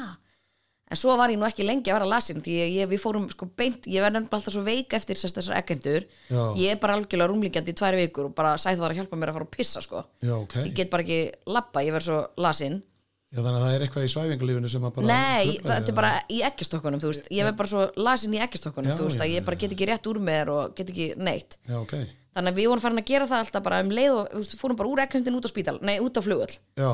B: en svo var ég nú ekki lengi að vera lasin því ég, ég, við fórum sko beint, ég verði nefnilega alltaf svo veik eftir sérst þessar ekkheimtur
A: Já.
B: ég er bara algjörlega rúmlingjandi í tvær vikur og bara sæð það að hjálpa mér að fara og pissa sko.
A: já, ok
B: ég get bara ekki labba, ég verð svo lasin
A: já, þannig að það er eitthvað í svæfingalífinu sem að bara
B: Nei,
A: truflar
B: þetta er
A: þig,
B: bara í ekkjastokkunum, þú veist, ég verð bara svo lasin í ekkjastokkunum,
A: Já,
B: þú veist,
A: já,
B: að ég bara get ekki rétt úr mér og get ekki neitt.
A: eða? já, ok,
B: Þannig að við vorum farin að gera það alltaf bara um leið og, þú veist, fórum bara úr ekkjöndin út á spítal, nei, út á flugöll,
A: já,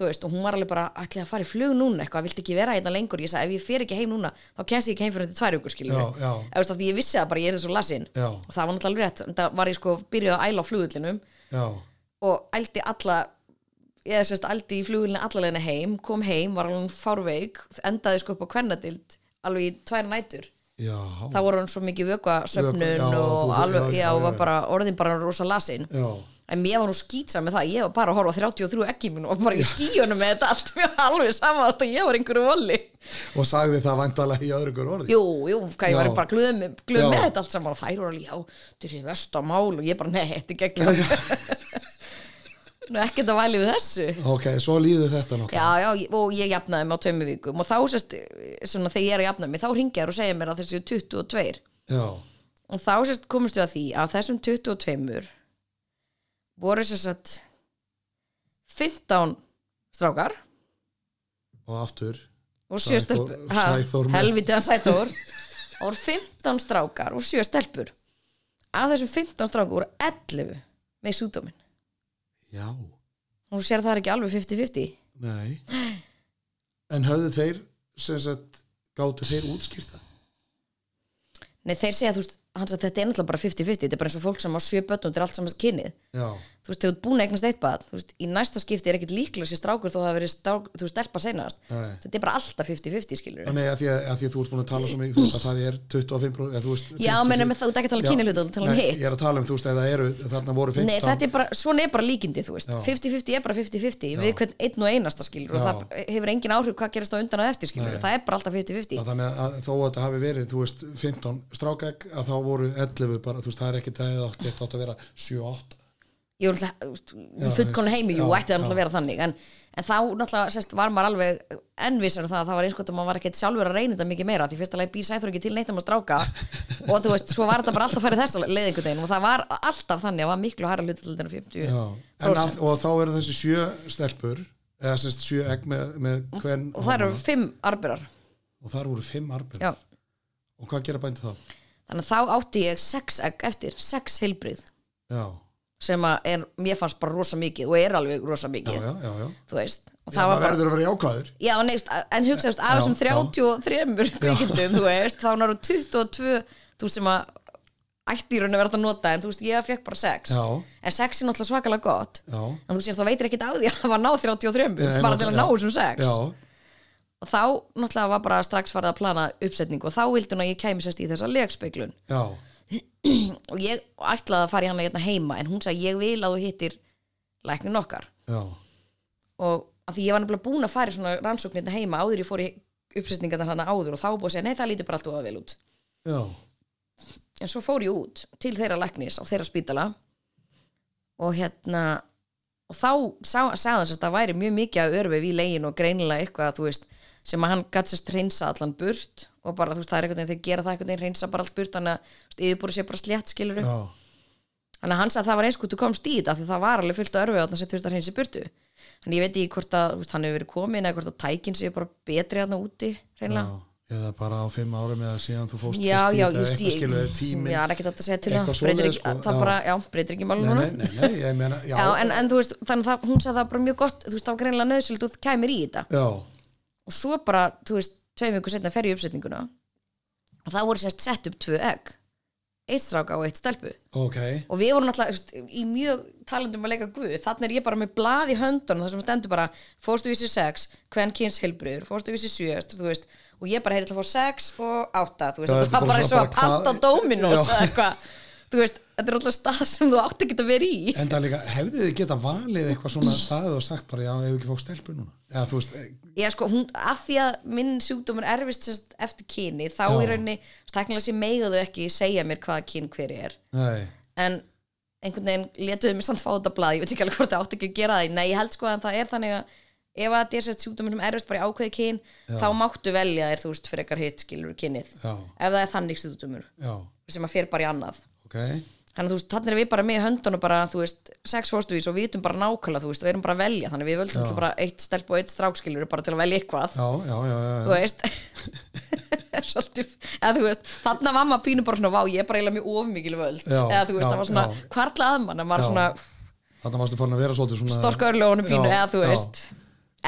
B: þú veist, og hún var alveg bara, ætlaði að fara í flug núna eitthvað, viltu ekki vera hérna lengur, ég sagði, ef ég fer ekki heim núna, þá kemst ég ekki heim fyrir þetta tvær ykkur, skiljum
A: Já, já.
B: Þú veist, að því ég vissi það bara, ég er svo lasin.
A: Já.
B: Og það var náttúrulega alveg rétt, það var ég sko byrjuð að æla á flugullinum
A: já,
B: og ældi alla ég sérst ældi í flugulina allalegna heim kom heim, var alveg fárveik endaði sko upp á kvennadild alveg í tvær nætur
A: já,
B: það voru hann svo mikið vökuasöfnun
A: Vökva- já,
B: og
A: þú-
B: alveg,
A: já,
B: já,
A: já,
B: og var
A: já.
B: bara orðin bara rosa lasin
A: já,
B: en mér var nú skýtsa með það, ég var bara að horfa á 33 ekki mín og bara í skíunum með þetta allt mér var alveg sama að ég var einhverju voli
A: og sagði það vantalega í öðru ykkur orði
B: jú, jú, hvað ég var
A: Já.
B: bara glöð með, glöð
A: Já.
B: með þetta allt saman og þær voru alveg, já, þetta er vest á mál og ég bara, nei, þetta er
A: [laughs]
B: gegn nú ekkert að væli við þessu
A: ok, svo líður þetta nokkuð
B: Já, já, og ég jafnaði mig á tveimur vikum og þá sérst, svona þegar ég er að jafna mig þá ringja þér og segja mér að þessi 22
A: já,
B: og þá sérst komist við að því að þessum 22 voru sérst 15 strákar
A: og aftur
B: og sjö
A: Sæþór-
B: stelpur Ha,
A: Sæþór með-
B: helviti hann Sæþór það voru 15 strákar og sjö stelpur af þessum 15 strákar voru 11 með súdómin
A: já,
B: og þú sér það er ekki alveg 50-50
A: nei en höfðu þeir sem sagt, gáttu þeir útskýrta
B: Nei, þeir segja, þú veist, hans að þetta er náttúrulega bara 50-50 þetta er bara eins og fólk sem á sjö börnum, þetta er allt saman kynið
A: já,
B: þú veist, þegar þú ert búin að eignast eitt bad þú veist, í næsta skipti er ekkit líklega sér strákur þó að það hafi verið strák, þú veist, stelpa seinast
A: nei
B: þetta er bara alltaf 50-50 skilur
A: Nei, að því að, að því að þú ert búin að tala svo mikið, þú veist að það er 25% eða þú veist...
B: Já,
A: 50,
B: meina, með það- þú ert ekki að tala um
A: Já,
B: kynjahluta, þú ert að tala um
A: nei,
B: hitt.
A: Ég er að tala um, þú veist, eða eru, þarna voru 15...
B: Nei, þetta er bara, svona er bara líkindi, þú veist 50-50 er bara 50-50, við hvern einn og einasta skilur og
A: Já.
B: það hefur engin áhrif hvað gerist á undan og eftir skilur, það er bara alltaf 50-50
A: Að þannig að þó að þetta hafi verið, þú veist, 15 strákæk, að þá voru 11 bara, þú veist, það er ekki það eða þetta átt að vera 7-8.
B: Ég er náttúrulega, í
A: Já,
B: fullkonu heimi, jú,
A: já,
B: ætti það náttúrulega að vera þannig en, en þá náttúrulega, sérst, var maður alveg ennvisar um það að það var eins gott að maður var ekkert sjálfur að reyna þetta mikið meira, því fyrst alveg býr sæþur ekki til neitt um
A: [laughs]
B: að stráka og þú veist, svo var þetta bara alltaf færið þess leiðingu deginn og það var alltaf þannig að var miklu hæra hlutaldinu 50
A: En að, og þá eru þessi 7 stelpur, eða sérst 7 egg með, með hvern...
B: og það eru fimm arberar
A: og þar voru 5 arbjörn.
B: Já.
A: Og hvað gera bændu þá?
B: þannig að þá átti ég sex egg eftir sex heilbrið
A: Já,
B: sem að er, mér fannst bara rosa mikið og er alveg rosa
A: já,
B: mikið,
A: já, já, já.
B: þú veist og
A: Það var verður að vera jákvæður.
B: Já, neist, en hugsaðist af
A: Já,
B: þessum 33 kvikindum, þú veist, þá náru 22 þú sem að ætti í raun að vera að nota, en þú veist, ég fekk bara 6
A: Já,
B: en 6 er náttúrulega svakalega gott
A: já.
B: en þú sér það veitir ekkit af því að hafa náð 33
A: Nei,
B: bara til að ná
A: náttúrulega,
B: þessum 6
A: Já,
B: og þá náttúrulega var bara strax farið að plana uppsetningu og þá vildi hún að ég kæmi sérst í þessa legspeglun
A: já,
B: og ég ætlaði að fara í hana hérna heima en hún sagði, ég vil að þú hittir læknin okkar
A: já,
B: og að því ég var nefnilega búin að fara í svona rannsóknirna heima áður ég fór í uppsetningarna hana áður og þá var búið að segja, nei það lítur bara allt og vel út
A: já,
B: en svo fór ég út til þeirra læknis á þeirra spítala og hérna og þá sá- sagði hans að það væri mjög mikið að örfið í legin og greinilega eitthvað að þú veist sem að hann gætt sérst reynsa allan burt og bara þú veist það er einhvern veginn þeir gera það einhvern veginn reynsa bara allt burt þannig að yfirbúru sé bara slétt skilur
A: já.
B: Þannig að hann sagði að það var eins hvort þú komst í þetta af því það var alveg fullt af örfið þarna sem þurfti að hreinsa í burtu Þannig ég veit ekki hvort að þú veist, hann hefur verið komin eða hvort að tækin séu bara betri þarna úti reynilega
A: Já, eða bara á fimm árum eða síðan þú fóst
B: Já,
A: fyrst í
B: já,
A: þetta,
B: ég
A: eitthvað skilur þið
B: ég
A: tíminn
B: er ekki þetta að segja til um
A: Eitthvað
B: það breytir
A: svoleiðis,
B: ekki,
A: sko,
B: það
A: já.
B: bara, já, breytir ekki málum
A: nei,
B: hana
A: nei, nei, nei, ég meina, já,
B: Já, en, en þú veist, þannig að það- hún sagði það var bara mjög gott þú veist, það var greinilega nöðsöld og þú kæmir í þetta
A: já,
B: og svo bara, þú veist, tveim viku setna fer ég í uppsetninguna og það voru sérst sett upp tvö egg eitt stráka og eitt stelpu
A: ok
B: og við vorum alltaf veist, í mjög talandum að leika guð þannig er ég bara með blað í höndunum þar sem stendur bara fórstu vísi 6, hvern kyns heilbriður fórstu vísi 7, þú veist og ég bara heyrði til að fá 6 og 8 þú veist,
A: Já, þetta
B: það
A: er
B: var
A: bara
B: bara eins og
A: svona
B: að
A: bara hvað-
B: panta dominos
A: Já.
B: eða eitthvað, þú veist, þetta er alltaf stað sem þú átt ekki að vera í
A: en það líka, hefði þið geta valið eitthvað svona staðið og sagt bara, já, hefur ekki fótt stelpu núna eða þú veist, eh,
B: ég sko, hún, af því að minn sjúkdómur erfist sérst eftir kyni þá
A: Já.
B: í rauninni, stakkilega sér meiðu ekki segja mér hvaða kyn hver er
A: nei,
B: en einhvern veginn letuðu mig samt fá þetta blað, ég veit ekki alveg hvort það átt ekki að gera það nei, ég held sko að það er þannig að ef að þetta er sett sjúkdómur sem erfist bara í ákveði kyn þá máttu velja þér, þú veist, fyrir ekkar hitt skilur kynið,
A: Já.
B: ef það er þannig sjúkdómur
A: já,
B: sem að fer bara í annað
A: ok
B: þannig að þú veist, þannig er við bara með höndunum bara, þú veist, sex fórstuvís og vitum bara nákvæmlega, þú veist, og erum bara að velja þannig að við völdum bara eitt stelp og eitt strákskilur bara til að velja eitthvað
A: já, já, já, já,
B: þú veist [laughs] svolítið, eða þú veist þannig að mamma pínu bara svona, vá, ég er bara eiginlega mjög ofmikil völd,
A: Já,
B: eða þú veist,
A: já,
B: það var svona
A: já.
B: hvarla að mann, að maður
A: Já.
B: svona
A: þarna varstu farin að vera svolítið svona
B: storka örlögunum pínu,
A: Já,
B: eða þú
A: já.
B: veist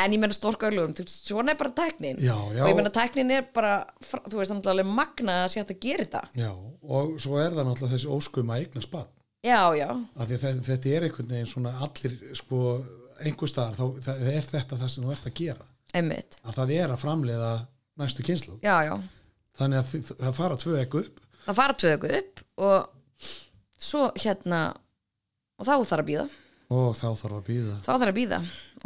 B: en ég menna storka örlögunum, þú veist, svona er bara tæknin
A: Já, já.
B: og ég menna tæknin er bara fr- þú veist, þannig alveg magna að sé hægt að gera þetta
A: já, og svo er það náttúrulega þessi óskum að eigna spart
B: já, já,
A: af því að þe- þetta er einhvern veginn svona allir, sko, einhver staðar þá það er þetta það sem þú ert að gera
B: einmitt
A: að það er að framleiða næstu kynslu
B: já, já,
A: þannig að þi- það fara tvö ekku upp
B: það fara tvö eitthvað upp og svo hérna og þá þarf að býða
A: og þá þarf að býða
B: þá þarf að býða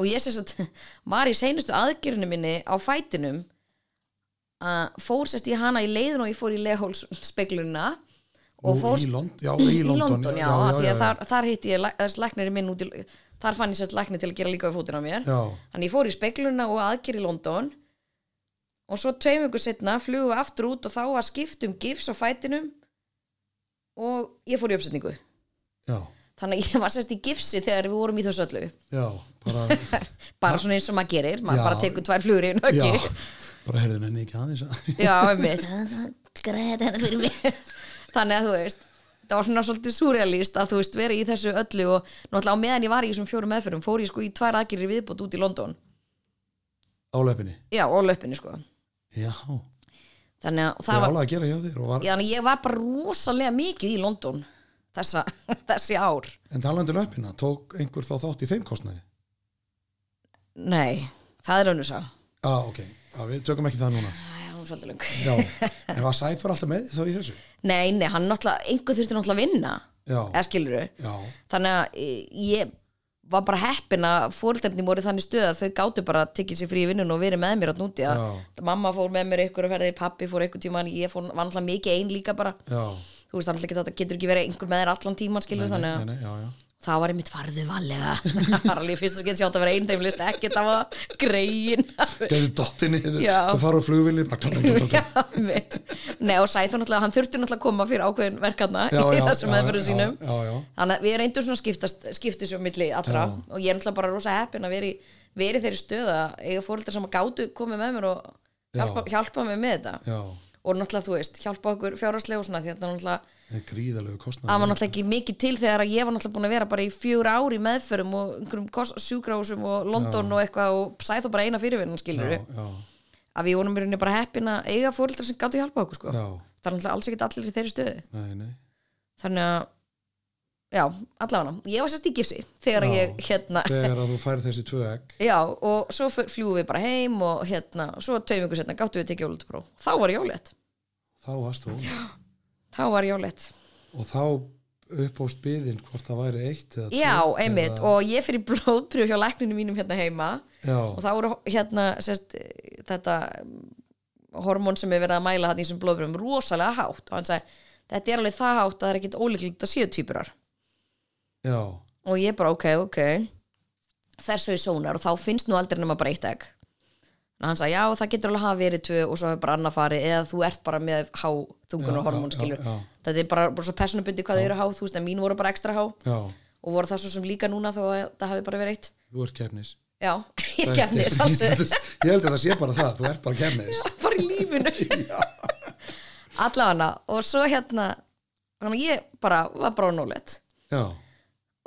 B: og ég sérst að [laughs] var í seinustu aðgerinu minni á fætinum að fór sérst í hana í leiðin og ég fór í leghóls speglunina og fór
A: í, Lond já,
B: [laughs] í London, já, já,
A: já,
B: Þar, þar hitti ég læk- þess læknir minn út í, þar fann ég sérst læknir til að gera líka við fótinn á mér
A: já,
B: þannig ég fór í speglunina og aðgerð í London og svo tveim ykkur setna flugum við aftur út og þá var skipt um gifs á fætinum og ég fór í uppsetningu
A: já,
B: þannig að ég var sérst í gifsi þegar við vorum í þessu öllu
A: já,
B: [laughs]
A: bara
B: bara svona eins og maður gerir maður
A: Já.
B: bara tekur tvær flugur í einu höggi
A: já, bara heyrðu henni ekki aðeins að-
B: [laughs]
A: [laughs]
B: já, einmitt greiði þetta fyrir mig [laughs] þannig að þú veist það var svona svolítið surrealist að þú veist vera í þessu öllu og náttúrulega á meðan ég var í þessum fjórum meðferðum fór ég sko í tvær aðgerir viðbót út í London
A: á löpunni
B: já, og löppinni sko
A: já,
B: þannig að
A: það
B: það
A: var
B: var,
A: alveg að gera hjá þér og var,
B: já, þannig að ég var bara rosalega mikið í London þessa, [laughs] þessi ár
A: en talandi löpina, tók einhver þá þátt í þeim kostnaði
B: nei, það er önnur sá já,
A: já, ok, já, við tökum ekki það núna
B: hún er svolítið lung
A: já, en var Sæþór alltaf með þá í þessu
B: nei, nei, hann náttúrulega, einhver þurfti náttúrulega að vinna
A: já,
B: eða skilur
A: já,
B: þannig að eh, ég var bara heppin að fóreldarni voru þannig stöð að þau gáttu bara að tekja sér frí í vinnun og verið með mér að núti að
A: Já.
B: mamma fór með mér ykkur að ferðir, pappi fór ykkur tíma ég fór, var náttúrulega mikið ein líka bara
A: já
B: þú veist, þannig að þetta getur ekki verið einhver með þér allan tíman skilur þannig að
A: nei, nei, já, já,
B: það var einmitt farðu valega [laughs] það var alveg fyrst að skemmt sjátt að vera einn þeim list ekkert af það, grein
A: gerðu dottinni,
B: Já.
A: það fara á flugvilli
B: [laughs] Já, mitt. Nei og Sæþór náttúrulega, hann þurfti náttúrulega að koma fyrir ákveðin verkefna í þessum meðferðum sínum
A: já, já, já,
B: þannig að við reyndum svona að skiptast, skiptist um milli allra og ég er náttúrulega bara rosa heppin að veri, veri þeirri stöða eiga fóreldar sem að gátu komið með mér og hjálpa, hjálpa mér með þetta
A: já,
B: og náttúrulega þú veist, hjálpa okkur fjárhagslega og svona því að þetta náttúrulega,
A: það er gríðalegu
B: það var
A: kostnaði
B: náttúrulega ekki mikið til þegar að ég var náttúrulega búin að vera bara í fjögur ári meðförum og einhverjum sjúkrahúsum og London og eitthvað og sæð þó bara eina fyrirvinnan skilur
A: já, já,
B: að við vorum í rauninni bara heppin að eiga fóreldar sem gátu hjálpa okkur sko.
A: já,
B: það er náttúrulega alls ekkert allir í þeirri stöðu
A: nei, nei
B: þannig að já, allavega, ég var sérst í gifsi þegar
A: Já.
B: ég, hérna,
A: þegar að þú færi þessi tvö egg
B: já og svo fu- fljúgum við bara heim og hérna, svo tveim ykkur setna gáttu við að tekja jólutupróf, þá var jólett
A: þá varst þú
B: þá var jólett,
A: og þá upphófst byðin hvort það væri eitt eða tvö
B: já, einmitt
A: eða-
B: og ég fyrir blóðprjóf hjá lækninu mínum hérna heima og
A: já,
B: þá voru hérna sérst, eh, þetta mm, hormón sem er verið að mæla hann í þessum blóðprjófum rosalega hátt og hann sagði, þetta er alveg það hátt að það er ekkit ólíklíkt að séu týpurar
A: já,
B: og ég bara ok, ok fer svo í sónar og þá finnst nú aldrei nema bara eitt egg en hann sagði já, það getur alveg hafa verið tvö og svo hefur bara annað farið eða þú ert bara með há þungun og
A: Já,
B: hormón
A: já,
B: skilur
A: já, já.
B: þetta er bara, bara svo personabundi hvað þau eru há þú veist en mín voru bara ekstra há
A: já,
B: og voru það svo sem líka núna þó að það hafi bara verið eitt
A: þú ert kefnis
B: já, [laughs] ég kemni þessu
A: [laughs] ég held að það sé bara það, þú ert bara kefnis
B: bara í lífinu allavega og svo hérna þannig að ég bara var bara nólett
A: já,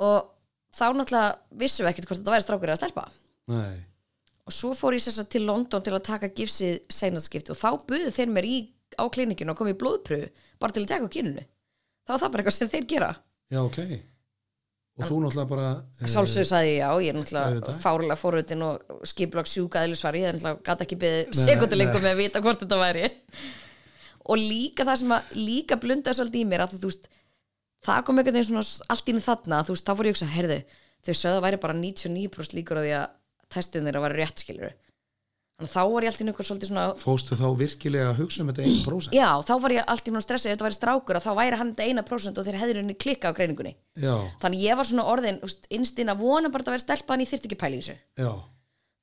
B: og þá náttúrulega vissum við ekkert hvort þetta væri strákur eða stelpa
A: nei,
B: og svo fór ég sérst til London til að taka gifsið seinatskipti og þá buðu þeir mér í á klinikinu og kom í blóðpröfu bara til að taka á kyninu þá var það bara eitthvað sem þeir gera
A: já, ok og þú náttúrulega bara eh,
B: sálsöðu sagði ég já, ég er náttúrulega
A: Auðvitað.
B: fárulega fóruðin og skipulag sjúkaðilisvar ég er náttúrulega gata ekki beðið
A: Nei,
B: sekundu lengur
A: nei.
B: með að vita hvort þetta væri og líka það sem að líka blundaði svolítið í mér að þú veist það kom einhvern veginn svona allt inn þarna þú veist, þá fór ég að hugsa, herðu, þau sögðu að væri bara 99% líkur á því að testin þeirra var rétt skilur þannig að þá var ég allt í einhver svolítið svona
A: fóstu þá virkilega að hugsa um þetta einu brósa
B: já, þá var ég allt í einhver stressið ef þetta væri strákur að þá væri hann þetta eina prósent og þeir hefður henni klikka á greiningunni
A: já,
B: þannig ég var svona orðin, innstinn að vona bara að það væri stelpa en ég þyrfti ekki pælinsu
A: já,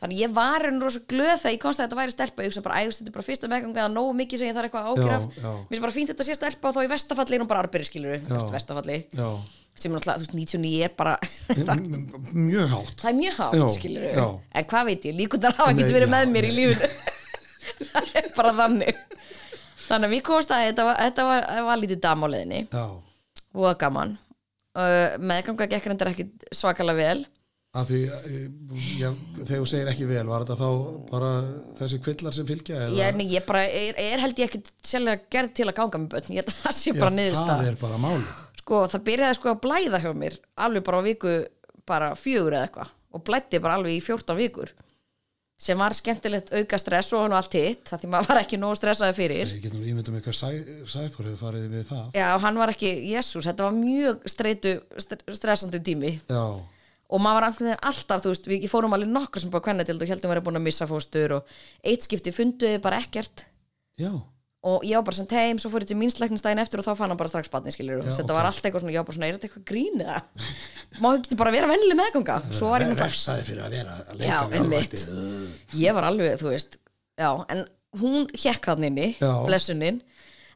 B: þannig ég var henni rosa glöð þegar ég komst að þetta væri stelpa ég hugsa bara, ægust, þetta er bara fyrsta meðgang eða nógu mikið sem ég þarf eitthvað
A: Já,
B: ágjöraf
A: já.
B: mér finnst bara fínt þetta sé stelpa og þá í vestafalli er hún bara arbyrri skilur
A: Já.
B: vestafalli, [laughs]
A: já
B: sem er náttúrulega, þú veist, 99 er bara [laughs]
A: M- m- mjög hátt
B: það er mjög hátt,
A: Já,
B: skilur
A: já.
B: en hvað veit ég, líkundar hafa
A: Nei,
B: ekki verið
A: já,
B: með mér í lífinu [laughs] það er bara þannig þannig að við komst að þetta var, þetta var, var lítið dam á leiðinni
A: já,
B: og gaman uh, meðganga gekk reyndar ekki svakalega vel
A: að því eh, já, þegar þú segir ekki vel, var þetta þá bara þessi kvillar sem fylgja eða?
B: ég, er- ég bara, er, er held ég ekki sérlega gerð til að ganga með börn ég held að það sé bara
A: það
B: niðurstað
A: er bara máli
B: sko það byrjaði sko að blæða hjá mér alveg bara á viku bara fjögur eða eitthvað og blætti bara alveg í 14 vikur sem var skemmtilegt auka stress og hann og allt hitt það því maður var ekki nógu stressaði fyrir
A: Ég get nú ímyndum eitthvað sæ- sæfór hefur farið við það.
B: já, hann var ekki, jésús, þetta var mjög streitu, st- stressandi tími
A: Já,
B: og maður var einhvern veginn alltaf, þú veist, við ekki fórum alveg nokkur sem bara kvennadild og heldum að vera búin að missa fóstur og eitt skipti fundu við bara ekkert
A: já,
B: og ég var bara sem heim, svo fór ég til mín slæknistæðin eftir og þá fann hann bara strax batni, skilur
A: Já, ok.
B: þetta var allt eitthvað svona, ég var bara svona, er þetta eitthvað grín eða [laughs] má þetta ekki bara vera vennileg meðganga svo var ég náttúrulega
A: refsaði fyrir að vera að
B: Já,
A: leika við
B: einmitt.
A: alvættið.
B: ég var alveg, þú veist já, en hún hjekk þann inni
A: Já.
B: blessunin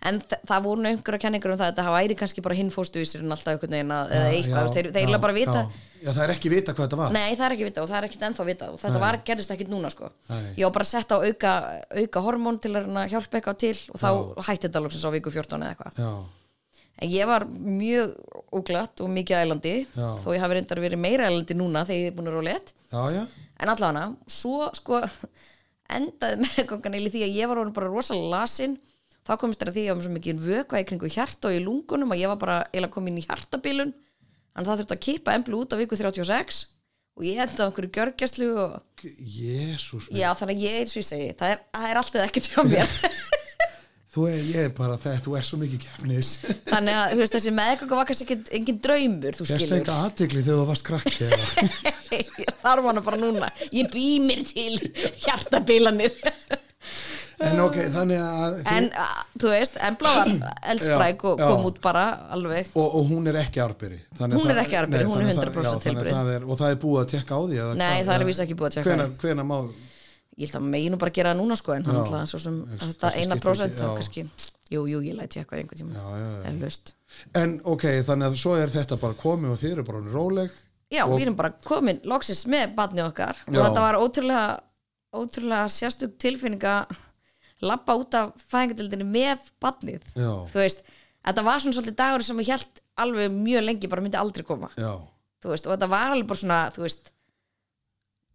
B: en þa það voru einhverja kenningar um það að þetta væri kannski bara hinn fóstu í sér en alltaf einhvern veginn að, eða eitthvað, þú veist, þeir, þeir eiginlega bara vita
A: já, já, það er ekki vita hvað þetta var
B: nei, það er ekki vita og það er ekkit ennþá vita og þetta var, gerðist ekkit núna sko
A: Nei.
B: ég var bara að setja á auka, auka hormón til að reyna að hjálpa eitthvað til og þá hætti þetta lóksins á viku 14 eða eitthvað
A: já,
B: en ég var mjög úglatt og mikið ælandi
A: Já.
B: þó ég hafi reyndar verið meira ælandi núna þegar ég er búin að róla eitt
A: já, já,
B: en allavega svo sko [laughs] endaði meðgangan eða því að ég var orðin bara rosalega lasin þá komist þér að því að ég var með svo mikið vökva í kringu hjarta og í lungunum að ég var bara eða komin í hjartabilun en það þurfti að kippa emblu út á viku 36 og ég endaði á einhverju gjörgjastlu og
A: jésús
B: já þannig að ég eins og ég segi það er, það er allt eða ekkert hjá
A: [laughs]
B: mér
A: þú er, ég er bara það, þú er svo mikið kefnis
B: þannig að þú veist, þessi meðganga var kannski ekki engin draumur þú
A: fyrst
B: skilur
A: enga aðtegli þegar þú varst krakki
B: [laughs]
A: eða-
B: ég þarf hana bara núna ég bý mér til
A: [laughs]
B: hjartabilanir
A: en ok, þannig að
B: en a, þú veist, Embla var eldspræk og
A: Já, já.
B: kom út bara alveg
A: og, og hún er ekki árbyrri
B: Hún er ekki árberi, hún er 100% heilbrigð.
A: og það er búið að tekka á því eða
B: Nei,
A: hvað-
B: það er
A: eða-
B: víst ekki búið að tékka á
A: hvenær, hvenær má
B: ég held að meginu bara gera það núna sko en hann
A: Já.
B: alltaf svo sem
A: Ég-
B: þetta
A: kannski
B: eina
A: skiptir
B: prósent
A: ekki,
B: það
A: já.
B: kannski, jú, jú, ég læti eitthvað einhvern tíma,
A: Já, já, já.
B: er löst
A: en ok, þannig að svo er þetta bara komið og þið eru bara orðin róleg
B: já,
A: Og-
B: við erum bara komin loksins með badni okkar og
A: Já.
B: þetta var ótrúlega ótrúlega sérstök tilfinning að lappa út af fæðingatildinni með badnið,
A: já,
B: þú veist þetta var svona svolítið dagur sem ég held alveg mjög lengi bara myndi aldrei koma
A: já,
B: þú veist, og þetta var alveg bara svona, þú veist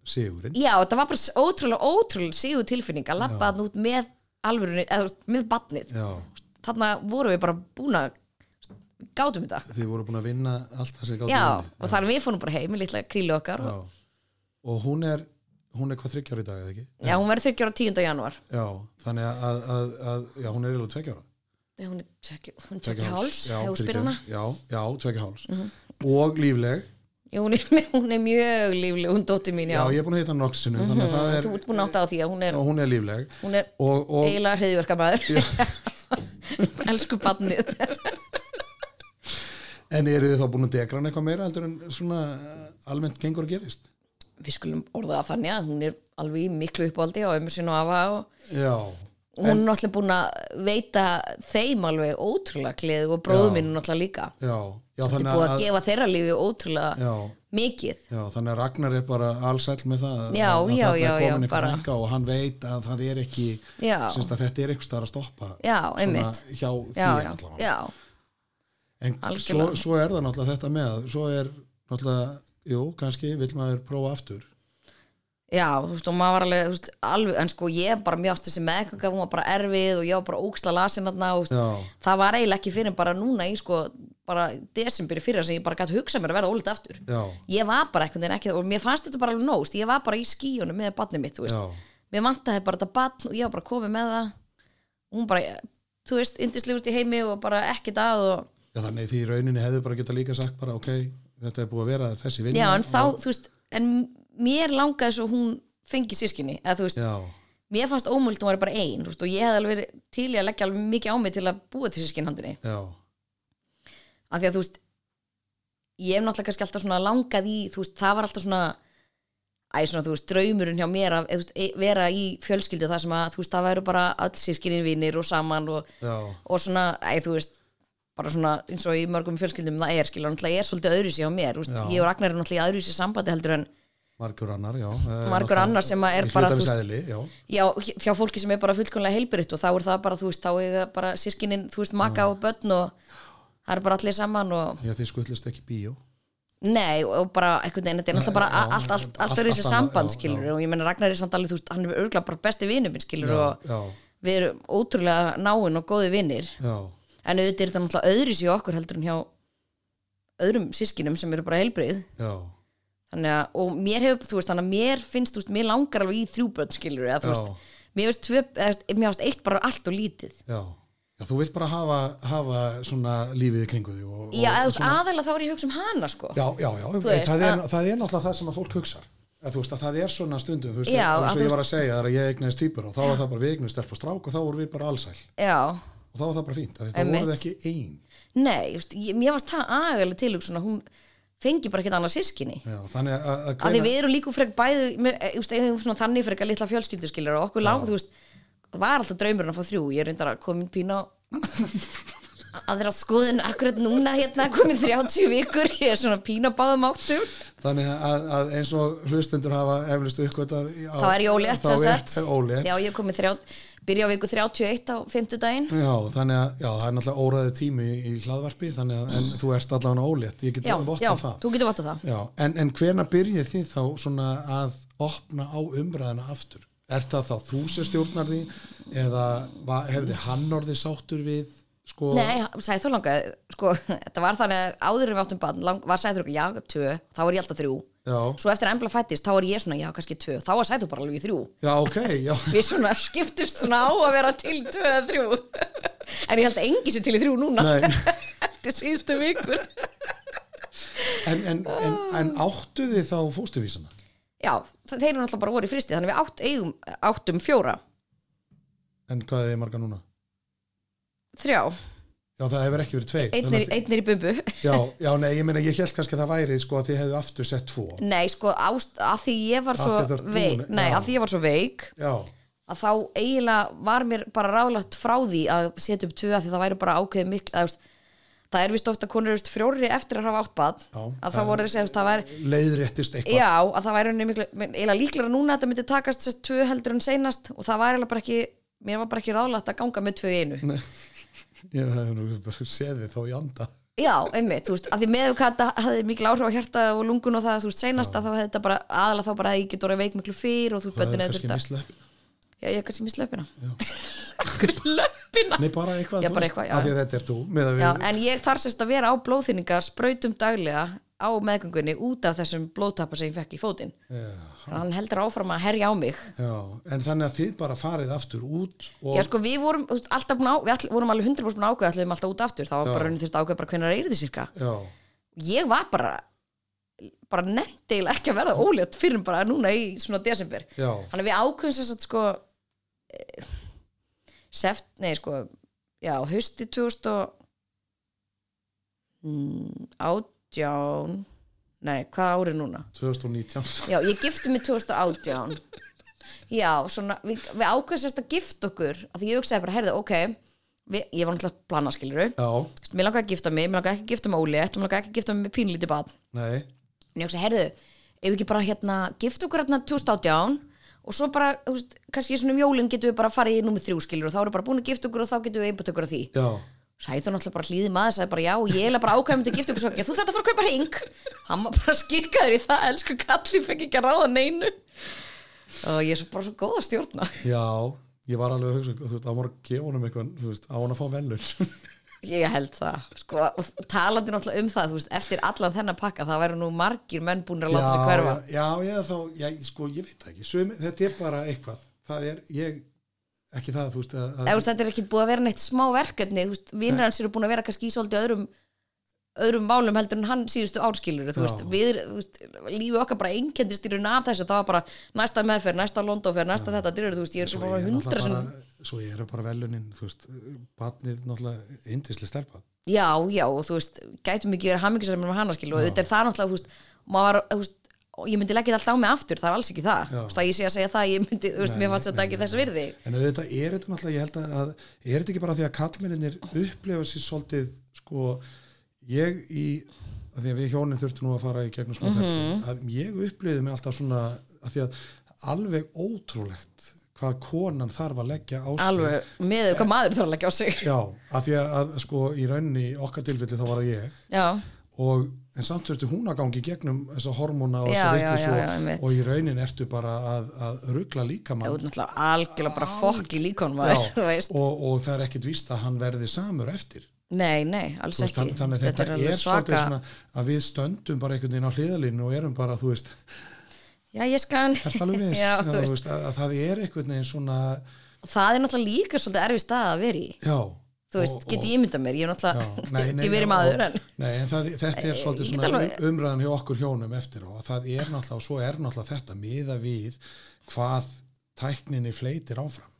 A: sigurinn
B: Já, þetta var bara s- ótrúlega, ótrúlega síðu tilfinning að lappa þann út með alvörunni, eða þú veist, með batnið.
A: já,
B: Þarna vorum við bara búin að gátum þetta.
A: þið voru búin að vinna allt það sem gátt
B: Já, og þar við fórum bara heim í litla krílu okkar. Já,
A: Já. Og hún er, hún er hvað þryggjára í dag, eða ekki?
B: já hún verður 30 ára 10. janúar.
A: Já, þannig að, að, að, að já, hún er eiginlega tveggjára.
B: Nei, Hún er tveggja- hún er tveggja háls, hefur Mhm. spyrir
A: fyrirgefðu.
B: hana.
A: Já, já, tveggja háls. Og lífleg.
B: Já, hún er, hún er mjög lífleg, hún dóttir mín,
A: Já,
B: já. Mhm,
A: ég er búin að hitta hann nokksinum, mm þannig að það
B: Þú
A: er,
B: ert búin að átta á því að hún er,
A: og hún er lífleg.
B: hún er
A: Og, og,
B: eiginlega hriðjörkamæður. [laughs] Elsku batnið.
A: en eru þið þá búin að degra hann eitthvað meira heldur en svona eh, almennt gengur að gerist?
B: Við skulum orða það þannig að hún er alveg í miklu uppáldi á ömmu sinu afa og
A: Já,
B: hún er náttúrulega búin að veita þeim alveg ótrúlega gleði og bróðu
A: Já.
B: mínu náttúrulega líka
A: já, já,
B: þetta
A: þannig
B: er búið að
A: að,
B: gefa þeirra lífi ótrúlega
A: já,
B: mikið
A: já, þannig að Ragnar er bara allsæll með það. að-
B: Já,
A: að
B: já,
A: þarna er
B: já,
A: komin
B: já,
A: einhver
B: bara.
A: frænka Og hann veit að það er ekki,
B: já,
A: semst að þetta er einhvers staðar að stoppa
B: já,
A: svona
B: einmitt
A: hjá því
B: já, já,
A: allavega.
B: já,
A: en svo,
B: Algjörlega.
A: svo er það náttúrulega þetta með að svo er náttúrulega, jú, kannski vill maður prófa aftur
B: já, þú veist, og maður var alveg, þú veist, alveg en sko ég bara mjög ást þessi meðkaka hún var bara erfið og ég var bara óksla lasin þarna og þú veist,
A: já,
B: það var eiginlega ekki fyrir en bara núna í sko, bara desember í fyrra sem ég bara gæti hugsað mér að verða ólítið aftur
A: já,
B: ég var bara einhvern veginn ekki, og mér fannst þetta bara alveg nóst, ég var bara í skíunum með barnið mitt, þú veist
A: já,
B: mér vantaði bara þetta batn og ég var bara komið með það hún bara, þú veist, yndislegust í heimi og bara ekkert að og
A: já þannig því í rauninni hefðu bara geta líka sagt bara ok, þetta er búið að vera þessi vinna
B: já, en þá, þú veist, en mér langaði svo hún fengi sískinni eða þú veist,
A: já,
B: mér fannst ómöld hún var bara ein, þú veist, og ég hefði alveg verið til í að leggja alveg mikið á mig til að búa til sískinhandinni
A: já,
B: af því að þú veist ég hef náttúrulega kannski alltaf svona langað í þú veist, það var alltaf svona æ, svona, þú veist, draumurinn hjá mér að þú veist, e- vera í fjölskyldu þar sem að, þú veist, það væru bara öll sískinin vinir og saman og
A: já,
B: og svona, æ, þú veist bara svona eins og í mörgum fjölskyldum það er skilur, náttúrulega ég er svolítið öðru sér á mér þú veist,
A: Já.
B: ég og Ragnar er náttúrulega í öðru sér sambandi heldur en
A: margur annar, já Eh,
B: margur annar sem að er bara þú veist,
A: sæðli, já,
B: já, hjá fólki sem er bara fullkomlega heilbyrgt og þá er það bara, þú veist, þá er bara sískinin, þú veist, maka og börn og það er bara allir saman og
A: já, þið skutlist ekki í bíó
B: nei, og- og bara einhvern veginn, þetta er náttúrulega bara
A: já,
B: allt, allt, allt,
A: allt-
B: allt öðru
A: allt
B: sér
A: annað,
B: samband
A: já,
B: skilur
A: já.
B: og ég menna Ragnar er samt alveg, þú veist, hann er örgulega bara besti vinur minn skilur og
A: já,
B: við erum ótrúlega náin og góði vinir
A: já,
B: en auðvitað er þetta náttúrulega öðris í okkur heldur en hjá öðrum sískinum sem eru bara helbrið
A: já
B: þannig að, og mér hefur, þú veist, þannig að mér finnst, þú veist, mér langar alveg í þrjú börn skilur, eða þú
A: Já.
B: veist, mér veist tvö, eða, þú veist, mér veist eitt bara allt og lítið
A: já. já þú vilt bara hafa, hafa svona lífið í kringu þig og, og,
B: já, eða, þú veist, aðalega þá er ég að hugsa um hana, sko
A: já, já, já
B: Þú
A: veist,
B: veist,
A: það, er,
B: að-
A: það er náttúrulega það sem að fólk hugsar að, þú veist, að það er svona stundum þú veist,
B: Já,
A: eins
B: að
A: og
B: þú
A: ég var að segja það er að ég eignaðist týpur og þá var það bara við eignaðist stelp og strák og þá vorum við bara allsæl
B: já.
A: og þá var það bara fínt, af því það
B: Einmitt.
A: voruð ekki ein
B: Nei, just, ég, mér varst það agalega tilugsun að hún fengi bara ekkert annað sískinni.
A: já, þannig að, að,
B: Af því
A: hvenær-
B: við erum líka frekk bæði, með, e, just, eða, svona, þannig frekk að litla fjölskylduskilur og okkur langt, þú veist, það var alltaf draumurinn að fá þrjú, ég er reyndar að komin pína á [laughs] aðra skoðun akkurat núna hérna komin 30 vikur, ég er svona pína á báðum áttum.
A: Þannig að, að eins og hlustundur hafa eflust uppgötað á-
B: Þá er ég ólétt,
A: þá
B: sem
A: er-
B: sagt.
A: er ólétt.
B: Já, ég er komin þrjá, byrja á viku 31 á 50 daginn.
A: Já, þannig að já, það er náttúrulega óraðið tími í hlaðvarpi þannig að en þú ert allavega ólétt ég get
B: Já, já,
A: vottað það
B: þú getur vottað það.
A: já, en, en hvena byrjið þið þá svona að opna á umræðina aftur er það þá þú sem stjórnar því eða va- hefði hann orðið sáttur við sko,
B: Nei, Sæþór langaði, sko, [laughs] þetta var þannig að áður en við áttum bann, lang, var Sæþór já, tvö, þá var ég alltaf þrjú.
A: já,
B: Svo eftir að embla fættist, þá var ég svona, já, kannski tvö, þá var Sæþór bara alveg í þrjú.
A: já, ok já,
B: Við svona [laughs] skiptumst svona á að vera til í tvö eða þrjú. [laughs] En ég held að engi sé til í þrjú núna,
A: nei
B: þetta er síðustu vikur. [laughs]
A: en, en, en, en áttu þið þá fóstuvísana
B: Já, þa- þeir eru náttúrulega bara voru í fristi, þannig við átt, eigum, áttum fjóra,
A: en hvað er þið marga núna?
B: þrjá,
A: Já, það hefur ekki verið tveir
B: einn
A: Þannig
B: er,
A: að-
B: einn er í bumbu. [laughs]
A: Já, já, nei, ég meina, ég held kannski að það væri sko að þið hefðu aftur sett tvo
B: Nei, sko, ást, að því ég var
A: Af
B: svo
A: því þú ert
B: veik,
A: búin,
B: nei,
A: já.
B: að því ég var svo veik,
A: Já,
B: að þá eiginlega var mér bara ráðlagt frá því að setja upp tvö að því það væri bara ákveðið miklu að, þú veist, það er vist ofta konur þú veist, frjóri eftir að hafa átt bad
A: Já,
B: að
A: það-
B: það voru þessi að það væri
A: leiðréttist eitthvað
B: já, að það væri rauninni miklu eiginlega líklega núna að þetta myndi takast þessi tvö heldur en seinast og það væri eiginlega bara ekki mér var bara ekki ráðlagt að ganga með tvö í einu
A: Ég hefði nú bara séð þið þá í anda
B: já, einmitt, þú veist, að því meðu hvað þetta hafði miklu áhrif á hjarta og lungun og það þú veist, seinast að þá hefði þetta bara aðalega þá bara að ég getur orðið veik miklu fyrr og þú veist,
A: Það
B: böndin
A: er
B: eða
A: kannski
B: þetta
A: mislepp
B: já, ég er kannski hérna. mislöpina löpina
A: Nei, bara eitthvað,
B: Já,
A: þú veist,
B: bara eitthvað, já,
A: af því að þetta er þú með að
B: Já,
A: við,
B: en ég þarf sérst að vera á blóðþýningar sprautum daglega á meðgöngunni út af þessum blóðtappa sem ég fekk í fótinn. Þannig að Hann heldur áfram að herja á mig.
A: já, en þannig að þið bara farið aftur út og
B: Já, sko, við vorum þú veist, alltaf búin á, við all, vorum alveg 100% búin að ákveða, ætluðum alltaf út aftur, þá var bara raunin þurft að ákveða bara hvenær er þið cirka.
A: já,
B: Ég var bara, bara nettil ekki að verða ólétt fyrir bara núna í svona desember.
A: já,
B: Þannig að við ákveðum sérst að sko, eh, seft, nei, sko, já, hausti 2000 og mm, átján, nei, hvað árið núna?
A: 2019
B: Já, ég gifti mig 2018 Já, svona, við, við ákveðum sérst að gifta okkur af því ég hugsaði bara, heyrðu, ok við, ég var náttúrulega að plana, skiluru
A: Já,
B: mér langaði að gifta mig, mér langaði ekki að gifta mig ólétt mér langaði ekki að gifta mig með pínlítið bad
A: nei,
B: en ég hugsaði, heyrðu, ef við ekki bara hérna gifta okkur hérna 2018 og svo bara, þú veist, kannski svona um jólin getum við bara farið í nummer þrjú, skiluru þá erum við bara búin að gifta okkur og þá getum við einbútt okkur að því
A: já
B: Sæði þú náttúrulega bara hlýði maður, sæði bara já, ég er eiginlega bara ákveðum til gifta ykkur svo ekki, þú þarf að fara að kaupa hring. Hann var bara skikkaður í það, elsku kalli, fekk ekki að ráða neinu. Og ég er svo bara svo góð að stjórna.
A: Já, ég var alveg að hugsa, þú veist, á maður að gefa honum eitthvað, þú veist, á hann að fá
B: [laughs]
A: velun
B: Ég held það, sko, og talandi náttúrulega um það, þú veist, eftir allan þennan pakka, það væru nú margir menn búin að láta sig hverfa.
A: já, já, já, þá, já, sko, ég veit það ekki Sum, þetta er bara eitthvað það er, ég, ekki það, þú veist að,
B: Eða, þú
A: að,
B: veist, þetta er ekki búið að vera neitt smá verkefni, þú veist, vinnur hans eru búin að vera kannski í svolítið öðrum öðrum málum heldur en hann síðustu árskilur þú veist,
A: Já.
B: við, þú veist, lífi okkar bara einkendist í raun af þessu, það var bara næsta meðferð, næsta londóferð, næsta þetta dyrur, þú veist, ég er
A: ég
B: svona
A: er
B: hundra
A: náttúrulega
B: sem,
A: bara svo ég er bara velunin, þú veist batnið náttúrulega, indisli stelpa
B: já, já, og þú veist gætum ekki verið hammingisamur með hana skilur og þetta er það náttúrulega, þú veist, maður var þú veist, og ég myndi leggja þetta alltaf á mig aftur, það er alls ekki það
A: Já.
B: þú veist, að ég sé að segja það, ég myndi, þú veist, mér fannst þetta ekki þess virði
A: en þetta er þetta náttúrulega, ég held að, að er þetta ekki bara því að kallmenninir upplifa sér svolítið, sko ég í, að því að við hjónin þurftum nú að fara í gegnum smá ferli,
B: Mhm.
A: að ég upplifiði mig alltaf svona, að því að alveg ótrúlegt hvað konan þarf að leggja á sig
B: alveg, með hvað maður þarf að leggja á sig
A: Já, af því að, að sko í rauninni í okkar tilfelli þá var það ég
B: já,
A: og en samt þurfti hún að gangi gegnum þessa hormóna og
B: Já,
A: þessa
B: já, já, já,
A: vitlis
B: einmitt.
A: og, og í raunin ertu bara að, að ruggla
B: þú
A: líkamann
B: veist, náttúrulega algjörlega bara fokk í líkonum maður, [laughs]
A: Já,
B: þú veist
A: og, og það er ekkit víst að hann verði samur eftir
B: Nei, nei, alls
A: Þú veist,
B: ekki
A: þann- þannig að þetta,
B: alveg
A: er svolítið svona að við stöndum bara einhvern veginn á hliðalínu og erum bara, þú veist,
B: Já, ég skal
A: ert alveg viss
B: Já, þú
A: þú
B: veist.
A: veist, að, að það er einhvern veginn svona
B: Og [laughs] Það er náttúrulega líka svolítið erfið stað að vera í
A: já,
B: Þú veist,
A: og-
B: get
A: og-
B: ég ímyndað mér Ég er
A: Já,
B: náttúrulega [laughs]
A: nei, nei,
B: ekki verið
A: já,
B: maður
A: og-
B: en
A: Nei, en það, þetta er
B: Ég-
A: svolítið
B: ég get
A: svona um-
B: alveg-
A: umræðan hjá okkur hjónum eftir á að það er náttúrulega, og svo er náttúrulega þetta miða við hvað tækninni fleitir áfram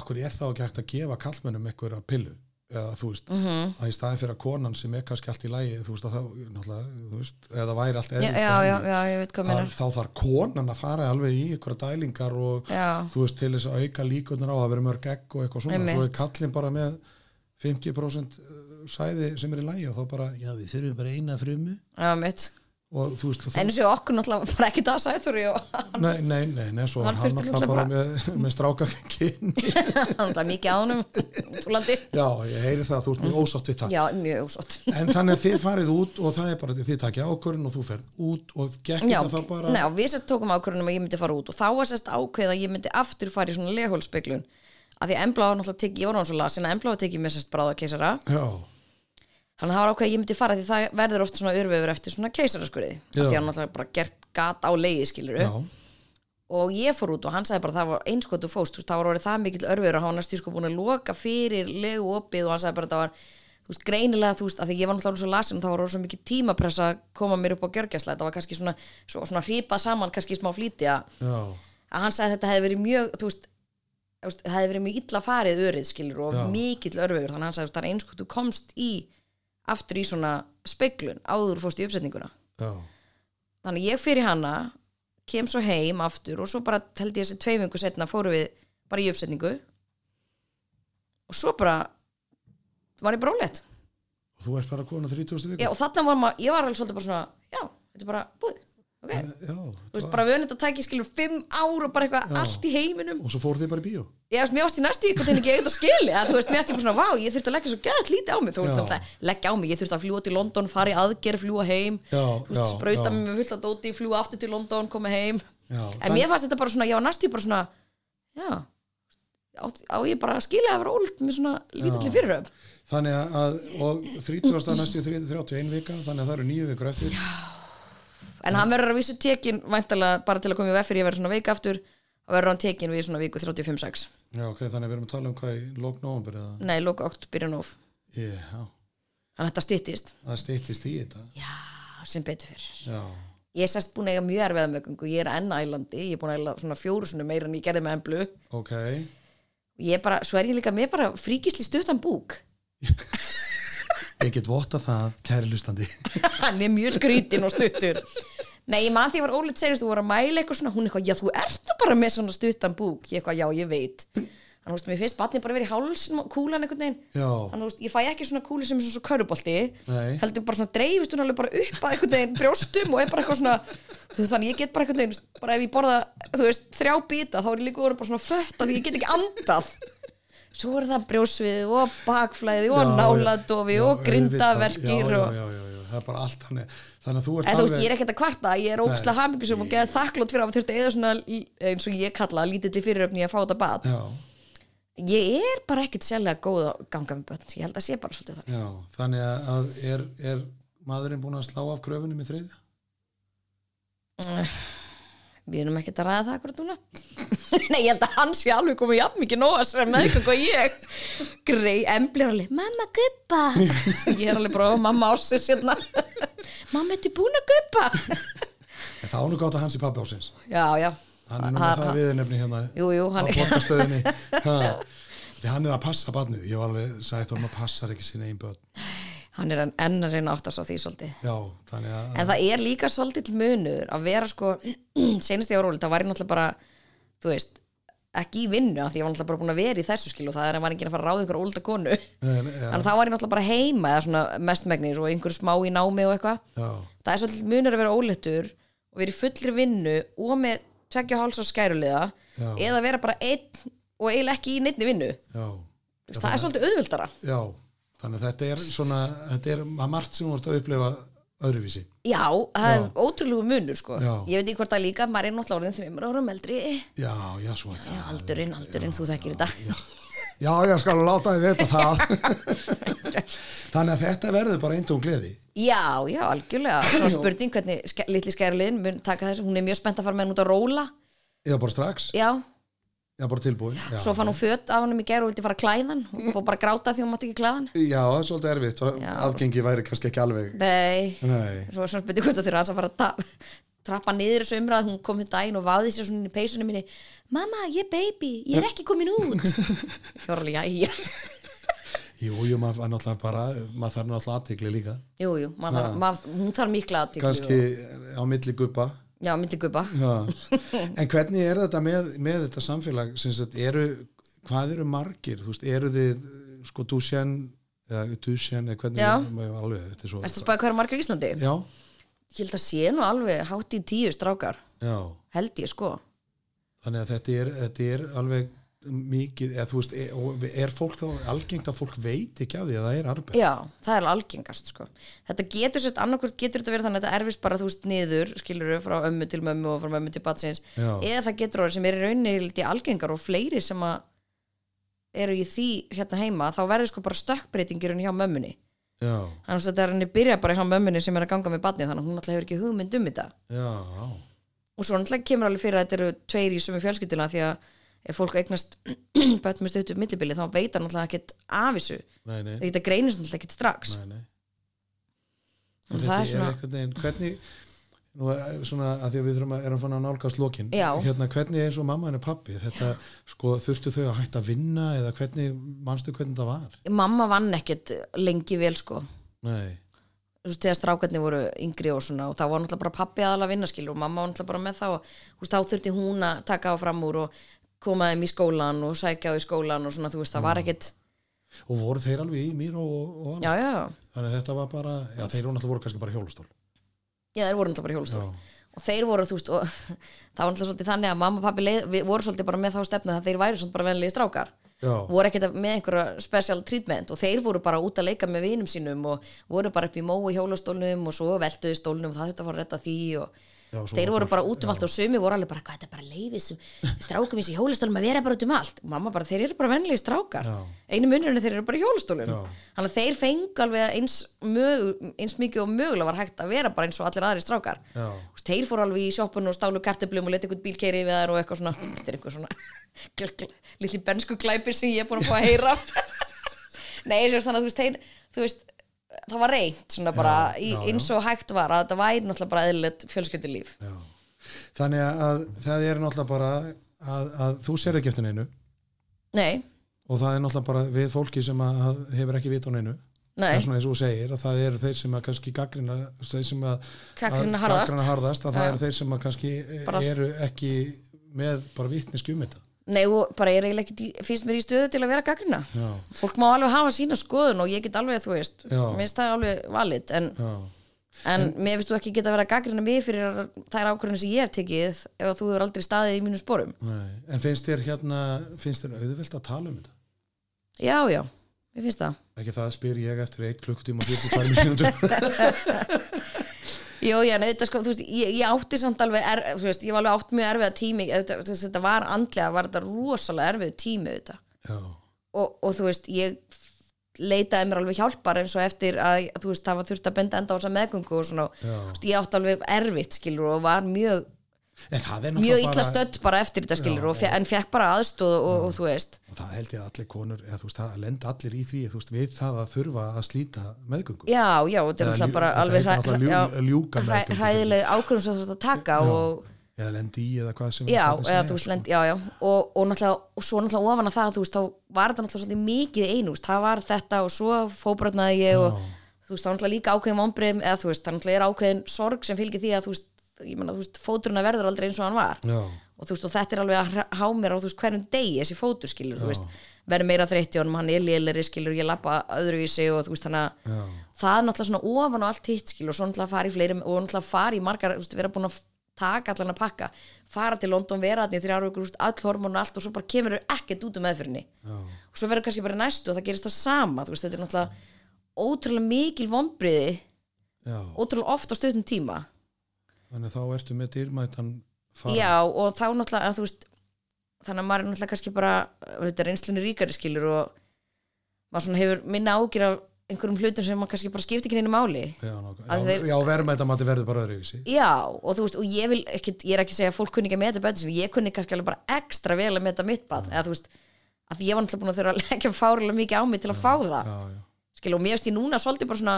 A: Akkur er þá ekki hægt að gefa kallmennum einhverja pillu eða þú veist,
B: Mhm.
A: að í staðin fyrir að konan sem er kannski allt í lagi, þú veist að það náttúrulega, þú veist, eða væri allt
B: já,
A: eðlilegt
B: já,
A: hjá
B: já,
A: henni,
B: já, ég veit hvað
A: að,
B: minnar
A: þá þarf konan að fara alveg í einhverja dælingar og
B: Já,
A: þú veist, til þess að auka líkunar á að vera mörg egg og eitthvað svona,
B: Einmitt.
A: svo er kallin bara með 50% sæði sem er í lagi og þá bara, já við þurfum bara eina frumu
B: já, mitt
A: og þú veist,
B: En
A: þú,
B: þessi okkur náttúrulega bara ekki það sæður og [laughs]
A: nei, nei, nei, nei svo
B: Hann
A: var hann
B: þurfti
A: alltaf bara
B: náttúrulega
A: með, [laughs] með stráka
B: [laughs]
A: kynni,
B: hann er mikið ánum Útlandi
A: já ég heyri það, þú ert mjög ósátt við það
B: Já, mjög úsott
A: en þannig að þið farið út og það er bara þið takja ákvörðin og þú ferð út og gekk
B: Já,
A: þetta þá bara
B: nei, og við sett tókum ákvörðunum að ég myndi fara út og þá var sérst ákveð að ég myndi aftur fara í svona lehólspeglun að því að embla var náttúrulega tekið, ég var náttúrulega svo lasin að embla var tekið mér sérst bráða keisara
A: já,
B: þannig að það var ákveð að ég myndi fara því það verður oft svona örvefur eftir svona keisaraskurði af því
A: Já.
B: að hann náttúrulega bara gert gat á leiði skilur
A: já,
B: og ég fór út og hann sagði bara það var eins hvað þú fóst, þú veist, það var orðið það mikill örvefur og hann var næstu sko búin að loka fyrir legu opið og hann sagði bara það var þú veist, greinilega, þú veist, að því ég var náttúrulega svo lasin og það var orðið svo mikið tímapressa að koma mér upp á gjörgjæsla, þetta var kannski svona, svo, svona hrípað saman, kannski í smá flýti að
A: já,
B: að hann sagði að þetta hefði verið mjög þú veist, þú veist, það hefði verið mjög illa farið örið skilur og
A: Já.
B: mikill örfiður þannig að hann sagði þú veist, það er eins hvort þú komst í aftur í svona speglun áður fórst í uppsetninguna
A: já,
B: þannig að ég fyrir hana kem svo heim aftur og svo bara held ég þessi tveimingu setna fórum við bara í uppsetningu og svo bara var ég bara ólegt
A: og þú ert bara kona 30. viku
B: já, og þarna var maður, ég var alveg svolítið bara svona já, þetta er bara búið okay.
A: já,
B: þú veist, bara vönið að tæki skilur fimm ár og bara eitthvað allt í heiminum
A: og svo fóruð þið bara í bíó
B: ég veist, mér varst í næstu ykkur en ekki eitthvað skili að þú veist, mér varst ég bara svona, vá, ég þurfti að leggja svo gæðat lítið á mig þú
A: Já.
B: veist, náttúrulega leggja á mig, ég þurfti að fljúa til London fara í aðgerð, fljúa heim
A: Já,
B: þú veist,
A: já, já.
B: sprauta mig með fullt að dóti, fljúa aftur til London koma heim,
A: Já,
B: en mér fannst þetta bara svona ég var næstu bara svona, já á, á ég bara að skila að vera ólt með svona lítilli fyriröf
A: Þannig að- að, og 30. næstu 31 vika, þannig að það eru nýju vikur eftir.
B: en hann verður að vísu tekin væntalega bara til að koma í vefð fyrir ég verður svona veik aftur þá verður hann tekin við svona viku 35-6
A: Já, ok, þannig að við erum að tala um hvað í lók nóvambur eða,
B: nei, loka 8, byrjun of
A: já,
B: þannig að þetta styttist
A: það stýttist í þetta.
B: já, sem betur fyrir
A: Já,
B: ég er sérst búin að eiga mjög erfiða mögungu sko. ég er enn ælandi, ég er búin að eila svona fjóru sunni meira en ég gerði með emblu
A: ok,
B: ég er bara, svo er ég líka með bara fríkisli stuttan búk [laughs]
A: ég get votta það, kæri lustandi.
B: hann er mjög skrítinn og stuttur nei, ég man því ég var ólið segist þú voru að mæla eitthvað svona, hún eitthvað, já þú ert nú bara með svona stuttan búk, ég eitthvað, já ég veit þannig þú veist, mér finnst batni bara verið í hálsin kúlan einhvern veginn
A: Já,
B: Þannig þú veist, ég fæ ekki svona kúli sem er svona svo körubolti
A: Nei.
B: heldur bara svona dreifist hún alveg bara upp að einhvern veginn brjóstum og er bara eitthvað svona þú veist, þannig ég get bara einhvern veginn bara ef ég borða, þú veist, þrjá bita þá er ég líka orðin bara svona fött af því ég get ekki andað svo er það brjósvið og bakflæði og
A: Já,
B: náladofi
A: já,
B: og
A: auðvitað.
B: grindaverkir
A: já,
B: og...
A: já, já, já, já, það er bara allt þannig, þannig að þú ert
B: En þú veist, ég er ekkert að kvarta, ég er ógæslega hamingisum og geða þakklátt fyrir að þurfti eða svona, eins og ég kalla, lítilli fyriröfni að fá þetta bad.
A: Já,
B: Ég er bara ekkert sérlega góð að ganga með börn, ég held að sé bara svolítið það.
A: já, þannig að- að er, er maðurinn búin að slá af kröfunum í þriðja?
B: við erum ekkert að ræða það akkurat núna [laughs] Nei, ég held að hann sé alveg komið jafn mikið nóa sem með eitthvað og ég Grey emblir alveg, mamma guppa [laughs] Ég er alveg bara, "Ó, mamma ásins hérna [laughs] Mamma, ertu búin að guppa
A: En það ánur gátt að hans í pappi ásins.
B: [laughs] Já, já
A: Hann er nú með það viðurnefni hérna
B: Jú, jú,
A: á
B: hann-
A: borgastöðinni. Ha. Því hann er að passa barnið. Ég var alveg, sagði þó að maður passar ekki sín einn börn.
B: [laughs] Hann er enn- enn að reyna átt að sá því svolítið
A: Já, þannig að,
B: En það er líka svolítill munur að vera sko, [clears throat] senast ég var róli, það var ég náttúrulega bara, þú veist, ekki í vinnu af því ég var náttúrulega bara búin að vera í þessu skil og það er að var enginn að fara að ráða ykkur ólita konu.
A: Nei, nei, já.
B: Þannig að þá var ég náttúrulega bara heima eða svona mestmegnis og einhver smá í námi og eitthvað.
A: já,
B: Það er svolítill munur að vera óléttur og vera í fullri vinnu og með tveggja og háls og skæruliða
A: Já.
B: eða vera bara einn og eiginlega ekki í neittni vinnu.
A: já,
B: Þú veist, Það er svolítið auðvildara.
A: já. Þannig að þetta er svona, þetta er að margt sem þú ert að upplifa öðruvísi.
B: Já, það er ótrúlegu munur sko.
A: Já.
B: Ég veit ekki hvort það er líka, maður er náttúrulega orðin þreymur árum eldri.
A: Já, já, svo er það.
B: Aldurinn, aldurinn, þú þekkir þetta [laughs]
A: Já, ég skal láta þið vita það. þannig að þetta verður bara eintóm gleði
B: Já, já, algjörlega. Svo spurning hvernig ske- litli skærliðin mun taka þessu. Hún er mjög spennt að fara með hann út að róla.
A: já bara strax,
B: Já,
A: já bara tilbúin já,
B: svo fann hún föt af hann í gær og vildi fara að klæðan. Hún fór bara að gráta því hún mátti ekki klæðan.
A: já, það er svolítið erfitt,
B: Já.
A: afgengi væri kannski ekki alveg
B: Nei,
A: nei,
B: svo er svona spurning hvort það þurfa hans að fara að ta- trappa niður þessu umræð. Hún kom hérna daginn og vaði sér svona inn í peysunum minni. Mamma, ég er baby, ég er ekki komin út.
A: [laughs]
B: Ég var alveg, já, já.
A: jú, jú, maður var náttúrulega bara maður þarf náttúrulega aðtegli líka
B: Jú, jú, maður þarf, maður, hún þarf mikla aðtíklu.
A: kannski á milli guppa
B: Já, myndi guppa.
A: Já. En hvernig er þetta með, með þetta samfélag sem sagt, eru, hvað eru margir þú veist, eru þið sko dúsjan eða dúsjan eða hvernig
B: Já.
A: maður- alveg, þetta er svo
B: Ertu að spæða hvað er margar í Íslandi?
A: Já,
B: Ég held að sé nú alveg hátt í tíu strákar.
A: já,
B: Held ég, sko.
A: þannig að þetta er, þetta er alveg mikið eða, þú veist, er, og er fólk þá algengt að fólk veit ekki af því að það er arbeid
B: Já, það er algengast sko. Þetta getur sett, annarkvort getur þetta verið þannig að þetta erfist bara þú veist niður, skilur við frá ömmu til mömmu og frá mömmu til batsins
A: Já.
B: eða það getur orðið sem er í rauninni held ég algengar og fleiri sem að eru í því hérna heima þá verður sko bara stökkbreytingurinn hjá mömmunni
A: Já,
B: þannig að þetta er henni byrja bara hjá mömmunni sem er að ganga með batni þannig að hún alltaf hefur ekki hugmynd um þetta
A: já,
B: og svo náttúrulega kemur alveg fyrir að þetta eru tveir í sömu fjölskylduna því að ef fólk eignast [clears throat] bætt með stöttu millibili þá veit hann alltaf ekkert af þessu
A: nei, nei,
B: þetta greinist náttúrulega ekkert strax
A: nei, nei.
B: Og
A: Og
B: það
A: þetta
B: er svona-
A: einhvern veginn, hvernig nú er svona að því að við þurfum að erum fann að nálgast lokin
B: Já.
A: hérna hvernig eins og mamma henni pappi þetta sko þurftu þau að hætta að vinna eða hvernig, manstu hvernig það var
B: mamma vann ekkert lengi vel sko
A: nei,
B: þú veist, þegar strákarnir voru yngri og svona og þá var náttúrulega bara pappi aðalega vinna skilur og mamma var náttúrulega bara með þá og þú veist, þá þurfti hún að taka á fram úr og koma þeim í skólan og sækja á í skólan og svona, þú veist, það var ekkert
A: og voru þeir alveg í mýra og, og
B: já,
A: annað?
B: já,
A: þannig að þetta var bara, já þeir eru náttúrulega voru kannski bara hjólustól
B: já, þeir voru náttúrulega bara í hjólstól og þeir voru, þú veist, og [laughs] það var náttúrulega svolítið þannig að mamma og pappi leið, við voru svolítið bara með þá stefnu að þeir væri svolítið bara venlegi strákar
A: já,
B: voru ekkert með einhverja special treatment og þeir voru bara út að leika með vinum sínum og voru bara upp í móu hjólastólnum og svo velduðu stólnum og það þetta var að retta því og
A: Já, svo
B: þeir
A: var
B: voru
A: bara-
B: bara út um allt og sumi voru alveg bara, hvað þetta er bara leifis strákum eins í hjólastólnum að vera bara út um allt og mamma bara, þeir eru bara venlegi strákar
A: Já.
B: einu munurinn er þeir eru bara í hjólastólnum
A: Já.
B: þannig að þeir fengu alveg eins, mög, eins mikið og mögulega var hægt að vera bara eins og allir aðri strákar
A: já,
B: Þú veist, þeir fóru alveg í sjoppunum og stálu kartöflum og leti einhvern bíl keiri við þær og eitthvað svona [laughs] þetta er einhver svona litli bensku glæpir sem ég er búin að fá að heyra [laughs] nei, sem sagt, þannig að þú veist, þeir, þú veist það var reynt svona bara í,
A: já, já.
B: eins og hægt var að þetta væri náttúrulega bara eðlilegt fjölskyldulíf
A: já þannig að það er náttúrulega bara að, að þú sér ekki eftir neinu
B: nei,
A: og það er náttúrulega bara við fólki sem að, að hefur ekki vit á neinu það er
B: nei,
A: svona eins og þú segir að það eru þeir sem að kannski gaggrina þeir sem að
B: Gagnrýna
A: að-
B: harðast.
A: gagnrýna harðast að það
B: Já.
A: eru þeir sem að kannski eh,
B: Bara-
A: eru ekki með bara vitneski um þetta
B: nei og bara ég er eiginlega ekki í- finnst mér í stöðu til að vera gaggrina
A: já,
B: fólk má alveg hafa sína skoðun og ég get alveg þú veist,
A: Já.
B: minnst það alveg valid en,
A: já,
B: en, mér finnst þú ekki geta að vera gaggrina mig fyrir þær ákvörðin sem ég hef tekið ef að þú hefur aldrei staðið í mínum sporum
A: nei. en finnst þér hérna finnst þér auðvelt að tala um þetta
B: Já, já, mér finnst það
A: ekki það spyr ég eftir eitt klukkutíma og 42 mínútur
B: Jó, já, en auðvitað sko, þú veist, ég, ég átti samt alveg er, þú veist, ég var alveg átt mjög erfiða tími auðvitað, þú veist, þetta var andlega, var þetta rosalega erfiðu tími auðvitað
A: [laughs] já,
B: og, og þú veist, ég leitaði mér alveg hjálpar eins og eftir að þú veist, það var þurft að benda enda á þessa meðgöngu og svona,
A: Já.
B: þú veist, ég átti alveg erfitt skilur og var mjög,
A: en það er
B: mjög
A: náttúrulega
B: illa
A: bara-
B: stödd bara eftir þetta skilur og fe, en fekk bara aðstóð og, og þú veist,
A: og það held ég að allir konur eða þú veist, það lenda allir í því þú veist, við það að þurfa að slíta meðgöngu
B: já, já, þetta
A: Eða
B: er náttúrulega
A: ljú-
B: bara
A: þetta
B: alveg
A: heitir náttúrulega ljú- ljúka meðgöngu.
B: hræðileg ákvörðum sem þú þarft að taka og
A: eða lendi í eða hvað sem
B: já,
A: hvernig sem
B: eða,
A: er,
B: þú veist,
A: sko.
B: lend, já, já og, og náttúrulega, og svo náttúrulega ofan að það þú veist, þá var þetta náttúrulega svolítið mikið einu þú veist, það var þetta og svo fóbrotnaði ég og þú veist, það var náttúrulega líka ákveðin vombriðum eða þú veist, það náttúrulega er ákveðin sorg sem fylgir því að þú veist, ég meina, þú veist, fóturinn verður aldrei eins og hann var
A: já,
B: og þú veist, og þetta er alveg að hra- há mér á þú veist, hverjum degi þessi fótur skilur, þú veist verður meira þreytti honum, hann er léleri skilur ég lappa öðruvísi og þú veist, þannig að
A: já,
B: það er náttúrulega svona ofan á allt hitt skil og svo náttúrulega fara í fleiri og náttúrulega fara í margar, þú veist, vera búin að taka allan að pakka, fara til London, vera þarna í þrjár vikur, þú veist, all hormón og allt og svo bara kemur þau ekkert út um meðfyrinni
A: já,
B: og svo verður kannski bara í næstu og það gerist það sama þú veist, þetta er náttúrulega ótrúlega mikil vonbriði,
A: já.
B: ótrúlega oft á stöðnum tíma
A: þannig að þá ertu með dýrmætan fara
B: já og þá náttúrulega að þú veist þannig að maður er náttúrulega kannski bara þetta er einslunni ríkari skilur og maður svona hefur minna ágjur af einhverjum hlutum sem maður kannski bara skipti ekki einu máli
A: já, nokkuð.
B: Að
A: já,
B: þeir-
A: já verðmættamati verður bara öðruvísi
B: Já, og þú veist, og ég vil ekki, ég er ekki að segja að fólk kunni ekki að meta betur sem ég kunni kannski alveg bara ekstra vel að meta mitt barn, eða þú veist, að því ég var náttúrulega búin að [laughs] þurfa að leggja fárilega mikið á mig til að fá það,
A: Mm. já, já.
B: skilja, og mér finnst ég núna svolítið bara svona,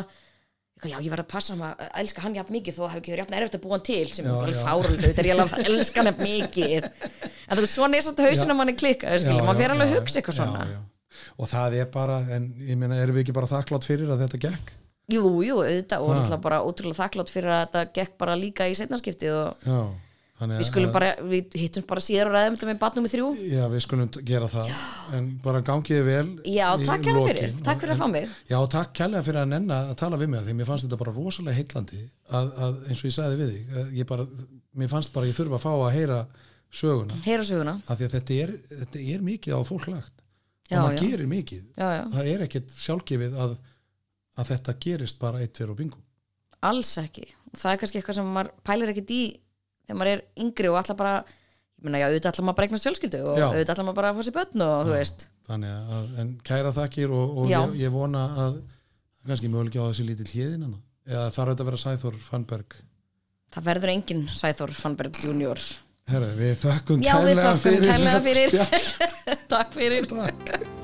B: eitthvað, já, ég verð að passa hann að elska hann jafn mikið þó að hafi ekki verið jafn erfitt að búa hann til, sem
A: Já,
B: er alveg
A: já.
B: fárilega þau, þegar ég alveg að
A: [laughs]
B: elska hann jafn mikið, en þú veist, svona er svolítið
A: Já.
B: hausin að manni klikka, skilja,
A: Já, já,
B: maður fer alveg
A: já,
B: að hugsa eitthvað
A: já,
B: svona,
A: já. og það er bara, en ég meina erum við ekki bara þakklátt fyrir að þetta gekk
B: jú, jú, auðvitað, og
A: Ha.
B: náttúrulega bara ótrúlega þakklátt fyrir að þetta gekk bara líka í seinnaskiptið og
A: já, þannig
B: Við skulum bara, við hittum bara síðar og ræðum þetta með batnum í þrjú.
A: já, við skulum t- gera það en bara gangiði vel
B: Já,
A: í
B: takk hérna
A: lokin.
B: fyrir. Takk fyrir að fá mig.
A: Já, takk kærlega fyrir að nenna að tala við mig að því mér fannst þetta bara rosalega heitlandi að, að eins og ég sagði við þig að ég bara, mér fannst bara að ég þurfa að fá að heyra söguna,
B: Heyra söguna.
A: af því að þetta er, þetta er mikið á fólk lagt
B: Já,
A: og maður
B: já.
A: gerir mikið,
B: Já, já.
A: það er ekkit sjálfgefið að, að þetta gerist bara eitt fyrir og bingo
B: Alls ekki. Og það er kannski eitthvað sem maður pælir ekkit í þegar maður er yngri og allar bara, ég meina, já, auðvitað allar maður bara eignast fjölskyldu og
A: Já.
B: auðvitað allar maður bara að fá sér börn og þú veist.
A: þannig að, en kæra þakkir og, og
B: Já.
A: ég, ég vona að kannski möguleiki á þessi lítill hliðin hana eða þarf þetta að vera Sæþór Fannberg
B: Það verður enginn Sæþór Fannberg Junior. [laughs]
A: Herra, við þökkum
B: Já, við
A: kærlega
B: þökkum kærlega fyrir.
A: spjall.
B: Takk fyrir.
A: Takk.